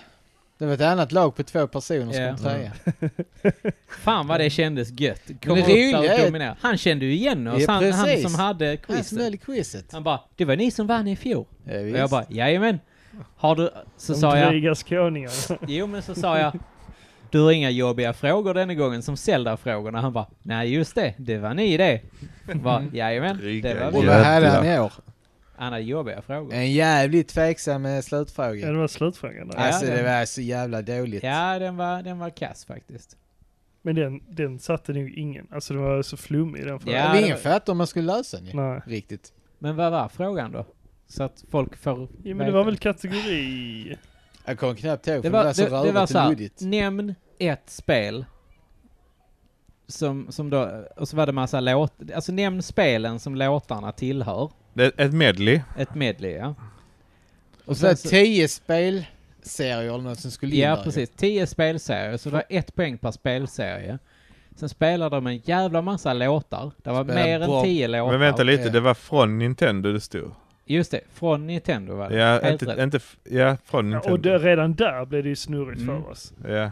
Speaker 4: Det var ett annat lag på två personer som
Speaker 1: Ja.
Speaker 4: kom trea.
Speaker 1: Fan vad det kändes gött. Kom
Speaker 4: det
Speaker 1: upp där
Speaker 4: roliga är-
Speaker 1: och dominera. Han kände ju igen oss.
Speaker 4: Ja,
Speaker 1: han, han
Speaker 4: precis.
Speaker 1: som hade
Speaker 4: Han som höll
Speaker 1: quizet.
Speaker 4: i quizet.
Speaker 1: Han bara, det var ni som vann i fjol.
Speaker 4: Ja,
Speaker 1: Och
Speaker 4: visst.
Speaker 1: jag bara, jajamän. Har du... Så
Speaker 5: de
Speaker 1: sa jag,
Speaker 5: dryga skåningarna.
Speaker 1: jo men så sa jag, du har inga jobbiga frågor denna gången som Zelda-frågorna. Han bara, nej just det, det var ni det. Bara, Jajamän, det
Speaker 6: Dryga
Speaker 1: var
Speaker 4: Och
Speaker 1: vi.
Speaker 4: vad hade han i år?
Speaker 1: Han hade jobbiga frågor.
Speaker 4: En jävligt tveksam eh,
Speaker 5: Ja,
Speaker 4: slutfråga.
Speaker 5: det var slutfrågan där.
Speaker 1: Ja.
Speaker 4: Alltså det
Speaker 1: den-
Speaker 4: var så jävla dåligt.
Speaker 1: Ja, den var, den var kass faktiskt.
Speaker 5: Men den, den satte nog ingen. Alltså det var så flummig den frågan.
Speaker 1: Ja,
Speaker 4: Men
Speaker 1: det
Speaker 4: ingen
Speaker 1: var-
Speaker 4: fattade om man skulle lösa den ju.
Speaker 5: Nej.
Speaker 4: Riktigt.
Speaker 1: Men vad var frågan då? Så att folk får...
Speaker 5: Ja, men det var väl kategori...
Speaker 4: Jag kom knappt ihåg för
Speaker 1: Det var,
Speaker 4: så
Speaker 1: det, det var
Speaker 4: rörigt
Speaker 1: så
Speaker 4: och
Speaker 1: här, Mm.
Speaker 4: luddigt.
Speaker 1: nämn ett spel. Som, som då, och så var det massa låt, alltså nämn spelen som låtarna tillhör.
Speaker 6: Det är ett medley.
Speaker 1: Ett medley ja.
Speaker 4: Och så
Speaker 1: sen
Speaker 4: var det
Speaker 1: så-
Speaker 4: tio spelserier eller något som skulle in
Speaker 1: Ja
Speaker 4: där ju.
Speaker 1: precis, 10 spelserier, så det var ett poäng per spelserie. Sen spelade de en jävla massa låtar. Det var
Speaker 4: Spelade
Speaker 1: mer
Speaker 4: bra-
Speaker 1: än 10 låtar.
Speaker 6: Men vänta lite,
Speaker 4: okej.
Speaker 6: det var från Nintendo det stod.
Speaker 1: Just det, från Nintendo var det.
Speaker 6: Ja,
Speaker 1: Helt
Speaker 6: inte,
Speaker 1: rätt.
Speaker 6: inte, f- ja från
Speaker 5: Ja, och det,
Speaker 6: Nintendo.
Speaker 5: redan där blev det ju snurrigt
Speaker 1: Mm.
Speaker 5: för oss.
Speaker 6: Ja.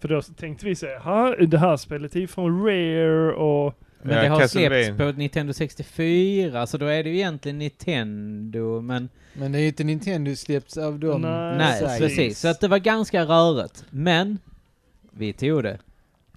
Speaker 5: För då tänkte vi så här, det här spelet är ju från Rare och...
Speaker 1: Men
Speaker 6: Ja,
Speaker 1: det har
Speaker 6: Castlevania.
Speaker 1: släppts på Nintendo 64, så då är det ju egentligen Nintendo, men...
Speaker 4: Men det är ju inte Nintendo släppts av dem.
Speaker 5: Nej,
Speaker 1: Nej,
Speaker 4: säger-
Speaker 5: precis.
Speaker 1: precis. Så att det var ganska rörigt. Men, vi tog det.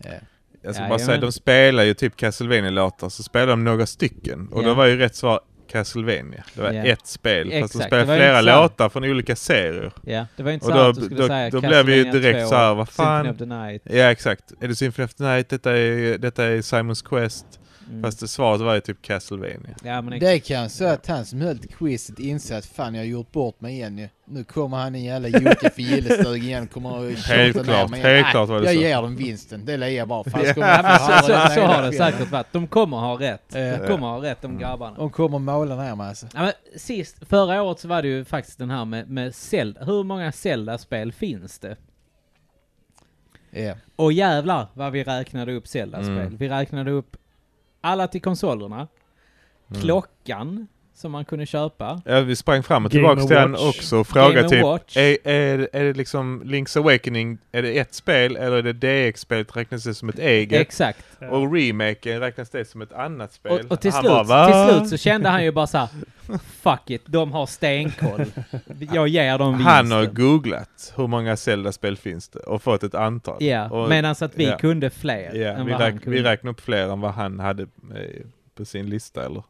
Speaker 4: Ja.
Speaker 6: Jag ska Alltså, bara
Speaker 1: Jajamän.
Speaker 6: säga, de spelar ju typ Castlevania-låtar, så spelar de några stycken. Och
Speaker 1: Ja.
Speaker 6: då var ju rätt svar Castlevania. Det var
Speaker 1: Ja.
Speaker 6: ett spel, fast de
Speaker 1: Exakt,
Speaker 6: spelar
Speaker 1: det var
Speaker 6: flera
Speaker 1: inte så här-
Speaker 6: låtar från olika serier.
Speaker 1: Ja, det var inte
Speaker 6: Och
Speaker 1: så här
Speaker 6: då,
Speaker 1: att du skulle
Speaker 6: då,
Speaker 1: säga
Speaker 6: då blev vi ju
Speaker 1: Castlevania
Speaker 6: direkt
Speaker 1: 2,
Speaker 6: så här, vad
Speaker 1: Symphony
Speaker 6: fan.
Speaker 1: of the Night.
Speaker 6: Ja exakt. Är det Symphony of the Night? Detta är, detta är Simons Quest.
Speaker 1: Mm.
Speaker 6: Fast det svaret var ju typ Castlevania.
Speaker 1: ja, men
Speaker 4: Det kan så att han som höll quizet inser att fan jag har gjort bort mig igen ju. Nu kommer han en jävla Jocke för gillestuga igen kommer och tjata
Speaker 6: Helt
Speaker 4: ner
Speaker 6: klart,
Speaker 4: mig
Speaker 6: helt
Speaker 4: Nej,
Speaker 6: klart var det
Speaker 4: jag
Speaker 6: så.
Speaker 4: ger dem vinsten, det lägger jag bara. Fan,
Speaker 6: Ja.
Speaker 4: kommer jag
Speaker 1: Ja,
Speaker 4: få
Speaker 1: men så,
Speaker 4: höra
Speaker 1: så, så
Speaker 4: den
Speaker 1: har
Speaker 4: hela
Speaker 1: det
Speaker 4: kvällen.
Speaker 1: säkert varit. De kommer ha rätt. De
Speaker 4: Eh,
Speaker 1: kommer ha rätt, de grabbarna.
Speaker 4: De kommer måla ner mig alltså.
Speaker 1: Ja, men sist, förra året så var det ju faktiskt den här med, med Zelda. Hur många Zelda-spel finns det?
Speaker 4: Ja.
Speaker 1: Och jävlar vad vi räknade upp Zelda-spel.
Speaker 6: Mm.
Speaker 1: Vi räknade upp alla till konsolerna, klockan som man kunde köpa,
Speaker 6: Mm. Ja, vi sprang fram och
Speaker 5: Game
Speaker 6: tillbaka till
Speaker 5: and
Speaker 6: den
Speaker 5: Watch.
Speaker 6: också och frågade
Speaker 1: Game
Speaker 6: typ,
Speaker 1: Watch.
Speaker 6: är, är, är det liksom Link's Awakening, är det ett spel eller är det DX-spelet räknas det som ett E eget?
Speaker 1: Exakt.
Speaker 5: Ja.
Speaker 6: och remaken räknas det som ett annat spel?
Speaker 1: Och, och till,
Speaker 6: Han
Speaker 1: slut,
Speaker 6: bara, "Va?"
Speaker 1: till slut så kände han ju bara så här, fuck it, de har stenkoll. Jag ger dem vinsten.
Speaker 6: Han har googlat hur många Zelda-spel finns det och fått ett antal.
Speaker 1: Ja,
Speaker 6: och,
Speaker 1: medan att vi
Speaker 6: ja.
Speaker 1: kunde fler
Speaker 6: ja,
Speaker 1: än
Speaker 6: vi,
Speaker 1: vad han
Speaker 6: räk,
Speaker 1: kunde.
Speaker 6: vi räknar upp fler än vad han hade eh, på sin lista eller?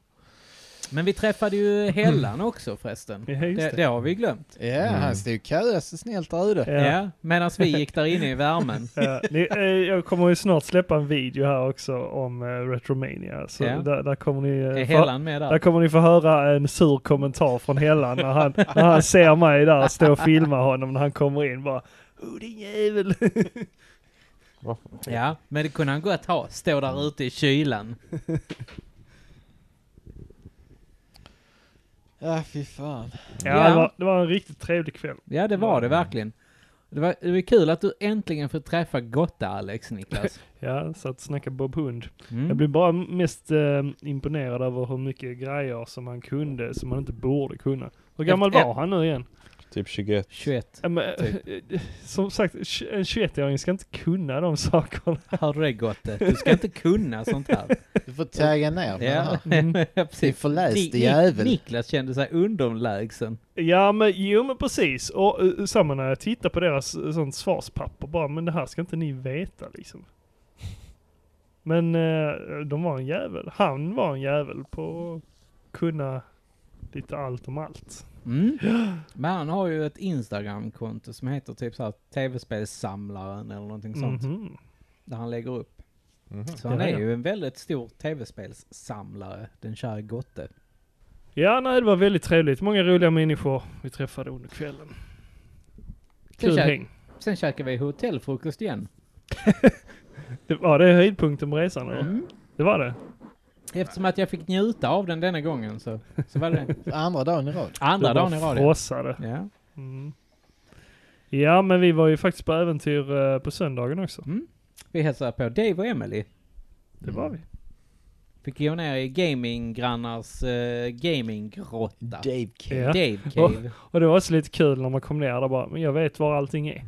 Speaker 1: Men vi träffade ju Hellan också förresten.
Speaker 5: Ja, just
Speaker 1: Det,
Speaker 5: det.
Speaker 1: det har vi glömt.
Speaker 4: Ja,
Speaker 6: Mm.
Speaker 4: han stod kö så snällt där ute.
Speaker 1: Ja. medan vi gick där inne i värmen.
Speaker 5: Ja, ni, eh, jag kommer ju snart släppa en video här också om eh, Retromania. Så
Speaker 1: Ja.
Speaker 5: där, där, kommer ni, eh,
Speaker 1: Är
Speaker 5: få-
Speaker 1: Hellan med
Speaker 5: där
Speaker 1: där?
Speaker 5: kommer ni få höra en sur kommentar från Hellan när han, när han ser mig där stå och filma honom när han kommer in. Bara Oh din jävel!
Speaker 1: Ja, men det kunde han gott ha. Stå där ute i kylan.
Speaker 4: Ja, fy fan.
Speaker 5: Ja,
Speaker 1: Ja.
Speaker 5: Det, var, det var en riktigt trevlig kväll.
Speaker 1: Ja, det var det verkligen. Det var, det var kul att du äntligen får träffa Gotta, Alex Niklas.
Speaker 5: Ja, så att snacka Bob Hund. Jag
Speaker 1: Mm.
Speaker 5: blev bara mest eh, imponerad över hur mycket grejer som han kunde som han inte borde kunna. Hur gammal
Speaker 1: Ett- Typ.
Speaker 5: var han nu igen?
Speaker 6: Typ 21.
Speaker 1: 21.
Speaker 5: Ja, men, eh, som sagt, tj- en 21-åring ska inte kunna de sakerna.
Speaker 1: Hör du det Gotte? Du ska inte kunna sånt här.
Speaker 4: Du får tagga ner mig
Speaker 1: Ja,
Speaker 4: här. Din
Speaker 1: precis. Ni-
Speaker 4: förläste
Speaker 1: Ni-
Speaker 4: jävel.
Speaker 1: Niklas kände sig underlägsen.
Speaker 5: Ja men jo men precis. Och eh, samma när jag tittar på deras eh, sånt svarspapper bara, men det här ska inte ni veta liksom. Men eh, de var en jävel. Han var en jävel på att kunna lite allt om allt.
Speaker 1: Mm. Men han har ju ett Instagram-konto som heter typ såhär tv-spelssamlaren eller någonting sånt.
Speaker 5: Mhm.
Speaker 1: Där han lägger upp.
Speaker 6: Mhm.
Speaker 1: Så han
Speaker 5: Ja, ja.
Speaker 1: är ju en väldigt stor tv-spelssamlare, den kära Gotte.
Speaker 5: Ja nej det var väldigt trevligt. Många roliga människor vi träffade under kvällen. Kul
Speaker 1: Sen, käk,
Speaker 5: häng.
Speaker 1: sen käkar vi hotellfrukost igen.
Speaker 5: Det var det höjdpunkten på resan eller?
Speaker 1: Mm.
Speaker 5: Det var det?
Speaker 1: Eftersom att jag fick njuta av den denna gången så, så var det
Speaker 4: För Andra dagen i rad.
Speaker 1: andra
Speaker 5: Du bara
Speaker 1: dagen i rad.
Speaker 5: Frossade.
Speaker 1: Ja.
Speaker 5: Mm. Ja men vi var ju faktiskt på äventyr eh, på söndagen också.
Speaker 1: Mm. Vi hälsade på Dave och Emily.
Speaker 5: Det var
Speaker 1: Mm.
Speaker 5: vi.
Speaker 1: Fick gå ner i gaminggrannars eh, gaminggrotta.
Speaker 4: Dave K.
Speaker 5: Ja.
Speaker 1: Dave Cave.
Speaker 5: Och det var också lite kul när man kom ner där bara, men jag vet var allting är.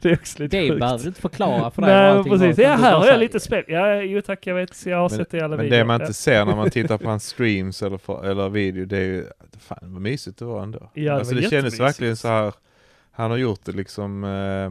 Speaker 5: det är också lite
Speaker 1: Dave
Speaker 5: sjukt.
Speaker 1: behöver du inte förklara för dig var
Speaker 5: Nej,
Speaker 1: allting var,
Speaker 5: precis.
Speaker 1: utan
Speaker 5: Ja,
Speaker 1: du
Speaker 5: här
Speaker 1: bara
Speaker 5: har jag
Speaker 1: säger.
Speaker 5: lite spel. Ja, jo tack, jag vet. Jag har
Speaker 6: Men-
Speaker 5: sett det i alla
Speaker 6: Men
Speaker 5: videor.
Speaker 6: det man
Speaker 5: Ja.
Speaker 6: inte ser när man tittar på hans streams eller, för, eller video, det är ju, fan vad mysigt det var ändå.
Speaker 5: Ja, det
Speaker 6: alltså
Speaker 5: var
Speaker 6: det kändes
Speaker 5: jättemysigt.
Speaker 6: verkligen så här, han har gjort det liksom, eh,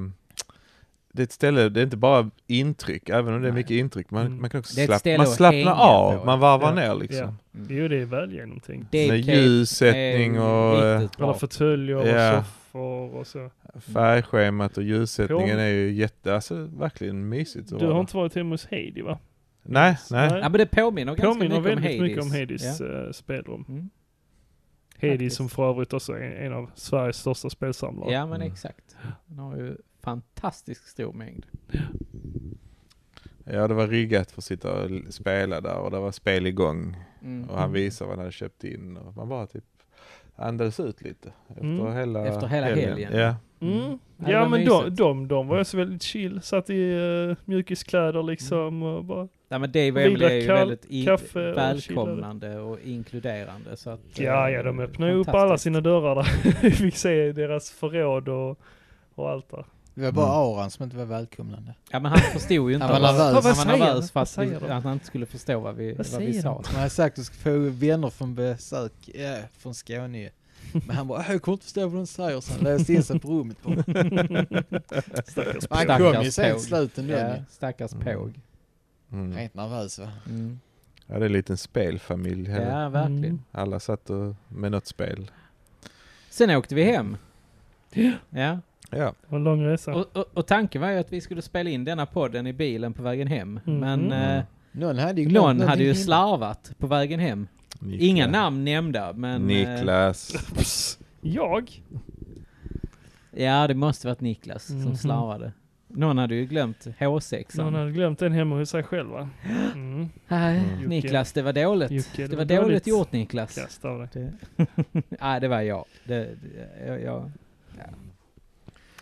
Speaker 6: det är ett ställe, det är inte bara intryck, även om det är
Speaker 9: Nej.
Speaker 6: mycket intryck. Man,
Speaker 5: Mm.
Speaker 6: man kan också
Speaker 9: Det är ett
Speaker 6: slapp,
Speaker 9: ställe
Speaker 6: man
Speaker 9: att
Speaker 6: slappnar
Speaker 9: hänga på.
Speaker 6: av, man varvar
Speaker 5: Ja.
Speaker 6: ner liksom.
Speaker 1: Mm.
Speaker 5: Jo, det är väl genomtänkt.
Speaker 6: Med ljussättning och eh,
Speaker 5: Alla fåtöljer och
Speaker 6: Ja.
Speaker 5: soffor och så.
Speaker 6: färgschemat och ljussättningen
Speaker 5: Kom.
Speaker 6: är ju jätte, alltså verkligen mysigt. att
Speaker 5: Du
Speaker 6: vara.
Speaker 5: har inte varit hemma hos Heidi va?
Speaker 6: Nej, nej.
Speaker 1: Ja men det påminner,
Speaker 5: Påminner
Speaker 1: ganska
Speaker 5: väldigt
Speaker 1: mycket om
Speaker 5: mycket om
Speaker 1: Hades.
Speaker 5: Heidis eh, spelrum.
Speaker 1: Mm.
Speaker 5: Heidi
Speaker 1: Faktiskt.
Speaker 5: som för övrigt också är en av Sveriges största
Speaker 1: Ja.
Speaker 5: spelsamlare.
Speaker 1: ja men
Speaker 6: Mm.
Speaker 1: exakt. Den har ju fantastiskt stor mängd.
Speaker 6: Ja, det var riggat för att sitta och l- spela där och det var spel igång.
Speaker 1: Mm.
Speaker 6: Och han visade vad han hade köpt in och man bara typ andades ut lite efter
Speaker 5: Mm.
Speaker 6: hela
Speaker 1: Efter hela helgen.
Speaker 6: Ja.
Speaker 5: Mm.
Speaker 1: Ja, det
Speaker 5: Ja
Speaker 1: var
Speaker 5: men de,
Speaker 1: mysigt.
Speaker 5: de, de var ju så väldigt chill, satt i eh, mjúkiskläder liksom
Speaker 1: Mm.
Speaker 5: och bara
Speaker 1: Ja men Dave och
Speaker 5: Vila,
Speaker 1: Emily är ju
Speaker 5: kall-
Speaker 1: väldigt i-
Speaker 5: kaffe och
Speaker 1: välkomnande och inkluderande så att... eh,
Speaker 5: Ja, ja, de öppnade ju upp alla
Speaker 1: fantastiskt.
Speaker 5: sina dörrar där. Vi fick se deras förråd och, och allt där.
Speaker 4: Det var
Speaker 6: Mm.
Speaker 4: bara Aran som inte var välkomnande.
Speaker 1: Ja men han förstod ju inte.
Speaker 4: Han var
Speaker 1: vad-
Speaker 4: nervös.
Speaker 1: Han
Speaker 5: Vad
Speaker 1: var
Speaker 5: säger
Speaker 1: nervös
Speaker 5: de?
Speaker 1: för
Speaker 5: Vad
Speaker 1: att, vi,
Speaker 5: säger de?
Speaker 1: att han inte skulle förstå vad vi, vad vi
Speaker 5: säger
Speaker 1: sa.
Speaker 4: Man har sagt att du ska få vänner från besök, ja, från Skåne ju. Men han bara, "Äh, jag kommer inte förstå vad de säger, så han löste in sig på rummet. Bara.
Speaker 5: Stackars
Speaker 4: Han
Speaker 5: Peter.
Speaker 4: kom ju
Speaker 1: Stackars
Speaker 4: sen
Speaker 1: tåg.
Speaker 4: till slut ändå.
Speaker 1: Ja,
Speaker 4: ju.
Speaker 1: stackars
Speaker 6: Mm.
Speaker 1: påg.
Speaker 6: Mm.
Speaker 4: Rent nervös va?
Speaker 1: Mm.
Speaker 6: ja, det är en liten spelfamilj. hela-
Speaker 1: Ja, verkligen.
Speaker 5: Mm.
Speaker 6: Alla satt och, med något spel.
Speaker 1: Sen åkte vi hem. Ja.
Speaker 6: Ja,
Speaker 5: Det var en lång resa.
Speaker 1: Och, och, och tanken var ju att vi skulle spela in denna podden i bilen på vägen hem.
Speaker 5: Mhm.
Speaker 1: Men eh,
Speaker 4: Någon hade ju glömt
Speaker 1: någon
Speaker 4: någonting
Speaker 1: hade ju
Speaker 4: innan.
Speaker 1: slarvat på vägen hem. Inga namn nämnda, men... eh,
Speaker 6: Niklas.
Speaker 5: Jag?
Speaker 1: ja, det måste varit Niklas som
Speaker 5: Mhm.
Speaker 1: slarvade. Någon hade ju glömt H6.
Speaker 5: Någon hade glömt en hemma hos sig själv va? Mm.
Speaker 1: Nej,
Speaker 5: Jocke.
Speaker 1: Niklas, det var dåligt.
Speaker 5: Jocke,
Speaker 1: det, var dåligt, gjort Niklas.
Speaker 5: Kast av dig.
Speaker 1: Nej, det var jag. Det, det, jag, jag.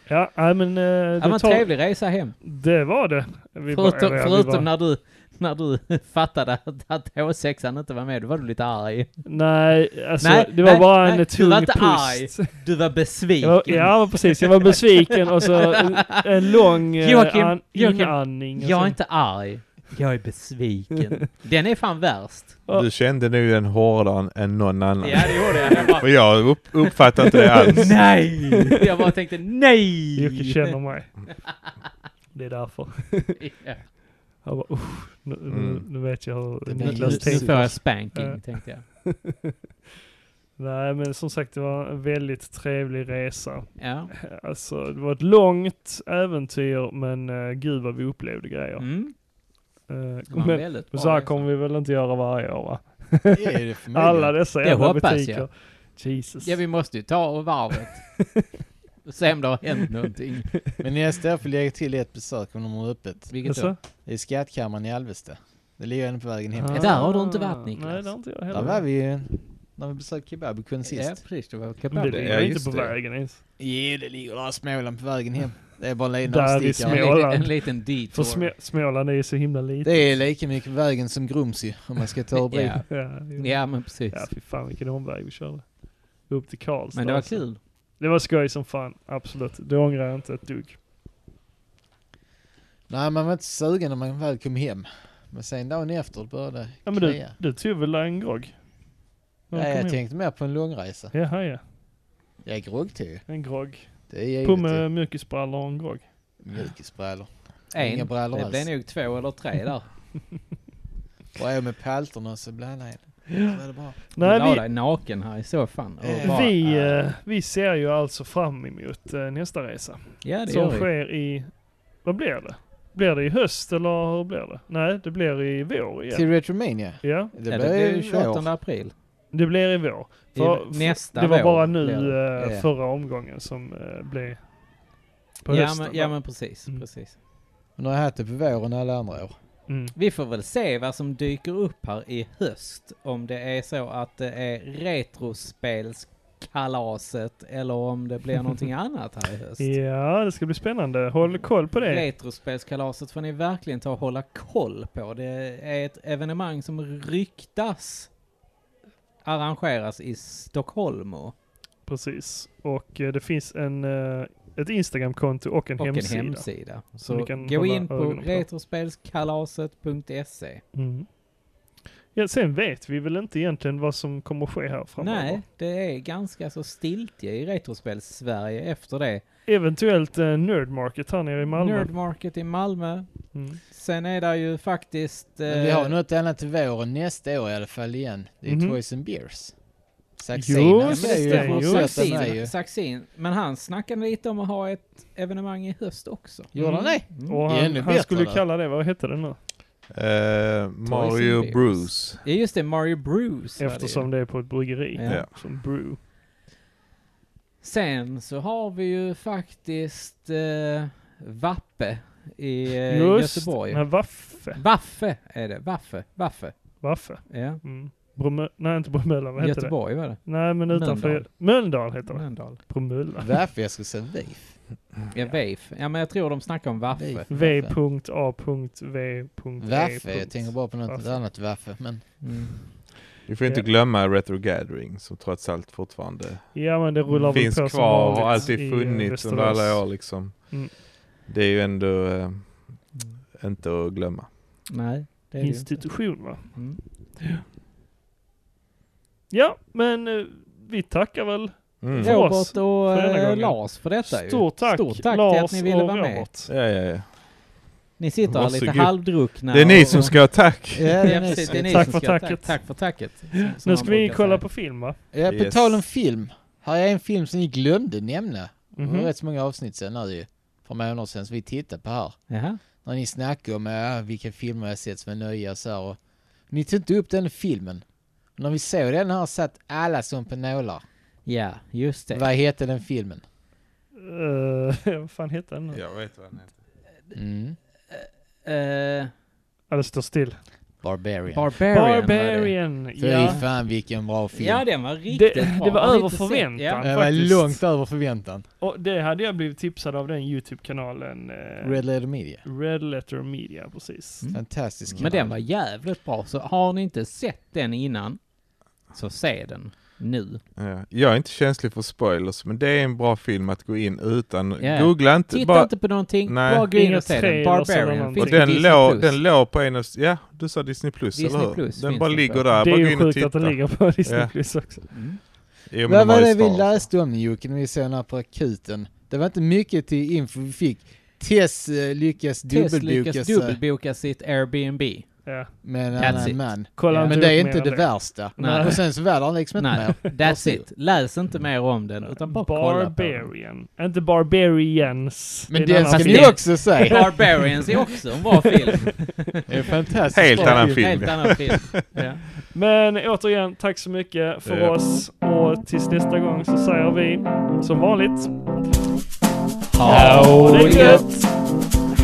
Speaker 5: Ja, nej, men eh,
Speaker 1: Det var
Speaker 5: det,
Speaker 1: en
Speaker 5: tar,
Speaker 1: trevlig resa hem.
Speaker 5: det var det. Vi bara-
Speaker 1: Förutom,
Speaker 5: ja, vi bara-
Speaker 1: förutom när, du, när du fattade att, att H6 inte var med, då var du lite arg.
Speaker 5: Nej, alltså
Speaker 1: Nej,
Speaker 5: det var
Speaker 1: nej,
Speaker 5: bara
Speaker 1: nej,
Speaker 5: en
Speaker 1: du
Speaker 5: tung
Speaker 1: var inte
Speaker 5: pust.
Speaker 1: arg. Du var besviken.
Speaker 5: Jag, ja, men precis. Jag var besviken och så en, en lång eh,
Speaker 1: Joakim,
Speaker 5: an,
Speaker 1: Joakim,
Speaker 5: inandning. och
Speaker 1: Jag
Speaker 5: så-
Speaker 1: är inte arg. Jag är besviken. Den är fan värst.
Speaker 5: Ja.
Speaker 6: Du kände nu den hårdare än någon annan.
Speaker 1: Ja, det gjorde jag. jag bara,
Speaker 6: Och jag upp, uppfattar inte det alls.
Speaker 1: nej! Jag bara tänkte nej!
Speaker 5: Jocke känner mig. Det är därför.
Speaker 1: Ja.
Speaker 5: Jag bara, usch, nu, nu-
Speaker 6: Mm.
Speaker 5: nu vet jag hur
Speaker 4: Det
Speaker 1: Nu,
Speaker 4: blir
Speaker 1: nu
Speaker 5: Niklas
Speaker 4: lite
Speaker 1: får
Speaker 5: tänkte.
Speaker 1: jag spanking,
Speaker 5: Ja.
Speaker 1: tänkte jag.
Speaker 5: Nej, men som sagt, det var en väldigt trevlig resa.
Speaker 1: Ja.
Speaker 5: Alltså, det var ett långt äventyr, men uh, gud vad vi upplevde grejer.
Speaker 1: Mm.
Speaker 5: Eh,
Speaker 1: Det var en
Speaker 5: men,
Speaker 1: väldigt
Speaker 5: och
Speaker 1: bra
Speaker 5: så här
Speaker 1: resa.
Speaker 5: kommer vi väl inte göra varje år, va?
Speaker 4: Ja, är det för mig?
Speaker 5: Alla dessa
Speaker 1: Det
Speaker 5: jävla
Speaker 1: hoppas jag.
Speaker 5: butiker. Jesus.
Speaker 1: Ja, vi måste ju ta varvet. Och se om det har hänt någonting.
Speaker 4: Men nästa år får jag lägga till ett besök om de har öppet.
Speaker 1: Vilket då?
Speaker 5: Alltså?
Speaker 4: I skattkammaren i Alvesta. Det ligger ändå på vägen hem.
Speaker 5: Ah.
Speaker 1: Ja, där har du inte varit, Niklas.
Speaker 5: Nej, det har inte jag
Speaker 4: Där
Speaker 5: heller.
Speaker 4: var vi ju när vi besökte kebabkungen
Speaker 1: Ja,
Speaker 4: sist.
Speaker 1: precis. Det var
Speaker 5: Men
Speaker 1: kebab.
Speaker 5: det
Speaker 6: Det
Speaker 5: ligger
Speaker 6: är
Speaker 5: inte
Speaker 6: just
Speaker 5: på
Speaker 6: det.
Speaker 5: vägen ens.
Speaker 4: Jo, det ligger där i Småland på vägen hem. Det är bara en liten
Speaker 5: Där i
Speaker 1: En
Speaker 4: avstickare.
Speaker 5: Små-
Speaker 1: liten,
Speaker 5: Småland.
Speaker 1: en liten
Speaker 5: För
Speaker 1: detour.
Speaker 5: Små- Småland är ju så himla litet.
Speaker 4: Det är lika mycket vägen som Grumsy om man ska ta rubriken.
Speaker 1: ja.
Speaker 5: Ja, jo.
Speaker 1: ja, men precis.
Speaker 5: ja, fy fan vilken omväg vi körde. Upp till Karlstad.
Speaker 1: Men det var
Speaker 5: alltså.
Speaker 1: kul.
Speaker 5: Det var skoj som fan, absolut. Det ångrar jag inte ett dugg.
Speaker 4: Nej, man var inte sugen när man väl kom hem. Men sen dagen efter började det
Speaker 5: Ja, men du,
Speaker 4: klia.
Speaker 5: du tog väl en grogg? När du
Speaker 4: Ja,
Speaker 5: kom
Speaker 4: jag
Speaker 5: hem?
Speaker 4: tänkte mer på en långresa.
Speaker 5: Jaha, ja.
Speaker 4: Ja, grogg tog jag.
Speaker 5: En grogg.
Speaker 4: Det är givet.
Speaker 5: På
Speaker 4: ju.
Speaker 5: med mjukisbrallor och en grogg.
Speaker 4: Mjukisbrallor.
Speaker 1: En.
Speaker 4: Inga brallor
Speaker 1: det blev
Speaker 4: alls.
Speaker 1: nog två eller tre där.
Speaker 4: Och jag med palterna och så blandade jag in. Så var det bra.
Speaker 1: Nej, du la
Speaker 5: Nej, vi,
Speaker 1: dig naken här i soffan. Och
Speaker 4: Eh,
Speaker 1: bara,
Speaker 5: vi, eh, vi ser ju alltså fram emot eh, nästa resa.
Speaker 1: ja, det
Speaker 5: Som
Speaker 1: gör vi.
Speaker 5: sker i... Vad blir det? Blir det i höst eller hur blir det? Nej, det blir i vår igen.
Speaker 4: Till Retromania. Det
Speaker 5: Ja,
Speaker 1: Ja,
Speaker 4: blev
Speaker 1: det blir ju
Speaker 4: ju
Speaker 1: 28
Speaker 4: vår.
Speaker 1: april.
Speaker 5: det blir i vår.
Speaker 1: I
Speaker 5: För-
Speaker 1: nästa
Speaker 5: det var
Speaker 1: vår
Speaker 5: bara nu
Speaker 1: blir det.
Speaker 5: eh,
Speaker 4: Ja.
Speaker 5: förra omgången som eh, blev på
Speaker 1: ja,
Speaker 5: hösten.
Speaker 1: men, ja,
Speaker 5: va?
Speaker 1: men precis,
Speaker 5: Mm.
Speaker 1: precis.
Speaker 4: Nu har jag haft det på våren alla andra år.
Speaker 5: Mm.
Speaker 1: Vi får väl se vad som dyker upp här i höst. Om det är så att det är retrospelskalaset eller om det blir någonting annat här i höst.
Speaker 5: Ja, det ska bli spännande. Håll
Speaker 1: Mm.
Speaker 5: koll på det.
Speaker 1: Retrospelskalaset får ni verkligen ta och hålla koll på. Det är ett evenemang som ryktas arrangeras i Stockholm och,
Speaker 5: Precis. Och eh, det finns en, eh, ett Instagram-konto och en
Speaker 1: och
Speaker 5: hemsida.
Speaker 1: en hemsida.
Speaker 5: Så
Speaker 1: Så
Speaker 5: ni kan
Speaker 1: gå
Speaker 5: hålla
Speaker 1: in på
Speaker 5: ögonen på.
Speaker 1: E. retrospelskalaset.se.
Speaker 5: Mm. Ja, sen vet vi väl inte egentligen vad som kommer ske här framöver.
Speaker 1: Nej, det är ganska så stiltje i retrospels-Sverige efter det.
Speaker 5: Eventuellt eh, Nerd Market här nere i Malmö.
Speaker 1: Nerd Market i Malmö.
Speaker 5: Mm.
Speaker 1: Sen är det ju faktiskt... eh,
Speaker 4: Men vi har något annat till våren nästa år i alla fall igen. Det är
Speaker 5: Mhm.
Speaker 4: Toys and Beers.
Speaker 5: Just
Speaker 4: Saxina
Speaker 5: det,
Speaker 4: ju
Speaker 5: jo.
Speaker 4: fortsätta med ju.
Speaker 1: Saxin, Saxin. Men han snackade lite om att ha ett evenemang i höst också.
Speaker 4: Gjorde han det?
Speaker 1: Mm.
Speaker 5: Och
Speaker 4: Det är
Speaker 5: han,
Speaker 4: ännu
Speaker 5: han
Speaker 4: bättre
Speaker 5: skulle
Speaker 4: där.
Speaker 5: kalla det, vad hette det nu?
Speaker 6: Eh, Mario
Speaker 1: Beers.
Speaker 6: Bruce.
Speaker 1: Ja just det, Mario Bruce var det ju.
Speaker 5: Eftersom det är på ett bryggeri.
Speaker 1: Ja.
Speaker 6: Ja.
Speaker 5: Som brew.
Speaker 1: Sen så har vi ju faktiskt eh, Vappe i eh, Göteborg.
Speaker 5: Nej, Waffe.
Speaker 1: Vaffe är det. Vaffe. Vaffe.
Speaker 5: Waffe.
Speaker 1: Ja.
Speaker 5: Mm. Bromö- nej, inte Bromölla, vad heter
Speaker 1: Göteborg var det.
Speaker 5: det? Nej, men utanför...
Speaker 1: Mölndal. Mm.
Speaker 5: Mölndal heter det.
Speaker 1: Mölndal.
Speaker 5: Bromölla.
Speaker 4: Varför jag skulle säga VIF?
Speaker 1: Ja, Veif. Ja, men jag tror de snackar om Vaffe.
Speaker 5: V.A.V.
Speaker 4: Varför? Jag tänker bara på något
Speaker 5: Varför?
Speaker 4: annat varför. Men
Speaker 1: Mm.
Speaker 6: Vi får inte
Speaker 5: Ja.
Speaker 6: glömma Retro Gathering som trots allt fortfarande
Speaker 5: Ja, men det rullar
Speaker 6: finns
Speaker 5: väl på
Speaker 6: kvar
Speaker 5: som
Speaker 6: och
Speaker 5: vanligt i,
Speaker 6: alltid
Speaker 5: eh,
Speaker 6: funnits under
Speaker 5: Västerås.
Speaker 6: alla år liksom.
Speaker 5: Mm.
Speaker 6: Det är ju ändå eh, inte att glömma.
Speaker 1: Nej, det är det ju inte.
Speaker 5: Institution, va?
Speaker 1: Mm.
Speaker 5: Ja, men eh, vi tackar väl
Speaker 6: Mm.
Speaker 5: Ja.
Speaker 6: Ja,
Speaker 5: oss
Speaker 1: Robert och
Speaker 5: för denna
Speaker 1: eh,
Speaker 5: gången.
Speaker 1: Lars för detta ju.
Speaker 5: Stort tack,
Speaker 1: Stort tack
Speaker 5: Lars
Speaker 1: till att ni ville
Speaker 5: och
Speaker 1: vara med.
Speaker 5: Robert.
Speaker 6: ja, ja.
Speaker 1: Ni sitter här lite
Speaker 6: Varsågod.
Speaker 1: halvdruckna.
Speaker 6: Det är ni
Speaker 1: och-
Speaker 6: som ska ha tack!
Speaker 1: Ja,
Speaker 4: Ja, det är ni
Speaker 1: precis,
Speaker 4: som-
Speaker 1: det är ni
Speaker 5: Tack
Speaker 1: som
Speaker 5: för
Speaker 1: ska ha
Speaker 5: tacket.
Speaker 1: Tack för tacket. som- som
Speaker 5: Nu
Speaker 1: man
Speaker 5: ska vi
Speaker 1: brukar
Speaker 5: kolla
Speaker 1: säga.
Speaker 5: på film, va?
Speaker 4: ja, på
Speaker 6: Yes.
Speaker 4: tal om film. Här är en film som ni glömde nämna. Det
Speaker 5: Mhm.
Speaker 4: var rätt så många avsnitt sen nu ju. För månader sedan som vi tittade på här.
Speaker 1: Jaha.
Speaker 4: När ni snackade om ja, vilka filmer jag sett som är nöja och så här. Och ni tog inte upp den filmen. Och när vi såg den här satt alla som på nålar.
Speaker 1: Ja, just det.
Speaker 4: Vad heter den filmen?
Speaker 5: Eh, vad fan heter den nu?
Speaker 6: Jag vet vad den heter.
Speaker 4: Mm.
Speaker 1: Eh,
Speaker 5: Ja, det står still.
Speaker 4: Barbarian.
Speaker 1: Barbarian, var det.
Speaker 5: Barbarian!
Speaker 4: Fy
Speaker 5: Ja.
Speaker 4: fan vilken bra film.
Speaker 1: Ja, den var riktigt
Speaker 5: Det,
Speaker 1: bra.
Speaker 5: det var
Speaker 1: Har ni
Speaker 5: över
Speaker 1: inte sett-
Speaker 5: förväntan
Speaker 1: Ja.
Speaker 4: det var
Speaker 5: faktiskt.
Speaker 4: långt över förväntan.
Speaker 5: Och det hade jag blivit tipsad av den YouTube-kanalen eh,
Speaker 4: Red Letter Media.
Speaker 5: Red Letter Media, precis.
Speaker 1: Mm.
Speaker 4: Fantastisk
Speaker 1: Men
Speaker 4: kanal.
Speaker 1: den var jävligt bra. Så har ni inte sett den innan, så se den nu.
Speaker 6: Ja. Jag är inte känslig för spoilers, men det är en bra film att gå in utan...
Speaker 1: Ja.
Speaker 6: Googla inte
Speaker 1: Titta
Speaker 6: bara...
Speaker 1: inte på någonting,
Speaker 6: Nej.
Speaker 1: bara gå in och
Speaker 5: Inget
Speaker 1: se den.
Speaker 5: trailers eller
Speaker 1: Barbarian
Speaker 5: någonting.
Speaker 1: finns
Speaker 6: Och
Speaker 1: på
Speaker 6: den
Speaker 1: Disney+.
Speaker 6: låg, den låg på en av... Ja, du sa Disney Plus,
Speaker 1: Disney
Speaker 6: eller hur?
Speaker 1: Plus
Speaker 6: den
Speaker 1: finns
Speaker 6: bara
Speaker 1: den
Speaker 6: ligger
Speaker 1: på.
Speaker 6: där,
Speaker 5: Det
Speaker 6: bara
Speaker 5: är
Speaker 6: gå
Speaker 5: ju
Speaker 6: in och
Speaker 5: sjukt att
Speaker 6: titta.
Speaker 5: den ligger på Disney
Speaker 6: Ja.
Speaker 5: Plus också.
Speaker 1: Mm.
Speaker 6: Jo, men
Speaker 4: Vad
Speaker 6: de har
Speaker 4: var
Speaker 6: ju
Speaker 4: det vi
Speaker 6: Star.
Speaker 4: läste om Jocke när vi såg den här på akuten? Det var inte mycket till info vi fick. Tess eh,
Speaker 1: Tess
Speaker 4: lyckas dubbelboka
Speaker 1: lyckas
Speaker 4: sig
Speaker 1: dubbelboka sitt Airbnb.
Speaker 5: Ja.
Speaker 4: med en
Speaker 1: That's
Speaker 4: annan
Speaker 1: it.
Speaker 4: man.
Speaker 5: Kolla
Speaker 1: Ja.
Speaker 5: inte
Speaker 4: Men det är
Speaker 5: upp
Speaker 4: inte
Speaker 5: mer
Speaker 4: det
Speaker 5: än
Speaker 4: värsta.
Speaker 1: Nej.
Speaker 4: Och sen så var det liksom inte
Speaker 1: Nej,
Speaker 4: mer.
Speaker 1: that's it. Läs inte mer om den, utan bara kolla på den.
Speaker 5: Barbarian. Inte Barbarians.
Speaker 4: Men
Speaker 5: det är en
Speaker 4: den
Speaker 5: annan
Speaker 4: ska
Speaker 5: film.
Speaker 4: vi också säga.
Speaker 1: Barbarians är också en bra film.
Speaker 4: Det är fantastiskt
Speaker 6: Helt
Speaker 4: bra
Speaker 6: annan
Speaker 4: film.
Speaker 6: film.
Speaker 1: Helt annan film. Ja.
Speaker 5: Men återigen, tack så mycket för
Speaker 6: Ja.
Speaker 5: oss. Och tills nästa gång så säger vi som vanligt.
Speaker 1: Ha
Speaker 5: det gött!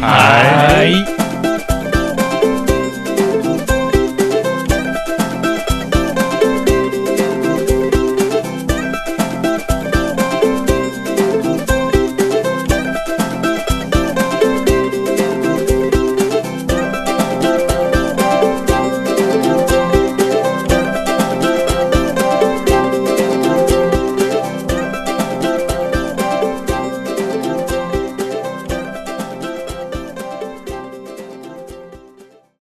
Speaker 6: Hej!
Speaker 5: Hej!